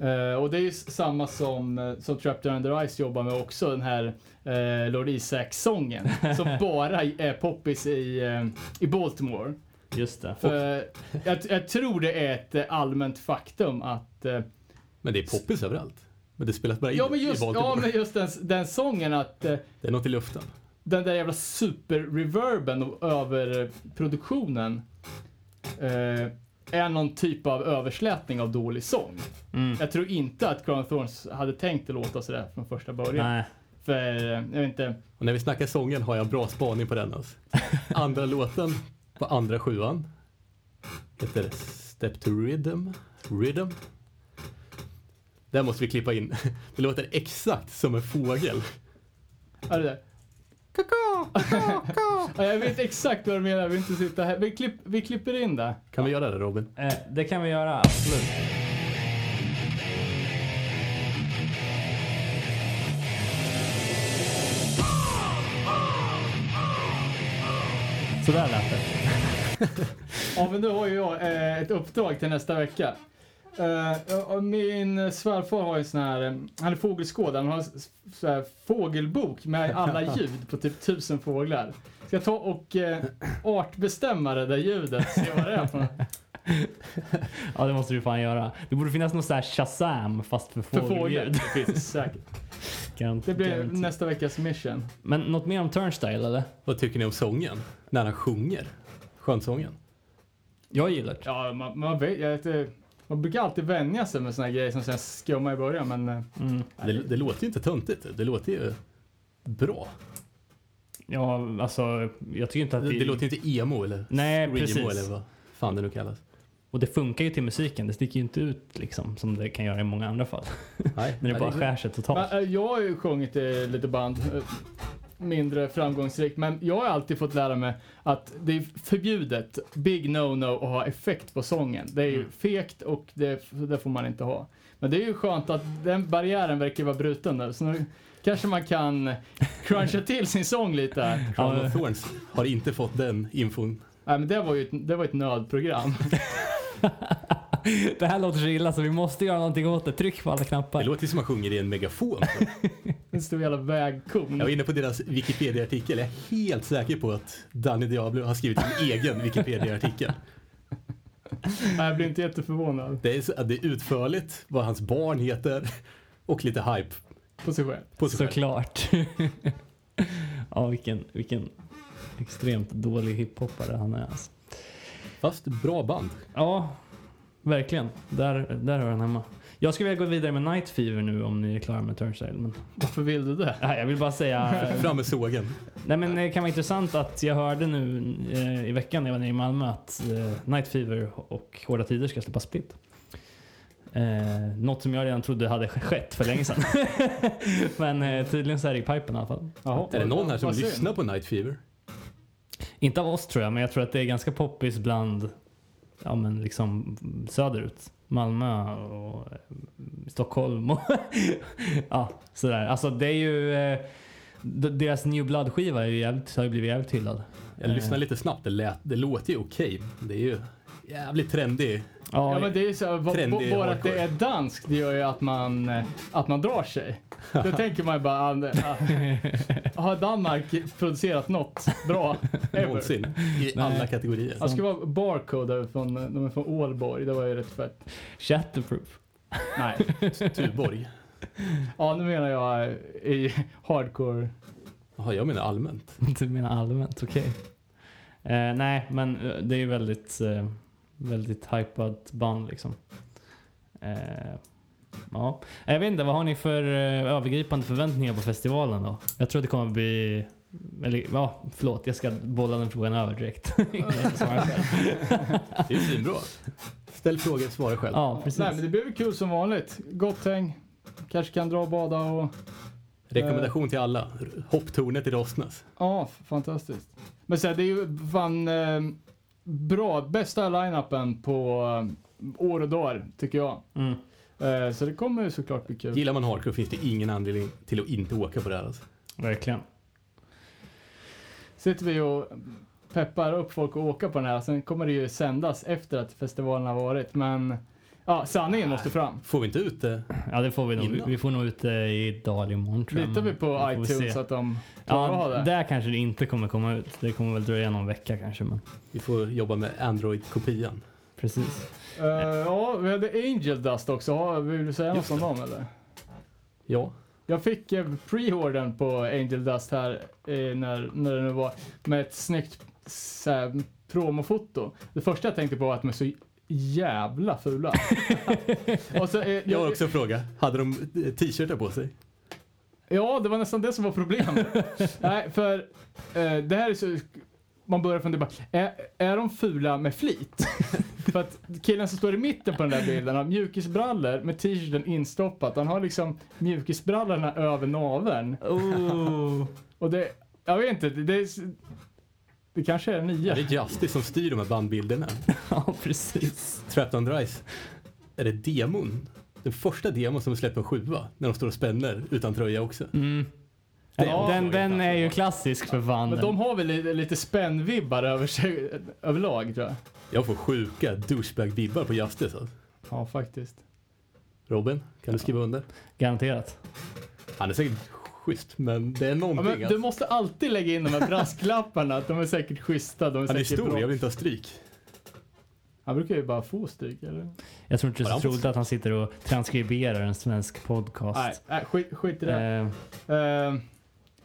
Speaker 3: Eh, och det är ju s- samma som, eh, som Trapped Under Ice jobbar med också, den här eh, Lord Isaac-sången. som bara är poppis i, eh, i Baltimore.
Speaker 1: Just det.
Speaker 3: För jag, jag tror det är ett eh, allmänt faktum att eh,
Speaker 2: Men det är poppis överallt. Men det spelas bara in
Speaker 3: Ja men just,
Speaker 2: i Baltimore.
Speaker 3: ja, men just den, den sången att eh,
Speaker 2: Det är något i luften.
Speaker 3: den där jävla super-reverben o- över eh, produktionen eh, är någon typ av överslätning av dålig sång.
Speaker 1: Mm.
Speaker 3: Jag tror inte att Crown Thorns hade tänkt att låta sådär från första början.
Speaker 1: Nej.
Speaker 3: För, eh, jag vet inte,
Speaker 2: Och när vi snackar sången har jag bra spaning på den alltså. Andra låten på andra sjuan heter Step to Rhythm. Rhythm. Där måste vi klippa in. Det låter exakt som en fågel.
Speaker 3: är det där? Ja, jag vet exakt vad du menar, jag vill inte sitta här. Vi, klipp, vi klipper in det.
Speaker 2: Kan vi göra det Robin?
Speaker 1: Eh, det kan vi göra, absolut. Sådär lät det.
Speaker 3: Ja, men då har ju jag eh, ett uppdrag till nästa vecka. Eh, och min svärfar har ju sån här, eh, han är fågelskådare, han har s- så här fågelbok med alla ljud på typ tusen fåglar. Ska jag ta och eh, artbestämma det där ljudet, se vad det är för,
Speaker 1: Ja, det måste vi fan göra. Det borde finnas någon sån här Shazam fast för
Speaker 3: för fågel.
Speaker 1: fågelljud.
Speaker 3: Det finns det säkert. Det blir nästa veckas mission.
Speaker 1: Men något mer om Turnstyle eller?
Speaker 2: Vad tycker ni om sången? När han sjunger. Skönsången.
Speaker 1: Jag gillar det.
Speaker 3: Ja, man, man, vet, jag vet, inte, man brukar alltid vänja sig med såna här grejer som sen skummar i början, men eh,
Speaker 1: Mm.
Speaker 2: Det, det låter ju inte töntigt. Det låter ju bra.
Speaker 1: Ja, alltså jag tycker inte att
Speaker 2: Det, det låter ju inte emo eller
Speaker 1: Nej,
Speaker 2: screamo
Speaker 1: precis.
Speaker 2: eller vad fan det nu kallas.
Speaker 1: Och det funkar ju till musiken. Det sticker ju inte ut liksom som det kan göra i många andra fall.
Speaker 2: Nej,
Speaker 1: När det bara skär sig totalt.
Speaker 3: Men, eh, jag har ju sjungit i lite band, eh, mindre framgångsrikt, men jag har alltid fått lära mig att det är förbjudet, big no-no, att ha effekt på sången. Det är ju
Speaker 1: Mm.
Speaker 3: fegt och det, det får man inte ha. Men det är ju skönt att den barriären verkar vara bruten nu, så nu kanske man kan cruncha till sin sång lite. här.
Speaker 2: Crown of Thorns har inte fått den infon.
Speaker 3: Nej, men det var ju ett, det var ett nödprogram.
Speaker 1: Det här låter så illa så vi måste göra någonting åt det. Tryck på alla
Speaker 2: Det
Speaker 1: knappar.
Speaker 2: låter ju som han sjunger i en megafon.
Speaker 3: En stor jävla vägkon.
Speaker 2: Jag var inne på deras Wikipedia-artikel. Jag är helt säker på att Danny Diablo har skrivit en egen Wikipedia-artikel.
Speaker 3: Nej, jag blir inte jätteförvånad
Speaker 2: Det är, så- det är utförligt vad hans barn heter och lite hype
Speaker 3: på sig själv.
Speaker 2: på sig själv.
Speaker 1: Såklart. ja, vilken, vilken extremt dålig hiphoppare han är. Alltså.
Speaker 2: Fast bra band.
Speaker 1: Ja, verkligen. Där, där hör han hemma. Jag skulle vilja gå vidare med Night Fever nu om ni är klara med Turnstile. Men,
Speaker 3: Varför vill du det?
Speaker 1: nej, jag vill bara säga...
Speaker 2: Fram med sågen.
Speaker 1: nej, men det kan vara intressant att jag hörde nu eh, i veckan när jag var nere i Malmö att eh, Night Fever och Hårda Tider ska släppa split. Eh, något som jag redan trodde hade skett för länge sedan. men eh, tydligen så är det i pipen i alla fall.
Speaker 3: Jaha.
Speaker 2: Är det någon här som
Speaker 3: Vad synd.
Speaker 2: lyssnar på Night Fever?
Speaker 1: Inte av oss tror jag, men jag tror att det är ganska poppis bland ja, men liksom söderut. Malmö och eh, Stockholm och ja, sådär. Alltså det är ju eh, d- deras New Blood-skiva är ju jävligt, har ju blivit jävligt hyllad.
Speaker 2: Jag
Speaker 1: Eh.
Speaker 2: lyssnar lite snabbt, det, lät, det låter ju okej. Det är ju jävligt trendig.
Speaker 1: Ja,
Speaker 3: Ja men det är ju så här, b-
Speaker 2: Trendig
Speaker 3: b- bara att det
Speaker 2: hardcore.
Speaker 3: är danskt det gör ju att man, eh, att man drar sig. Då tänker man ju bara, ah, nej, ah, har Danmark producerat något bra ever?
Speaker 2: Någonsin. I alla kategorier.
Speaker 3: Jag ska vara barcode där från, eh, de är från Ålborg, det var ju rätt fett.
Speaker 1: Shatterproof.
Speaker 3: Nej.
Speaker 2: Alltså, Tuborg.
Speaker 3: Ja nu menar jag eh, i hardcore.
Speaker 2: Jaha, jag menar allmänt.
Speaker 1: Du menar allmänt, okej. Eh, nej, men eh, det är ju väldigt, eh, väldigt hypat band liksom. Eh, ja. Jag vet inte, vad har ni för eh, övergripande förväntningar på festivalen då? Jag tror det kommer bli... Eller ja, förlåt, jag ska bolla den frågan över direkt.
Speaker 2: Det är ju svinbra. Ställ frågor, svara själv.
Speaker 1: ja, precis.
Speaker 3: Nej men det blir väl kul som vanligt. Gott häng. Kanske kan dra och bada och
Speaker 2: Rekommendation till alla. Hopptornet i Rostnäs.
Speaker 3: Ja, f- fantastiskt. Men sen det är ju fan eh, bra, bästa line-upen på eh, år och dagar tycker jag.
Speaker 1: Mm.
Speaker 3: Eh, så det kommer ju såklart bli kul.
Speaker 2: Gillar man hardcore finns det ingen anledning till att inte åka på det här. Alltså.
Speaker 1: Verkligen.
Speaker 3: Sitter vi och peppar upp folk att åka på den här, sen kommer det ju sändas efter att festivalen har varit. Men ja, sanningen måste fram.
Speaker 2: Får vi inte ut det?
Speaker 1: Ja, det får vi nog.
Speaker 2: Innan.
Speaker 1: Vi får nog ut det idag eller imorgon tror jag.
Speaker 3: Litar vi
Speaker 1: Vi
Speaker 3: på
Speaker 1: får se.
Speaker 3: iTunes att de klarar av
Speaker 1: Ja,
Speaker 3: det?
Speaker 1: där kanske det inte kommer komma ut. Det kommer väl dröja någon vecka kanske, men
Speaker 2: Vi får jobba med Android-kopian.
Speaker 1: precis.
Speaker 3: Eh, ja, vi hade Angel Dust också. Ja, Vill du säga något
Speaker 2: Just
Speaker 3: om dem eller?
Speaker 2: Ja.
Speaker 3: Jag fick eh, pre-ordern på Angel Dust här eh, när, när det nu var med ett snyggt så här, promofoto. Det första jag tänkte på var att de är så jävla fula. Och så, eh,
Speaker 2: Jag har också en fråga. Hade de eh, t-shirtar på sig?
Speaker 3: Ja, det var nästan det som var problemet. Nej, för eh, det här är så... Man börjar fundera, bara, är, är de fula med flit? för att killen som står i mitten på den där bilden har mjukisbrallor med t-shirten instoppat. Han har liksom mjukisbrallorna över naveln.
Speaker 1: Oh.
Speaker 3: Och det, jag vet inte, det, det, är s- det kanske är
Speaker 2: Är
Speaker 3: nya.
Speaker 2: det Justice som styr de här bandbilderna?
Speaker 1: ja, precis.
Speaker 2: Trapped on Drice. Är det demon? Den första demon som är släppt på en sjua. När de står och spänner utan tröja också.
Speaker 1: Mm.
Speaker 2: Det
Speaker 1: Ja, den
Speaker 2: var
Speaker 1: den
Speaker 2: ju
Speaker 1: är ju klassisk för fan.
Speaker 3: Men
Speaker 1: den.
Speaker 3: de har väl lite, lite spännvibbar över sig överlag tror jag.
Speaker 2: Jag får sjuka douchebag-vibbar på Justice. Alltså.
Speaker 3: Ja, faktiskt.
Speaker 2: Robin, kan du skriva under?
Speaker 1: Garanterat.
Speaker 2: Han är säkert schysst, men det är
Speaker 3: Ja,
Speaker 2: någonting.
Speaker 3: men du
Speaker 2: alltså.
Speaker 3: måste alltid lägga in de här brasklapparna, att de är säkert schyssta. De är
Speaker 2: Han är
Speaker 3: säkert
Speaker 2: stor,
Speaker 3: bra.
Speaker 2: jag vill inte ha stryk.
Speaker 3: Han brukar ju bara få stryk, eller?
Speaker 1: Jag tror inte det
Speaker 2: Har
Speaker 1: är
Speaker 2: han
Speaker 1: så troligt att han sitter och transkriberar en svensk
Speaker 3: Nej,
Speaker 1: podcast.
Speaker 3: nej skit, skit i det.
Speaker 1: Eh,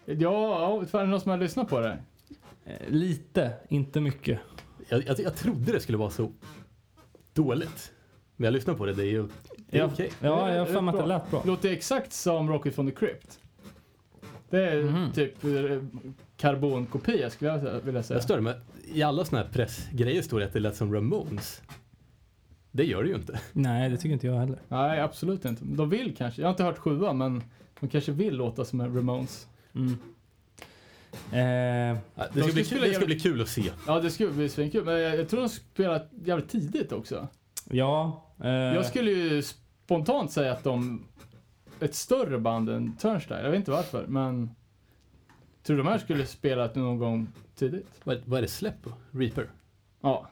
Speaker 3: Eh, ja, ja, fan, är det någon som har lyssnat på det?
Speaker 1: Eh, lite, inte mycket.
Speaker 2: Jag, jag, jag trodde det skulle vara så dåligt. Men jag lyssnar på det, det är ju det är
Speaker 1: Ja,
Speaker 2: okej.
Speaker 1: ja, jag har
Speaker 3: Det är
Speaker 1: för mig att det
Speaker 3: bra.
Speaker 1: lät bra.
Speaker 3: Låter exakt som Rocket from the Crypt. Det är
Speaker 1: Mhm.
Speaker 3: typ eh, karbonkopia skulle jag sä- vilja säga.
Speaker 2: Jag stör mig. I alla såna här pressgrejer står det att det lät som Ramones. Det gör det ju inte.
Speaker 1: Nej, det tycker inte jag heller.
Speaker 3: Nej, absolut inte. De vill kanske. Jag har inte hört sjua, men de kanske vill låta som en Ramones.
Speaker 1: Mm. Eh,
Speaker 2: Det
Speaker 3: De
Speaker 2: ska,
Speaker 3: ska
Speaker 2: bli,
Speaker 3: spela
Speaker 2: det ska
Speaker 3: jävligt-
Speaker 2: bli kul att se.
Speaker 3: Ja, det skulle bli svinkul. Men jag, jag tror de spelar jävligt tidigt också.
Speaker 1: ja. Eh,
Speaker 3: Jag skulle ju spontant säga att de är ett större band än Turnstyle. Jag vet inte varför, men tror de här skulle spela någon gång tidigt?
Speaker 2: Vad, vad är det släpp på? Reaper?
Speaker 3: Ja.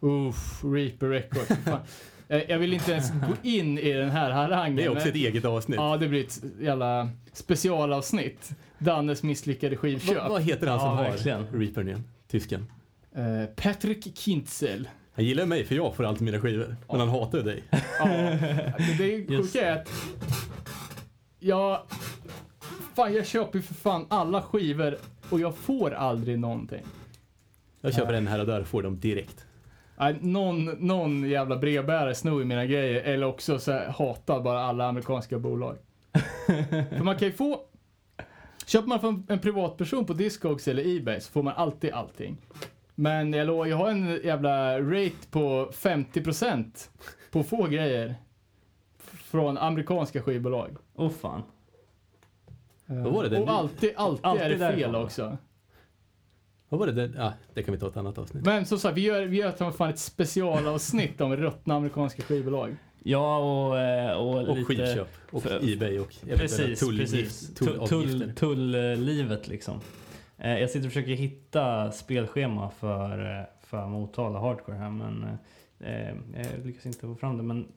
Speaker 3: Uff, Reaper Records. Fan. Eh, Jag vill inte ens gå in i den här harangen.
Speaker 2: Det är också
Speaker 3: men-
Speaker 2: ett eget avsnitt.
Speaker 3: Ja, det blir ett jävla specialavsnitt. Dannes misslyckade skivköp.
Speaker 2: Vad, vad heter han
Speaker 1: Ja,
Speaker 2: som
Speaker 1: verkligen.
Speaker 2: har Reapern igen? Tysken.
Speaker 3: Eh, Patrick Kintzel.
Speaker 2: Han gillar mig för jag får alltid mina skivor. Men han hatar ju dig.
Speaker 3: Ja, det är
Speaker 1: Just
Speaker 3: sjuka är att jag... Fan, jag köper ju för fan alla skivor och jag får aldrig någonting.
Speaker 2: Jag köper en här och där och får dem direkt.
Speaker 3: Nej, Någon, någon jävla brevbärare snor ju mina grejer eller också så här, hatar bara alla amerikanska bolag. för man kan ju få... Köper man från en privatperson på Discogs eller Ebay så får man alltid allting. Men jag, lovar, jag har en jävla rate på 50% på få grejer från amerikanska skivbolag.
Speaker 1: Åh fan.
Speaker 3: Vad
Speaker 2: var det den-
Speaker 3: Och alltid, alltid,
Speaker 1: Alltid
Speaker 3: är det fel
Speaker 1: därifrån, va?
Speaker 3: också.
Speaker 2: Vad var det där? Ah, det kan vi ta ett annat avsnitt.
Speaker 3: Men som sagt, vi gör, vi gör fan ett specialavsnitt om ruttna amerikanska skivbolag.
Speaker 1: Ja, och, eh, och,
Speaker 2: Och
Speaker 1: lite...
Speaker 2: skivköp. Och
Speaker 1: för-
Speaker 2: Ebay och eventuella
Speaker 1: Precis,
Speaker 2: tullgift-
Speaker 1: precis. Tull-
Speaker 2: tullavgifter.
Speaker 1: tull- Tull-livet liksom. Eh, Jag sitter och försöker hitta spelschema för, eh, för Motala Hardcore här men eh, eh, jag lyckas inte få fram det. Men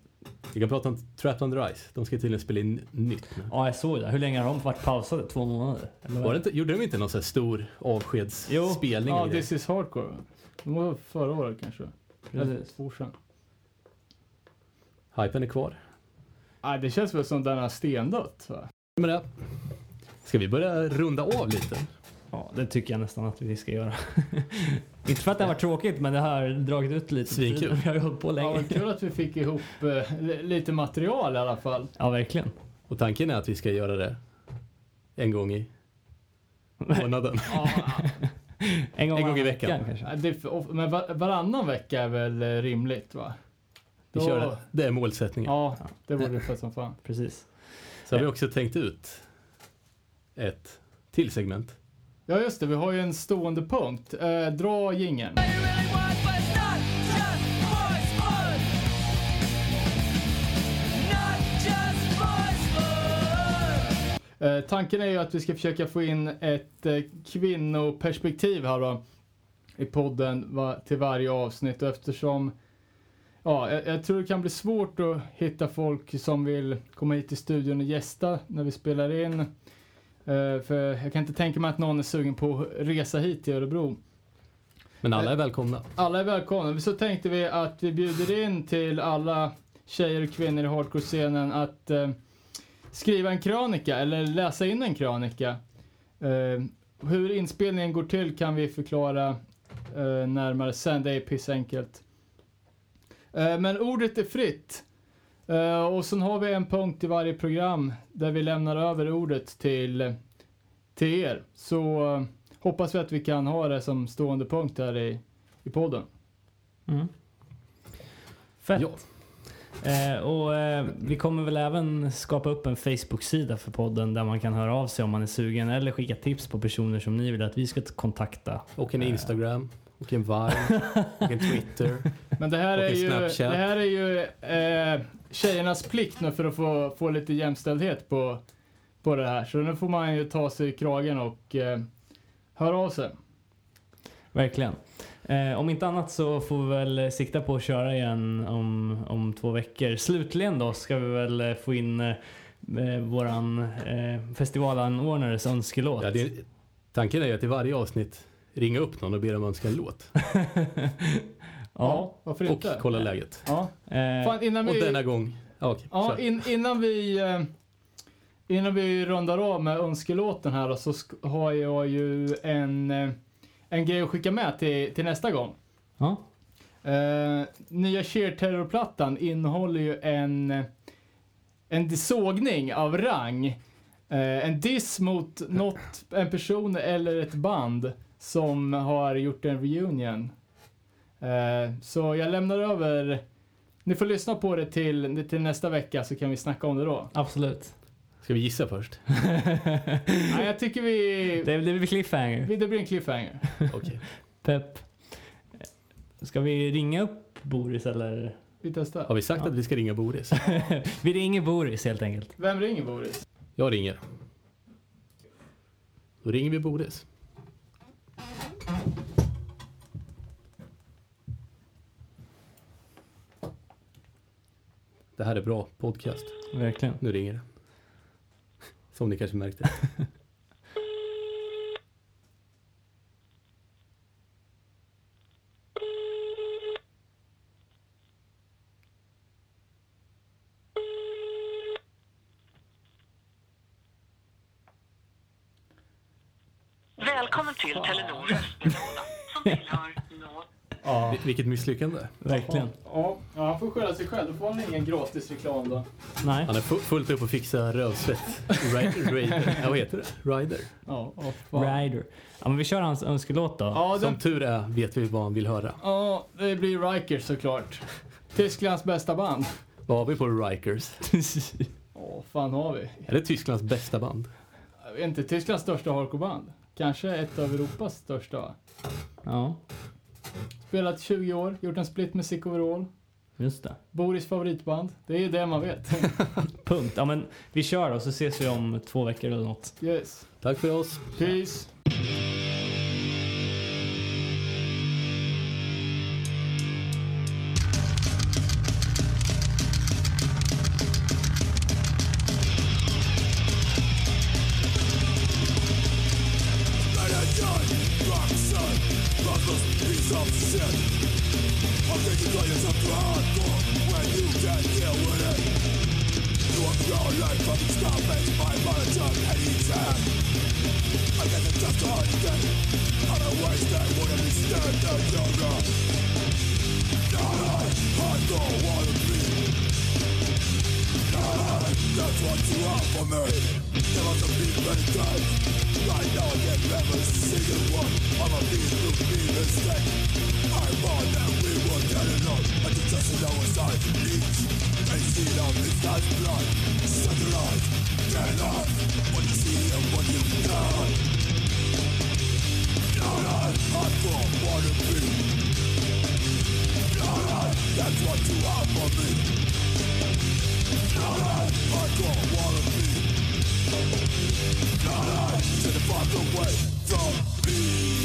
Speaker 2: Vi kan prata om Trapped Under Ice. De ska tydligen spela in nytt nu.
Speaker 1: ja, jag såg det. Hur länge har de varit pausade? Två månader? Eller
Speaker 2: Var det inte, gjorde de inte någon sån här stor
Speaker 1: Jo.
Speaker 2: avskedsspelning?
Speaker 3: Ja,
Speaker 2: och grejer?
Speaker 3: This is Hardcore. va? Det var förra året kanske. Eller
Speaker 1: Precis.
Speaker 3: två år sedan.
Speaker 2: Hypen är kvar.
Speaker 3: Nej, det känns väl som den har stendött va?
Speaker 2: Men det. Ska vi börja runda av lite?
Speaker 1: Ja, det tycker jag nästan att vi ska göra. inte för att det har varit tråkigt men det har dragit ut lite. på
Speaker 2: Svinkul.
Speaker 1: tiden. Vi har ju hållit på
Speaker 3: Ja,
Speaker 1: länge.
Speaker 3: men kul att vi fick ihop eh, li- lite material i alla fall.
Speaker 1: Ja, verkligen.
Speaker 2: Och tanken är att vi ska göra det en gång i månaden.
Speaker 3: Ja,
Speaker 1: En gång,
Speaker 2: En gång
Speaker 1: varannan
Speaker 2: i veckan.
Speaker 1: kanske.
Speaker 3: det är för, of- men var, varannan vecka är väl eh, rimligt va?
Speaker 2: Vi
Speaker 3: Då-
Speaker 2: kör det. det är målsättningen.
Speaker 3: Ja, det vore det för som fan.
Speaker 1: Precis.
Speaker 2: Så har vi också tänkt ut ett till segment.
Speaker 3: Ja just det, vi har ju en stående punkt. Eh, dra jingeln. Eh, tanken är ju att vi ska försöka få in ett eh, kvinnoperspektiv här då, i podden va, till varje avsnitt och eftersom ja, jag, jag tror det kan bli svårt att hitta folk som vill komma hit till studion och gästa när vi spelar in. Eh, för jag kan inte tänka mig att någon är sugen på att resa hit till Örebro.
Speaker 2: Men alla är välkomna.
Speaker 3: Alla är välkomna. Så tänkte vi att vi bjuder in till alla tjejer och kvinnor i hardcore-scenen att eh, skriva en krönika eller läsa in en krönika. Eh, hur inspelningen går till kan vi förklara eh, närmare sen. Det är pissenkelt. Eh, men ordet är fritt. Eh, och sen har vi en punkt i varje program där vi lämnar över ordet till, till er. Så eh, hoppas vi att vi kan ha det som stående punkt här i i podden.
Speaker 1: Mm. Fett.
Speaker 2: Ja.
Speaker 1: Eh, och, eh, vi kommer väl även skapa upp en Facebook-sida för podden där man kan höra av sig om man är sugen eller skicka tips på personer som ni vill att vi ska kontakta.
Speaker 2: Och en Instagram, och en Vine, och en Twitter.
Speaker 3: Men det här
Speaker 2: Och
Speaker 3: är
Speaker 2: i
Speaker 3: ju,
Speaker 2: Snapchat.
Speaker 3: det här är ju eh, tjejernas plikt nu för att få, få lite jämställdhet på, på det här. Så nu får man ju ta sig i kragen och eh, höra av sig.
Speaker 1: Verkligen. Eh, om inte annat så får vi väl sikta på att köra igen om, om två veckor. Slutligen då ska vi väl eh, få in eh, eh, våran eh, festivalanordnares önskelåt.
Speaker 2: Ja, det, tanken är ju att i varje avsnitt ringa upp någon och be dem önska en låt.
Speaker 1: ja.
Speaker 3: varför
Speaker 2: Och
Speaker 3: inte?
Speaker 2: kolla läget.
Speaker 3: Ja.
Speaker 1: Eh,
Speaker 3: Fan, innan
Speaker 2: Och
Speaker 3: vi,
Speaker 2: denna gång... Ja, okej,
Speaker 3: ja,
Speaker 2: kör.
Speaker 3: in, innan vi eh, Innan vi rundar av med önskelåten här då, så sk- har jag ju en, eh, en grej att skicka med till, till nästa gång.
Speaker 1: ja.
Speaker 3: Eh, nya Sheer Terror-plattan innehåller ju en, en sågning av rang. Eh, en diss mot något, en person eller ett band som har gjort en reunion. Eh, så jag lämnar över, ni får lyssna på det till, till nästa vecka så kan vi snacka om det då.
Speaker 1: Absolut.
Speaker 2: Ska vi gissa först?
Speaker 3: Nej, jag tycker vi,
Speaker 1: Det, det blir cliffhanger.
Speaker 3: vi, det blir en cliffhanger.
Speaker 2: Okej.
Speaker 1: Pepp. Ska vi ringa upp Boris eller?
Speaker 3: Vi testar.
Speaker 2: Har vi sagt att vi ska ringa Boris?
Speaker 1: Vi ringer Boris helt enkelt.
Speaker 3: Vem ringer Boris?
Speaker 2: Jag ringer. Då ringer vi Boris. Det här är bra podcast.
Speaker 1: Verkligen.
Speaker 2: Nu ringer det. Som ni kanske märkte.
Speaker 5: Välkommen till Telenor röstbrevlåda som tillhör Nå...
Speaker 3: Ja,
Speaker 2: Vil- Vilket misslyckande.
Speaker 1: Verkligen.
Speaker 3: ja han får skylla sig själv. Då får han ingen gratis reklam då.
Speaker 1: Nej.
Speaker 2: Han är fu- fullt upp och fixa rövsvett. Ri- Raider. Ja, vad heter det? Rider.
Speaker 3: Ja, oh, fan.
Speaker 1: Rider. Ja, men vi kör hans önskelåt då.
Speaker 3: Ja, den,
Speaker 2: Som tur är vet vi vad han vill höra.
Speaker 3: ja, det blir Rikers såklart. Tysklands bästa band.
Speaker 2: Vad har vi på Rikers?
Speaker 3: Ja, fan har vi?
Speaker 2: Är det Tysklands bästa band?
Speaker 3: Jag vet inte Tysklands största hardcoreband. Kanske ett av Europas största. va?
Speaker 1: ja.
Speaker 3: Spelat 20 år, gjort en split med Sick Overall.
Speaker 1: Just det.
Speaker 3: Boris favoritband. Det är det man vet.
Speaker 1: Punkt. Ja, men vi kör då så ses vi om två veckor eller något.
Speaker 3: Yes.
Speaker 2: Tack för oss.
Speaker 3: Peace.
Speaker 6: Fuck away from me.